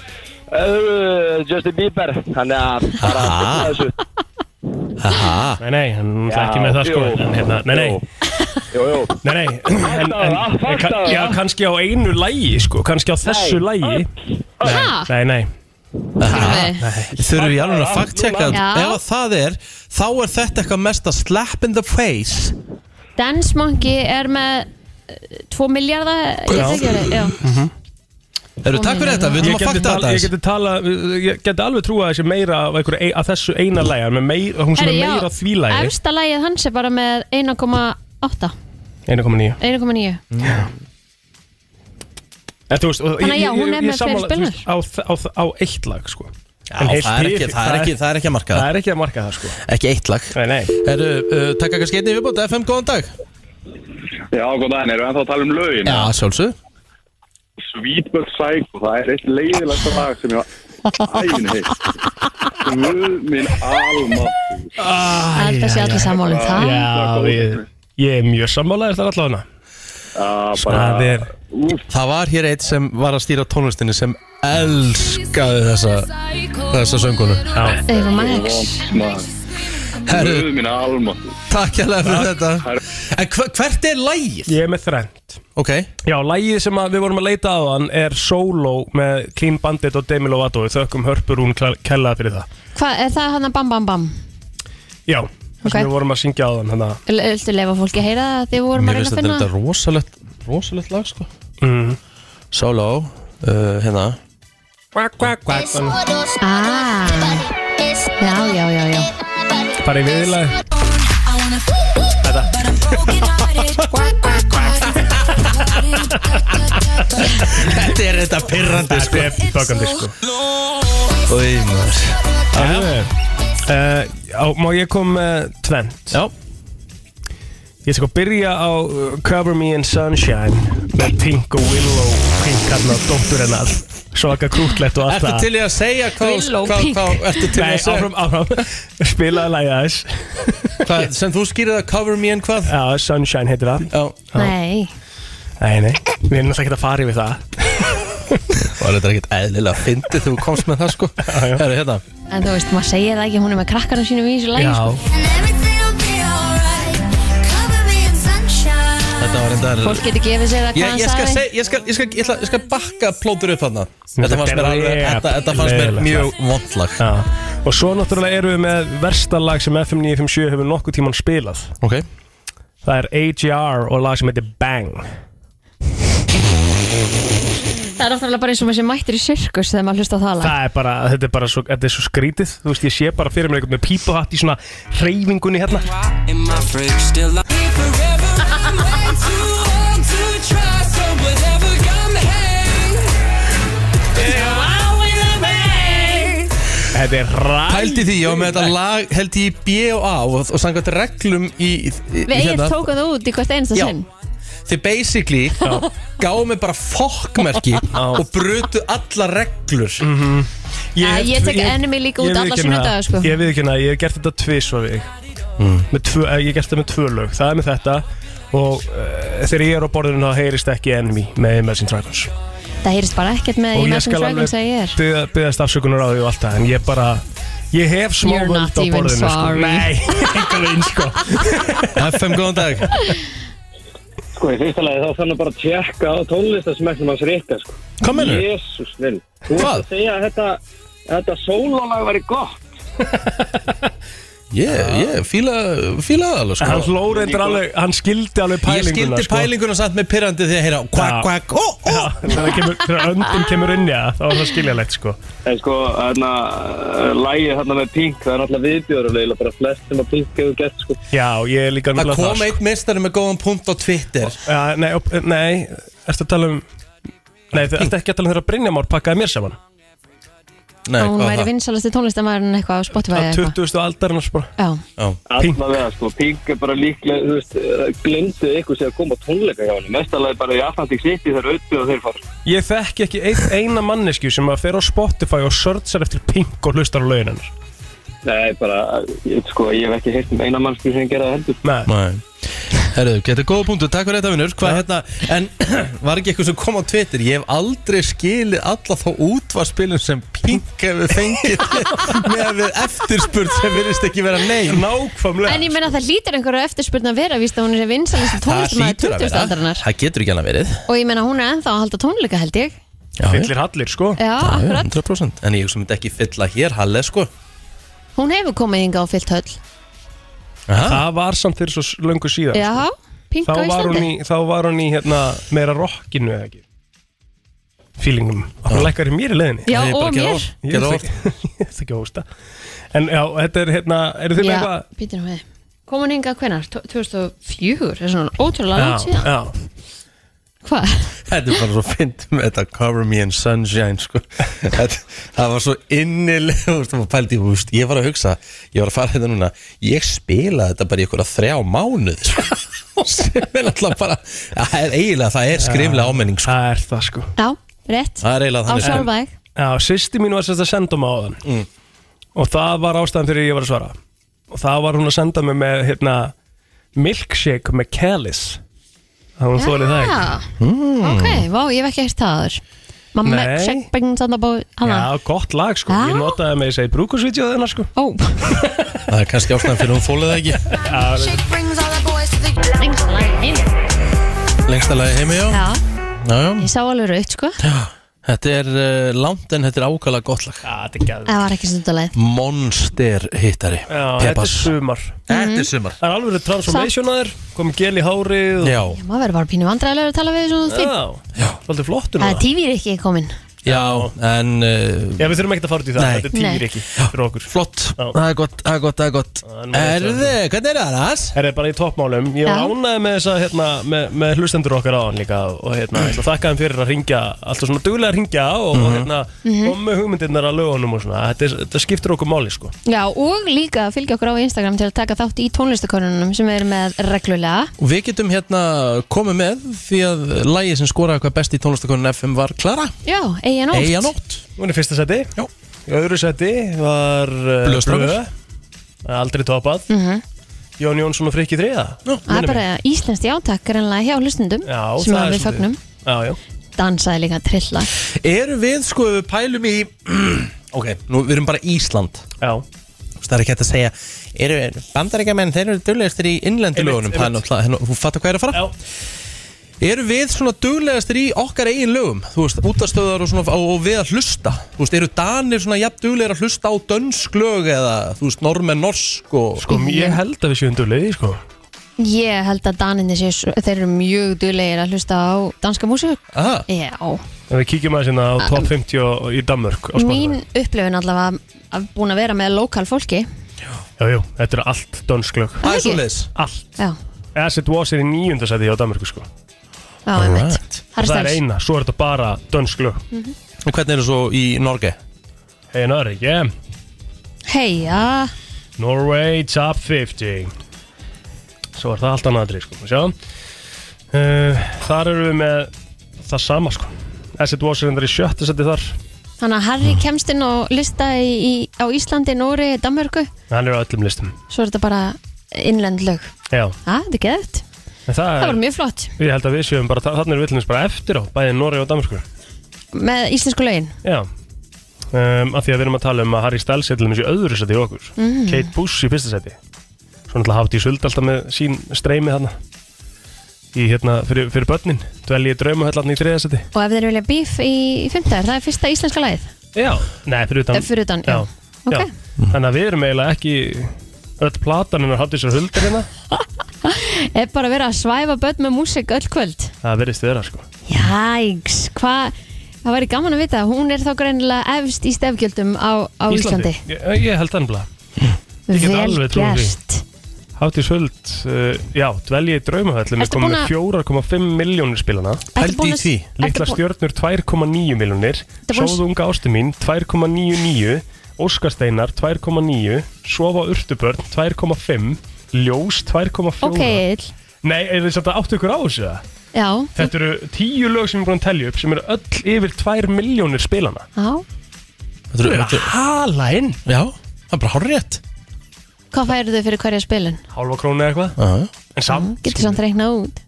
N: uh, Justin Bieber, hann er að bara að finna þessu.
B: Aha.
E: Nei, nei, hann er náttúrulega ekki
N: Já,
E: með það sko
N: jú.
E: en, hérna, Nei, nei,
N: Jú, jú.
E: nei, nei en, en, en, en, kann- Já, kannski á einu lægi sko Kannski á þessu lægi
C: Ha?
E: Nei, nei
B: Þurfum við alveg að fakt checka
C: Já.
B: þetta Ef að það er, þá er þetta eitthvað mest að slap in the face
C: Dance Monkey er með eh, 2 miljardar Ég veit ekki verið Já,
B: Eru takk fyrir þetta, við
E: Ég
B: viljum að
E: geti,
B: fakta
E: tal,
B: þetta
E: ég, geti tala, ég geti alveg trúa þessi meira af einhverju ein- af þessu eina lægi hann er meir- Hún sem er
C: Herri, já,
E: meira því lægi
C: Efsta lægið hans er bara með 1,8
E: 1,9
C: 1,9
E: En þú veist, og
C: Þannig að
E: ég-
C: já,
E: ég-
C: hún er
E: ég
C: með fleiri
E: sammála, þú veist,
C: spilarar.
E: á, á, á eitt lag sko
B: Já, það er ekki- það er ekki- það er ekki að marka það.
E: Það er ekki að marka það sko
B: Ekki eitt lag
E: Nei, nei
B: Eru, uh, takk eitthvað skeitni viðbútt, FM, góðan dag
N: Já, góðan daginn, erum við ennþá að tala um lögin?
B: Já, sjálfsög
N: Sweet But Psycho, það er eitt leiðilegt lag sem ég var ægin heitt. Guð minn almátt.
C: Það held að sé allir sammála um það
E: Já, við, ég er mjög sammálaðist þar allavega Sko, Það er
B: Það var hér eitt sem var að stýra tónlistinni sem elskaði þessa þessa söngunu
E: Já,
C: Eva Max
B: Herru,
N: Guð minn almátt.
B: takk hérlega fyrir þetta En hver, hvert er lagið?
E: ég er með þrennt
B: Ok,
E: Já, lægið sem að við vorum að leita á hann er Solo með Clean Bandit og Demi Lovato Við þökkum hörpur hún kellaði fyrir það
C: Hvað, er það hann að bam bam bam?
E: Já, það
C: Ok.
E: sem við vorum að syngja á hann hana.
C: Öldu leifa fólki að heyra það þegar við vorum að
B: mér
C: reyna
B: finnst
C: hérna að
B: þetta
C: finna
B: þetta rosalegt rosalegt lag sko
D: Mhm.
E: Mm.
B: Solo, uh,
D: eh,
B: hérna
E: Kvak, kvak, kvak
C: Ah, já, já, já, já
E: Farið viðlag
B: Þetta er þetta pirrandi
E: Þetta er bökandi sko
B: Í maður
E: Herðu, eh, Já, má ég kom með tvent
B: Já,
E: Ég skal byrja á uh, Cover Me in Sunshine með Pink og Willow Pink hann og dóttur hennar Svaka krútlegt og allt
B: ertu
E: það
B: til í að segja hvað,
C: Willow
B: hvað,
C: Pink.
B: hvað ertu til í að
E: Nei,
B: segja
E: áfram, áfram Spilaði lagið aðeins
B: hvað, sem þú skýrið að cover me in hvað
E: Já, Sunshine heitir það
B: Já,
C: Nei,
E: Nei, nei, við erum alltaf ekki að fara yfir það
D: var þetta ekkert eðlilega fyndið þú komst með það sko Herra, hérna.
C: En þú veist, maður segir það ekki, hún er með krakkanum sínum í þessu lægi sko.
D: þetta var reyndar
C: Fólk getur gefið sér það hvað
D: Ég,
C: hann
D: ég, skal
C: sagði
D: seg, ég, skal, ég, skal, ég, ætla, ég skal bakka plótur upp hann Þetta fannst mér
E: er
D: alveg
E: leiðilegt.
D: Þetta, þetta fannst mér
E: Leiðilegt.
D: mjög vondlag
E: Já. Og svo náttúrulega erum við með versta lag sem FM 957 hefur nokkuð tíman spilað
D: okay.
E: Það er AGR og lag sem heitir Bang
C: Það er náttúrulega bara eins og maður sem mættir í sirkus þegar maður hlusta á það lag
E: Það er bara, þetta er bara svo, þetta er svo skrítið Þú veist, ég sé bara fyrir mér einhvern með pípuhatt í svona reyfingunni hérna
B: oh.
E: Þetta er ræð
D: Pældi því, ég var með þetta lag held ég í B og A og, og sangat reglum í, í, í
C: Við eigin tókum það út í hvert einasta
D: hérna- Já.
C: sinn
D: Þið basically gáðu mig bara fokkmerki og brutu alla reglur
E: Ég,
C: Æ,
E: hef
C: ég
E: tvi-
C: tek enemy líka út
E: ég
C: alla
E: viðurkenni það.
C: sunnudaga, sko.
E: Ég við ekki hana, ég hef gert þetta tvis var við Með tvö, eh, Ég hef gert þetta með tvö lög, það er með þetta Og uh, þegar ég er á borðinu þá heyrist ekki enemy með Imagine Dragons
C: Það heyrist bara ekkert með
E: Og ég
C: Imagine
E: skal
C: Dragons að ég er
E: Byða- Byðast afsökunar á því og allt það En ég bara, ég hef smá
C: You're
E: völd
C: not
E: á
C: even
E: borðinu sko.
C: sorry.
E: Nei, einhvern veginn sko
D: FM, góðan dag
H: Sko, í fyrsta lagi þá þannig bara að tjekka á tónlistasmeknum hans rikka, sko.
D: Hvað meinarðu?
H: Jésús minn. Þú veist
D: Hvað?
H: að segja að þetta, þetta sólalag væri gott.
D: Ég, ég, fíla, fíla það alveg sko
E: Hann hló reyndar alveg, hann skildi
D: Ég
E: alveg pælinguna
D: skildi
E: sko.
D: pælinguna samt með pyrrandi því að heyra
E: Já.
D: kvakk, kvakk,
B: oh,
D: ó, ó
E: Þegar það kemur- þegar öndin kemur inn, já, þá er það skiljalegt sko
O: En sko, hérna, lægið hérna með Pink, það er náttúrulega viðbjörnulega, bara flest sem að Pink hefur gert, sko.
E: Já, ég er líka
D: Það
E: nefnilega
D: kom
E: sko.
D: eitt mestari með góðan punkt á Twitter
E: Já, nei, op, nei, ertu að tala um Nei, þú ert ekki að tala um þegar Brynja Már pakkaði mér saman
D: Nei,
C: Hún væri vinsalasti tónlistamæðurinn eitthvað á Spotify eða eitthvað
E: 20. aldarinnar sko. bara
C: Já,
O: Allavega, sko, Pink er bara líklega, þú veist, glemduð ykkur sem að koma á tónleika hjá henni. Mestalagi bara í Atlantic City þegar auðvitað þeir fara.
E: Ég þekki ekki ein, eina mannesku sem að fer á Spotify og sörtsar eftir Pink og hlustar á lögin hennar
O: Nei, bara, ég, sko, ég hef ekki heyrt um eina mannsku sem gera það heldur.
E: Nei.
D: Herðu, getur góða punktu, takk fyrir þetta vinnur Hvað hérna, en var ekki eitthvað sem kom á Twitter Ég hef aldrei skilið alla þá útvarspilum sem Pink hefur fengið með við eftirspurn sem virðist ekki vera neyn
E: Nákvæmlega
C: En ég meina að það lítur einhverju eftirspurn að vera víst að hún er vinsalasti tónlistamæður 20. aldarinnar
D: Það getur ekki annað verið
C: Og ég meina hún er ennþá að halda tónleika held ég
E: Fyllir hallir sko
C: Já, akkurat.
D: 100% En ég sem myndi ekki fylla hér Halle sko
C: Hún hefur komið hinga á fyllt höll
E: Það var samt fyrir svo löngu síðan
C: Já,
E: sko.
C: pink
E: þá,
C: á
E: var hún í,
C: Íslandi
E: þá var hún í hérna meira rockinu eða ekki Feelingum Okkur lækkar í mér í leiðinni
C: Já, Nei, bara og gera mér. of-
E: Ég
C: gera
E: ætla ekki- ég ætla ekki að hósta En já, þetta er hérna, eru þið með
C: Já,
E: eitthvað
C: býtum við Kom hún hinga hvenar? 2004? Það er svona ótrúlega langt síðan
E: já
C: Hvað?
D: Þetta er bara svo fynd með þetta Cover me in sunshine sko þetta, Það var svo innileg þú veist, það var pælt í, þú veist, Ég var að hugsa Ég var að fara þetta núna Ég spilaði þetta bara í einhverja þrjá mánuð sko. sem er alltaf bara Það er eiginlega, það er skriflega ámenning sko.
E: Það er það sko
C: Já, rétt
D: Það er eiginlega
C: Á
D: þannig sko.
C: sjálfa þig
E: Já, sýsti mín var sérst að senda mig á þann Og það var ástæðan fyrir ég var að svara Og það var hún að senda mig með hérna, Milkshake með Kellis Það var þólið það ekki Hmm.
C: Já, ok, vá, ég hef ekki heyrt það aður Mamma,
E: Nei.
C: sjöngbengun sann að bá hana
E: Já, gott lag sko, ég notaði með þess að í brúkursvídeó þennar sko
C: Ó
D: Það er kannski ástæðan fyrir hún þólið það ekki Lengsta lagi heimi já
C: Já,
D: Já, já.
C: ég sá alveg raut sko
D: Þetta er uh, langt en þetta er ákala gott lag
E: Já, þetta er gæðið
C: Það var ekki stundulegð
D: Monster hittari
E: Já, þetta er sumar
D: Þetta er sumar
E: Það er alveg transformation aður, komið gel í hárið og...
D: Já,
C: Já, maður verður bara pínu vandræðilegur að tala við þessu þinn
E: já, svolítið flottur
C: Það er tífir ekki komin
D: já, en uh,
E: Já, við þurfum ekkert að fara út í það,
D: Nei.
E: þetta er tífir
C: Nei.
E: ekki fyrir okkur
D: Flott, það er gott, það er gott, það er gott Erðu, hvernig er það annars?
E: Er það bara í toppmálum, ég var
C: Já.
E: ánæði með þess að hérna, með, með hlustendur okkar á hann líka og hérna, ætla að þakka þeim fyrir að ringja alltaf svona duglega að ringja og mm -hmm. hérna,
C: Mhm.
E: komu hugmyndirnar að lögunum og svona þetta, er- þetta skiptir okkur máli sko
C: Já, og líka að fylgja okkur á Instagram til að taka þátt í tónlistakonunum sem við erum með reglulega
D: Og við getum hérna komið með því að lægi sem skoraði hvað best í tónlistakonin FM var Klara
C: Já, eiga nótt
D: Eyja nótt
E: Hún er í fyrsta seti
D: Já
E: Í öðru seti var uh,
D: Blöð strákur.
E: Blöð, Aldrei toppað
C: Mhm.
E: Jón Jónsson og Frikki þriða
C: Það er bara íslenskt játak greinlega hjá hlustendum
E: Já,
C: sem
E: það
C: að
E: er
C: við
E: svolítið.
C: fögnum
E: Já, já
C: dansaði líka trilla
D: Erum við sko ef við pælum í Ok, nú við erum bara Ísland
E: Já
D: Það er ekki hægt að segja Eru bandaríkjamenn, þeir eru duglegastir í innlendulögunum
E: Einmitt,
D: Það er
E: einmitt.
D: náttúrulega, hérna, þú fattar hvað er að fara
E: Já
D: Eru við svona duglegastir í okkar eigin lögum Þú veist, útastöðar og, svona, og, og við að hlusta Þú veist, eru danir svona jafn duglegir að hlusta á dönsk lög Eða, þú veist, normen norsk og...
E: Sko, ég held að við séum duglegir, sko
C: Ég held að daninni séu, svo- þeir eru mjög duglegir að hlusta á danska músík
D: Aha.
C: Já,
E: En við kíkjum aðeins hérna á top 50 og- og í Danmörk á Spotify.
C: Ah. mín upplifun allavega að búin að vera með lokal fólki
E: Jú, jú, þetta eru allt dönsklög
C: Það er svoleiðis.
E: Allt
C: Já,
E: As it was er í nýjöndasæti hjá Danmörku sko
C: já, einmitt
E: Og Það er
C: Harstens.
E: eina, svo er þetta bara dönsklög
C: Mhm.
D: Og hvernig er það svo í Norge?
E: Hey Norge, yeah
C: Heia
E: Norway top 50 Svo er það allt annað aðrið sko Sjá uh, Þar eru við með það sama sko As it was er þetta í sjötta sæti þar
C: Þannig að Harry kemst inn og lista í, í, á Íslandi, Nóri, Danmörku
E: Hann er á öllum listum
C: Svo er þetta bara innlend lög
E: Já
C: Ha, þetta er geðvægt
E: En það,
C: Það var mjög flott
E: Ég held að við séum bara, þannig er við til dæmis bara eftir á Bæði Norge og Danmörku
C: með íslensku lögin
E: Já um, Af því að við erum að tala um að Harry Styles er til dæmis í öðru seti í okkur
C: Mm.
E: Kate Bush í fyrsta seti Svo náttúrulega hafði í suld alltaf með sín streymi þarna Í hérna, fyrir, fyrir börnin Dvelji drauma höllarni í þriða seti
C: Og ef þeir vilja bíf í fymtar, það er fyrsta íslenska lagið
E: Já Nei, fyrir utan
C: Eh, fyrir utan, já. Ok.
E: Þannig að við erum eiginlega ekki Öll platan hennar hafði sér huldir hérna
C: Er bara verið að svæfa börn með músík öll kvöld
E: Það verðist vera sko
C: Jæks, hvað Það væri gaman að vita, hún er þá greinilega efst í stefgjöldum á, á Íslandi,
E: Ég, ég held þannig Ég get
C: Vel
E: alveg trúið því
C: gert
E: Háttis Huld, uh, já, dvelji í draumahöllum er
C: Ertu
E: komið
C: búin
E: með
C: að-
E: 4,5 miljónir spilana
C: Ertu búin að- ertu
E: Littla
C: búin-
E: stjörnur 2,9 miljónir
C: Ertu búin að-
E: Sjóðunga ástu mín 2,99 Óskasteinar 2,9 Sofa urtubörn 2,5 Ljós 2,4
C: Ok, Egill.
E: Nei, er þið satt að áttu ykkur á þessu það?
C: já,
E: Þetta eru tíu lög sem við búin að telja upp sem eru öll yfir 2 miljónir spilana
C: já
D: Þetta
E: eru að hala inn
D: Já, það er bara hárrétt
C: Hvað færðu þau fyrir hverja spilun?
E: Hálfa krónu eða eitthvað En samt,
C: Mm, Getur samt reiknað út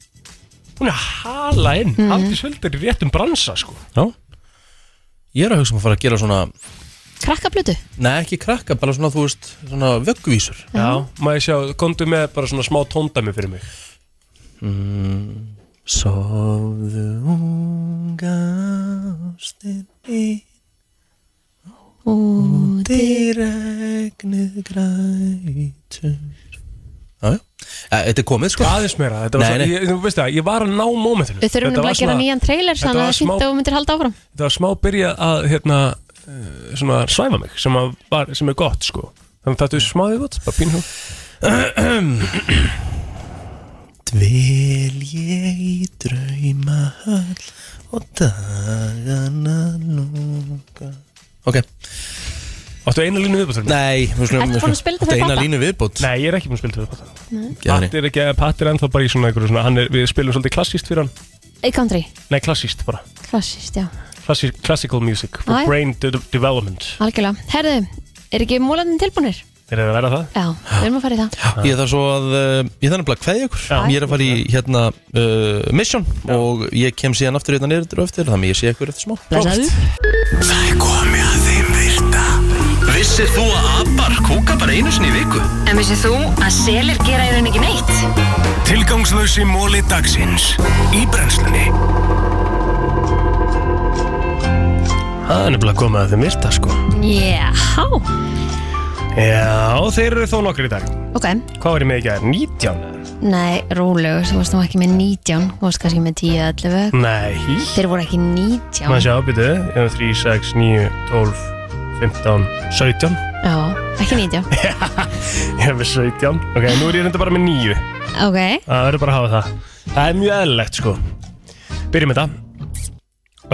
E: hún er að hala inn mm. Háttis Huld er í réttum bransa sko
D: Já Ég er að hugsa um að fara að gera svona
C: Krakkablutu?
D: Nei, ekki krakka, bara svona, þú veist, svona vögguvísur
E: Já, má ég sjá, komdu með bara svona smá tóndæmi fyrir mig
D: mm, Sofðu unga ástin mín
C: Úti
D: regnið grætur Já, já Eh, Þetta er komið, sko
E: Aðeins meira, þetta var
D: Nei,
E: svona,
D: nei.
E: ég, þú veist það, ég var að ná mómentinu
C: Við
E: Þetta
C: þurfum
E: var
C: nefnilega að gera
E: svona-
C: nýjan trailer
E: þetta
C: Þannig að
E: var
C: það er fínt
E: smá-
C: að þú myndir halda áfram
E: Þetta var smá byrja að, hérna, uh, svona svæfa mig sem, að, var, sem er gott, sko Þannig að þetta er smáðið gott, bara pínu
D: Dvel ég í draumahall og dagana lóka Ok
E: Áttu eina línu viðbótt
D: Nei, við skulum
C: Ertu búin að spila þetta
D: Áttu
C: fyrir
D: eina
C: pabba?
D: línu viðbót
E: Nei, ég er ekki búin að spila þetta viðbótt
D: Geðan í.
E: Patti er ekki, Patti er ennþá bara í svona einhverju svona, hann er, við spilum svolítið klassíst fyrir hann
C: Eitt country,
E: Nei, klassíst bara,
C: klassist, já
E: Klassí, classical music for
C: Æ.
E: brain de development
C: Algjörlega, herðu, er ekki múlandin tilbúnir?
E: Er það að vera það?
C: Já, við erum að fara í það
D: Ég þarf svo að, uh, ég þarf nefnilega að kveðja ykkur
E: Já.
D: Ég er að fara í hérna uh, Mission og ég kem síðan aftur hérna niður og eftir þannig að ég sé ykkur eftir smá
C: Blessaðu
B: Það er komið að þeim virta Vissir þú að abar kúka bara einu sinni í viku?
P: En vissið þú að selir gera í rauninni ekki neitt?
B: Tilgangslösi móli dagsins Í brennslunni
E: Það er nefnilega komið að þeim virta, sko
C: Já,
E: Já, þeir eru þó nokkur í dag
C: ok
E: Hvað var ég með í gær? 19?
C: Nei, rólegur, þú varst nú ekki með 19 Þú varst kannski með 10 11
E: Nei
C: Þeir voru ekki 19
E: Mm. Má sjá, býtu, 3, 6, 9, 12, 15, 17
C: Já, ekki 19
E: Ég hef með 17 Ok, nú er ég reynda bara með 9
C: Ok,
E: Það verður bara að hafa það Það er mjög eðlilegt, sko Byrjum með þetta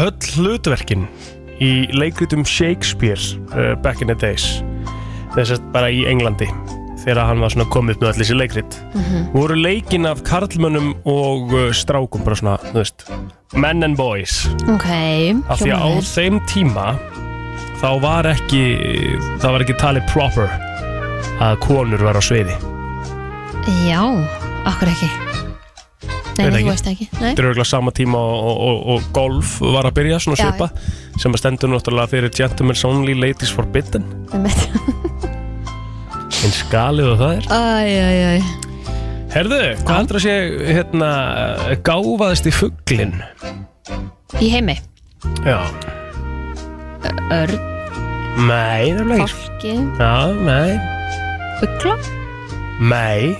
E: Öll hlutverkin í leikritum Shakespeare uh, back in the days þess að bara í Englandi þegar hann var svona komið upp með öll þessi leikrit
Q: Mhm.
E: voru leikin af karlmönnum og uh, strákum bara svona, þú veist men and boys
C: ok
E: af því að á
C: hljómar vel.
E: þeim tíma þá var ekki það var ekki talið proper að konur var á sviði
C: Já, akkur ekki
E: Veit
C: Nei, nei,
E: ekki.
C: þú veist ekki Nei.
E: Þetta er auðvitað sama tíma og, og, og, og golf var að byrja svona
C: Já,
E: svipa sem að stendur náttúrulega fyrir Gentlemen's Only Ladies Forbidden
C: Einmitt.
E: en skalið og það er
C: Æj, æj, æj
E: Herðu, hvað heldur að sé hérna, gáfaðist í fugglin?
C: Í heimi
E: Já
C: Örn,
E: Nei, það er ekki sko.
C: fólki,
E: Já, nei,
C: fugla
E: nei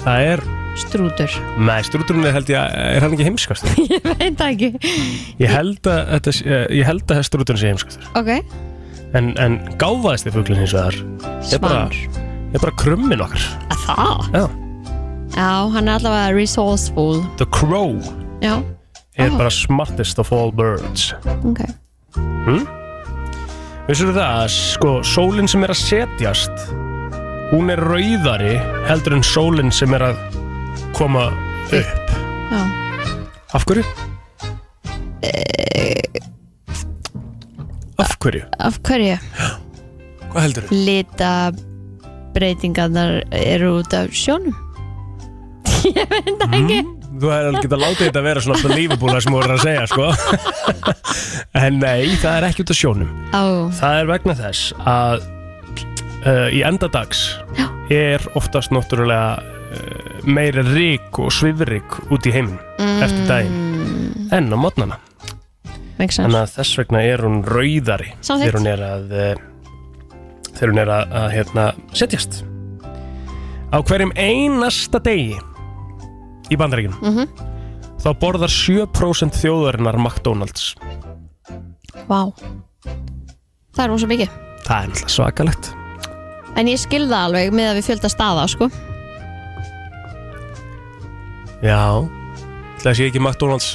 E: Það er
C: Strútur
E: Nei, strúturinn er held ég að, er hann ekki heimskast?
C: Ég veit það ekki
E: Ég held að, þetta, sé- eh, ég held að strúturinn sé heimskast
C: Ok,
E: En, en gáfaðasti fuglinn hins vegar er bara, er bara krummin okkar
C: að það
E: Já.
C: Já, hann er allavega resourceful
E: The crow
C: Já,
E: er
C: Ah.
E: bara smartest of all birds
C: ok
E: hm? Vissur það að sko, sólinn sem er að setjast hún er rauðari heldur en sólinn sem er að koma upp
C: Já.
E: Af hverju? Eh. Af hverju?
C: Af hverju?
E: Hvað heldur
C: Lita breytingarnar eru út af sjónum Ég veit það ekki
E: Þú hefði alveg getað látið þetta að vera svona believable sem þú voru að segja sko En nei, það er ekki út af sjónum
C: Á,
E: Það er vegna þess að uh, í endadags er oftast náttúrulega uh, meira rík og svifrík út í heiminn
C: Mm.
E: eftir daginn en á mótnana.
C: make sense
E: Þannig að þess vegna er hún rauðari
C: Samþykkt.
E: þegar hún er að uh, þegar hún er að, að hérna, setjast. Á hverjum einasta degi í bandaríkjunum
C: Mhm.
E: þá borðar 7% þjóðarinnar McDonalds.
C: Vá Það er rosa mikið
E: Það er náttúrulega svakalegt.
C: En ég skil það alveg með að við fjölda staða, sko
E: Já Það sé ekki McDonalds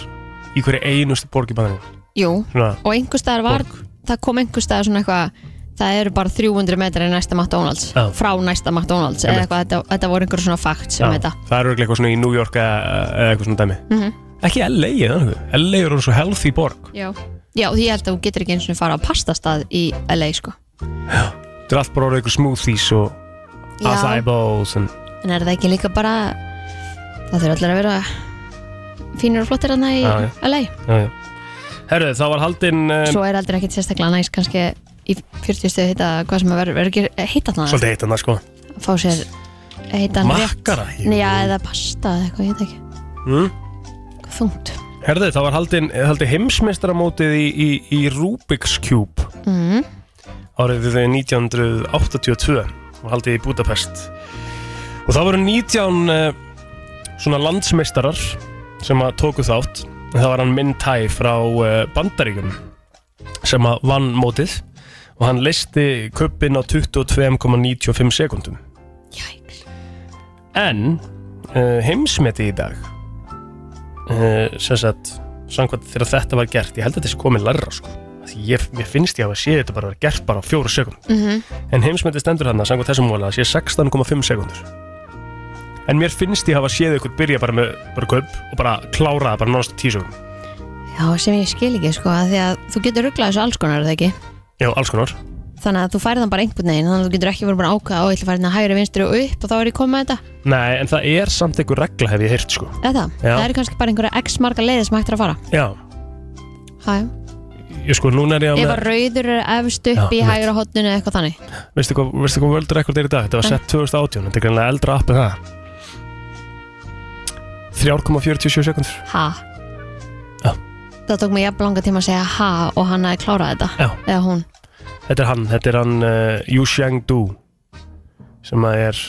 E: í hverju einustu borg í bandaríkjunum
C: Jú,
E: Svona
C: og einhver staðar var það kom einhver staðar svona eitthvað það eru bara 300 metrar í næsta McDonalds
E: Já.
C: frá næsta McDonalds eða
E: Einmitt.
C: eitthvað, þetta, þetta voru einhver svona facts um
E: Já,
C: þetta
E: Það er örglega eitthvað svona í New York eða eða eitthvað svona dæmi
C: mm -hmm.
E: Ekki LA eða nokkuð LA er orðin svo healthy borg
C: Já. Já, því ég held að þú getur ekki eins og fara á pastastað í LA sko
E: Þetta er allt bara orðið eitthvað smoothies og
C: Já.
E: acai bowls and...
C: en er það ekki líka bara það þurfa allir að vera fínur og flottir hann í
E: Já, já.
C: LA
E: já, já. Herru, þá var haldin um,
C: svo er aldrei ekkit sérstaklega næst kannski í 40 stuð hitta hvað sem að verður verður ekki hitta hann
E: svolítið heitt annað sko
C: fá sér heitan
E: Makkara,
C: rétt
E: jú.
C: Nei, Já, eða pasta eða eitthvað, ég veit ekki
E: mm?
C: þungt
E: Herðu, þá var haldin, haldin heimsmeistaramótið í, í, í Rubik's Cube
C: mm.
E: árið 1982 og haldið í Budapest og það voru 19 uh, svona landsmeistarar sem að tóku þátt en það var hann Minn Tæ frá uh, Bandaríkum sem að vann mótið og hann listi kuppin á 22,95 sekundum Jæks en uh, heimsmeti í dag uh, sem sagt samkvæmt þegar þetta var gert, ég held að þetta sé komin lærra sko, Af því ég, ég finnst ég að sé þetta bara vera gert bara á fjóru sekund
C: Mhm.
E: en heimsmyndi stendur hann að samkvæmt þessum móla sé 16,5 sekundur en mér finnst ég hafa séð ykkur byrja bara með bara kaup og bara klára það bara náttúrulega 10 sekund
C: Já, sem ég skil ekki sko, að því að þú getur rugglað þessu alls konar, er það ekki?
E: já, alls konar
C: Þannig að þú færið hann bara einhvern veginn, þannig að þú getur ekki verið bara að ákvaða og ég ætla að fara hérna hægri vinstri og upp og þá er ég komið með þetta.
E: nei, en það er samt einhver regla hef ég heyrt sko
C: Eða það?
E: Já.
C: Það eru kannski bara einhverja x marga leiði sem hægt er að fara.
E: já,
C: Hæ?
E: ég sko, núna er ég að
C: Ef að rauður er efst upp
E: Já,
C: í
E: mitt.
C: hægra hotninu eða eitthvað þannig.
E: veistu hvað, veistu hvað völdur ekkert er í dag þetta var
C: Nei.
E: sett 2018, þetta er greinlega eldra appið það 3,47 sekundur
C: Ha? Það tók mig jafn langa tíma að segja ha og hann að klára þetta.
E: Já.
C: Eða hún.
E: Þetta er hann, þetta er hann uh, Yu Xiang Du sem að er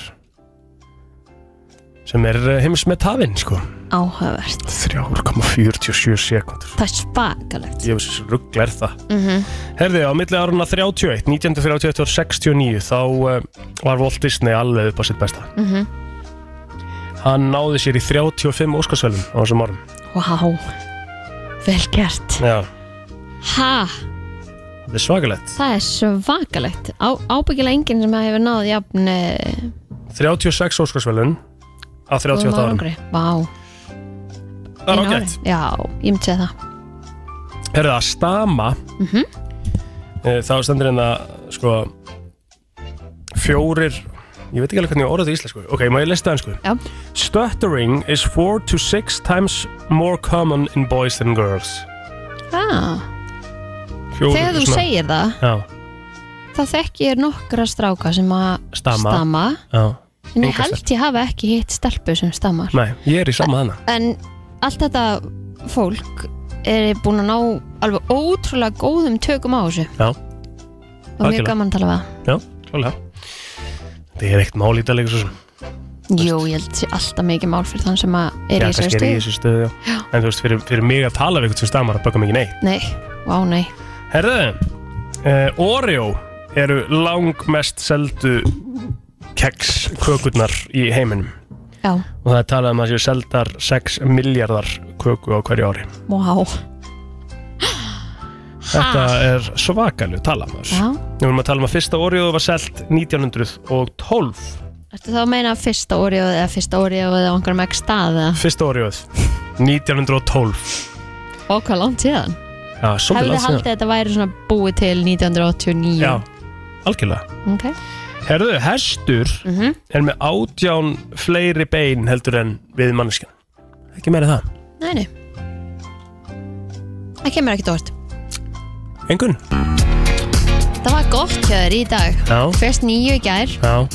E: sem er uh, heims með tafinn sko
C: Áhugavert.
E: 3,47 sekundur
C: Það er spakalegt.
E: ég veist þessi ruggl er það
C: Mm
E: Herði, á milli áruna 31, 1931 og 69 þá uh, var Walt Disney alveg upp á sitt besta
C: Mhm.
E: hann náði sér í 35 óskarsvelum á þessum árum
C: Vá. Vel gert.
E: Já,
C: Ha?
E: þetta er svakalegt
C: Það er svakalegt. Á, ábyggilega enginn sem hefur náð jafn... eh,
E: 36 óskarsvelun á 38
C: góðum
E: árum
C: árangri. Vá.
E: Það er
C: Einu
E: ágætt.
C: ári. Já, ég myndi segja það.
E: Herðu, að stama
C: Mm
E: Eh, þá stendur hérna sko fjórir Ég veit ekki alveg hvernig ég orðið í íslensku Ok, má ég lesta það einsku
C: Já.
E: Stuttering is four to six times more common in boys than girls
C: Ah,
E: Fjóru-
C: Þegar þú
E: svona-
C: segir það,
E: Já,
C: þá þekki ég nokkra stráka sem að
E: stama Já,
C: En ég
E: enga
C: held ég hafa ekki hitt stelpu sem stamar
E: Nei, ég er í sama hana
C: En allt þetta fólk er búin að ná alveg ótrúlega góðum tökum á þessu
E: Já,
C: og mjög
E: algjörlega.
C: gaman að tala við það
E: já, klálega Það er ekkert mál í dag líka svo sem
C: Jú, ég held sé alltaf mikið mál fyrir þann sem að er
E: Já,
C: í þessu
E: kannski er í
C: stuð
E: þessu stöðu já. En þú veist, fyrir, fyrir mig að tala við eitthvað sem stamar að baka mikið neitt
C: Nei, á nei
E: Herðu, uh, Oreo eru langmest seldu keks kökurnar í heiminum
C: Já,
E: og það er talað um að séu seldar 6 miljardar köku á hverju ári
C: wow
E: Þetta er svakalu tala maður
C: Já.
E: Nú erum að tala um að fyrsta Oreo var selt 1912
C: Ertu þá að meina fyrsta orðið eða fyrsta orðið eða á einhverjum ekki stað eða
E: Fyrsta Oreoð 1912
C: og hvað langt síðan?
E: Já, svolítið
C: Hefði
E: langt
C: haldið að
E: síðan.
C: þetta væri svona búið til 1989
E: Já, algjörlega
C: Ok,
E: Herðu, hestur
C: Mhm.
E: er með átján fleiri bein heldur en við manneskjan Ekki meira en það
C: nei, nei Það kemur ekkert orð
E: Engun?
C: Það var gott hjá þér í dag
E: Já.
C: Fyrst nýju í gær
E: Já,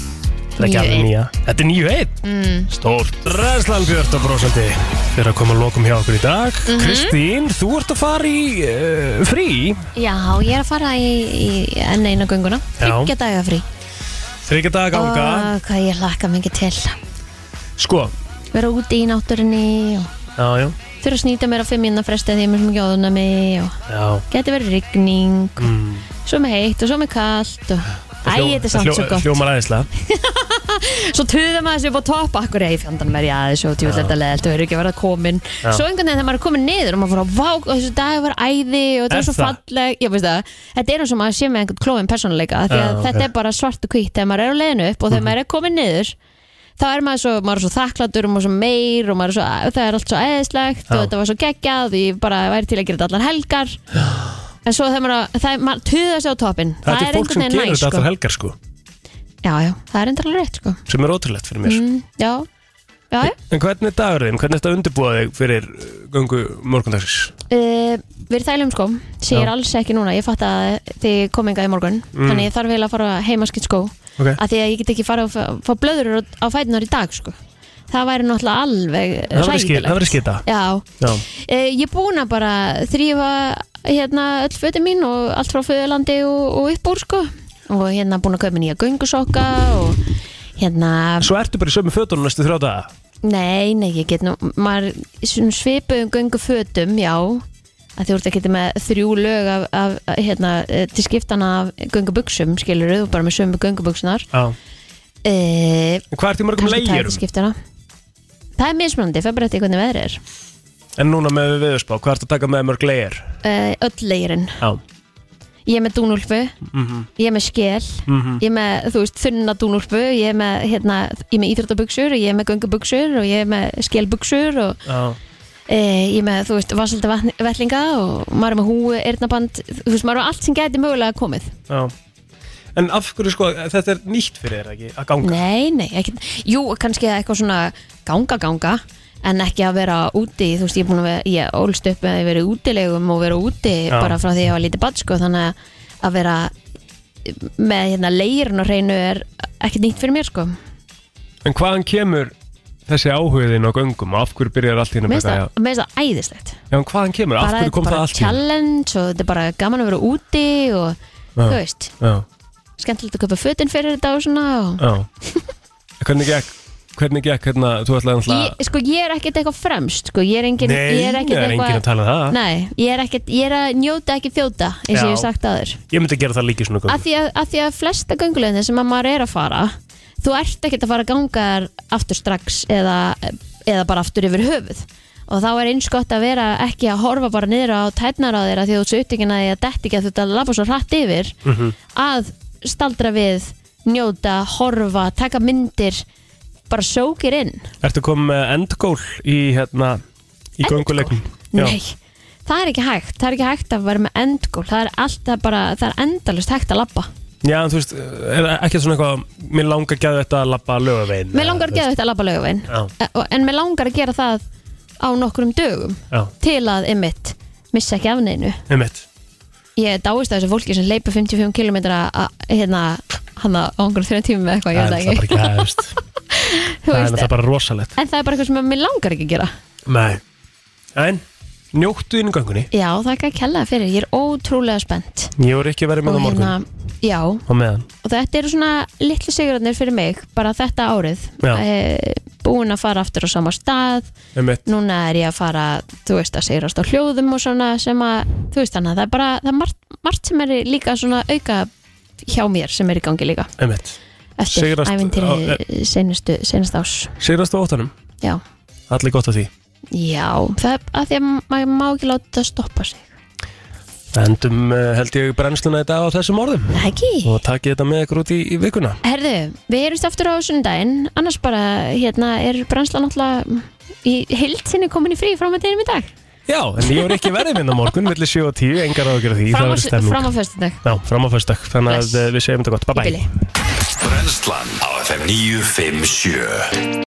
E: þetta er ekki
C: Níu
E: alveg
C: eitt.
E: nýja Þetta er 9-1
C: mm.
E: Stórt Ræðslan Björn og brósandi Fyrir að koma að lokum hjá okkur í dag
C: Mhm.
E: Kristín, þú ert að fara í uh, frí
C: Já, ég er að fara í, í enn eina gönguna
E: Já.
C: Tryggja daga frí
E: Þryggja daga ganga
C: Ó, Hvað ég hlakka mikið til
E: Sko,
C: Vera úti í náttúrinni og
E: já, já,
C: Þurfa að snýta mér á fimm minna fresti þegar ég er mér sem ekki áðuna mig og
E: já.
C: Geti verið rigning
E: Mm.
C: Svo með heitt og svo með kalt og... Æ,
E: Hljó-
C: þetta er samt
E: hljó-
C: svo gott
E: Hljómar aðeinslega
C: Svo tuða maður sér upp á topp Akkur er ég fjandan mér í aðeins og
E: Já.
C: tjóðlega leðalt og er ekki að vera komin
E: Já.
C: Svo einhvern veginn þegar maður er komin niður og maður fór á vák og þessu dag var æði og
E: Er
C: þetta var svo
E: það?
C: falleg Ég veist það, þetta er eins og maður sé með einhvern klófin persónuleika af Því
E: Já,
C: að
E: ok. Mhm.
C: þetta er bara svart og hvítt þegar maður er á leiðinu upp og þegar maður er komin niður þá er maður svo, maður er svo þakklatur og maður er svo meir og maður er svo, það er allt svo æðislegt
E: Já.
C: og þetta var svo geggjað og ég bara væri til að gera þetta allar helgar en svo þegar maður, það er, maður tuða sig á toppin það,
E: Þetta
C: er
E: er fólk
C: einhvern
E: sem
C: veginn
E: gerur
C: næ
E: þetta
C: sko.
E: alltaf helgar sko
C: já, já, það er endur alveg rétt sko.
E: sem er ótrúlegt fyrir mér
C: mm, já, já, já.
E: En hvernig er dagurðin? Hvernig er þetta að undirbúa þig fyrir uh, göngu morgundagsins?
C: Uh, við erum þælum sko sem ég er
E: Já.
C: alls ekki núna, ég fatt að þið kominga í morgun,
E: Mm. Eh?
C: þannig ég þarf eiginlega að fara heima skilt skó,
E: Ok.
C: að því að ég get ekki fara að fá- fá blöður á fætunar í dag sko það væri náttúrulega alveg eh,
E: Það verður skita-
C: hræðilegt.
E: það verður skita.
C: já,
E: Já,
C: Uh, ég er búin að bara þrýfa hérna öll fötin mín og allt frá föðurlandi og, og upp úr sko og hérna búin að kaupa mér nýja göngusokka og hérna
E: Svo ertu bara í sömu fötunum næstu þrjá daga
C: nei, nei, ég get nú maður svona svipuðum göngufötum já, að þú ert að geta með þrjú lög af, af hérna, eh, til skiptana af göngubuxum skilur þú, bara með sömu göngubuksunar
E: Já
C: uh,
E: Hvað ertu í mörgum leigjurum?
C: það er mismunandi, fyrir bara eftir hvernig veðrið er
E: En núna með viðspá, hvað ertu að taka með mörg leigir?
C: uh, öll leirinn,
E: Já
C: ég er með dúnúlfu
E: Mhm.
C: ég er með skell
E: Mhm.
C: ég er með, þú veist, þunna dúnúlpu ég er með, hérna, ég er með íþróttabuxur og ég er með göngubuxur og ég er með skellbuxur og
E: Já
C: e, ég er með, þú veist, vasalda vellinga og maður er með húu, eirnaband þú veist, maður er með allt sem gæti mögulega komið
E: Já En af hverju sko, þetta er nýtt fyrir þér ekki að ganga
C: nei, nei, ekki, jú, kannski eitthvað svona ganga, ganga en ekki að vera úti, þú veist, ég er búin að vera ég ólst upp með að vera í útilegum og vera úti
E: Já.
C: bara frá því að ég var lítið bad, sko, þannig að- að vera með hérna leirinn og hreinu er ekkert nýtt fyrir mér, sko
E: En hvaðan kemur þessi áhugðin á göngum og af hverju byrjar allt hérna
C: Mér finnst
E: bara-
C: það- mér finnst það æðislegt
E: Já, en hvaðan kemur, af
C: bara,
E: hverju kom það
C: þetta er bara
E: allt í einu?
C: challenge og þetta er bara gaman að vera úti og
E: Já.
C: þú veist,
E: Já,
C: skemmtilegt að köpa fötin fyrir þetta og svona og...
E: já Hvernig gekk, hvernig gekk, hérna, þú ætlaði náttúrulega
C: Ég, sko, ég er ekkert eitthvað fremst sko. ég er engin,
E: Nei,
C: ég er ekkert
E: það er
C: eitthvað-
E: enginn að tala um það.
C: Nei, ég er, ekkert, ég er að njóta ekki þjóta eins og
E: Já.
C: ég hef sagt aður
E: Ég myndi gera það líka í svona
C: af
E: göngum
C: því, að, af því að flesta göngulegðin sem að maður er að fara þú ert ekkert að fara að ganga þær aftur strax eða, eða bara aftur yfir höfuð og þá er eins gott að vera ekki að horfa bara niður á tætnar á þeirra því að þú svo upptökin að því að detti ekki að þú ert að labba svo hratt yfir
E: Mhm.
C: að staldra við, njóta, horfa taka myndir, bara sókir inn
E: Ertu komið með endgól í, hérna, í gönguleiknum? Já.
C: Nei, það er ekki hægt, það er ekki hægt að vera með endgól, það er alltaf bara, það er endalust hægt að labba
E: Já, en þú veist, er ekkert svona eitthvað Mér langar að geða þetta að labba lögavegin
C: Mér langar að geða þetta að labba laugavegin
E: Já.
C: Eh, En mér langar að gera það á nokkrum dögum
E: Já,
C: Til að einmitt missa ekki af neinu
E: um mitt
C: Ég dáist að þessu fólki sem leipur 55 km hérna, hana, á einhverjum þrjum tímum eða eitthvað, ég
E: Það
C: veit
E: er náttúrulega
C: það ekki
E: bara ekki hæðist
C: Þú
E: Það er
C: veist,
E: náttúrulega bara rosalegt
C: En það er bara eitthvað sem mér langar ekki að gera
E: Nei En, njóttu inn í gangunni
C: Já, það er ekki að kella fyrir, ég er ótrúlega spennt
E: Ég voru ekki að vera með það á
C: hérna-
E: morgun
C: já,
E: Á meðan
C: og þetta eru svona litlu sigurarnir fyrir mig, bara þetta árið
E: Já.
C: e, búin að fara aftur á sama stað
E: Einmitt.
C: núna er ég að fara þú veist að sigrast á hljóðum og svona sem að, þú veist þannig að það er bara það er margt, margt sem er í líka svona auka hjá mér sem er í gangi líka
E: Einmitt.
C: eftir
E: Sigrast
C: æfintýri
E: á- e-
C: senustu, senast ás
E: Sigrast á óttanum
C: já,
E: Allir gott af því
C: já, það er að því að maður má ekki láta það stoppa sig
E: Endum uh, held ég brennsluna í dag á þessum orðum
C: Ekki
E: Og takið þetta með ykkur út í, í vikuna
C: Herðu, við erumst aftur á sundaginn annars bara, hérna, er brennsla náttúrulega í heild sinni komin í frí frá með deginum í dag
E: Já, en ég voru ekki verið minna morgun Villi 7 og 10, engar á að gera því það
C: fram á,
E: verður stemning.
C: fram á föstudag
E: Já, fram á föstudag, þannig að eh, við segjum þetta gott, bye bye
C: Bili.
B: Brennslan á FM 957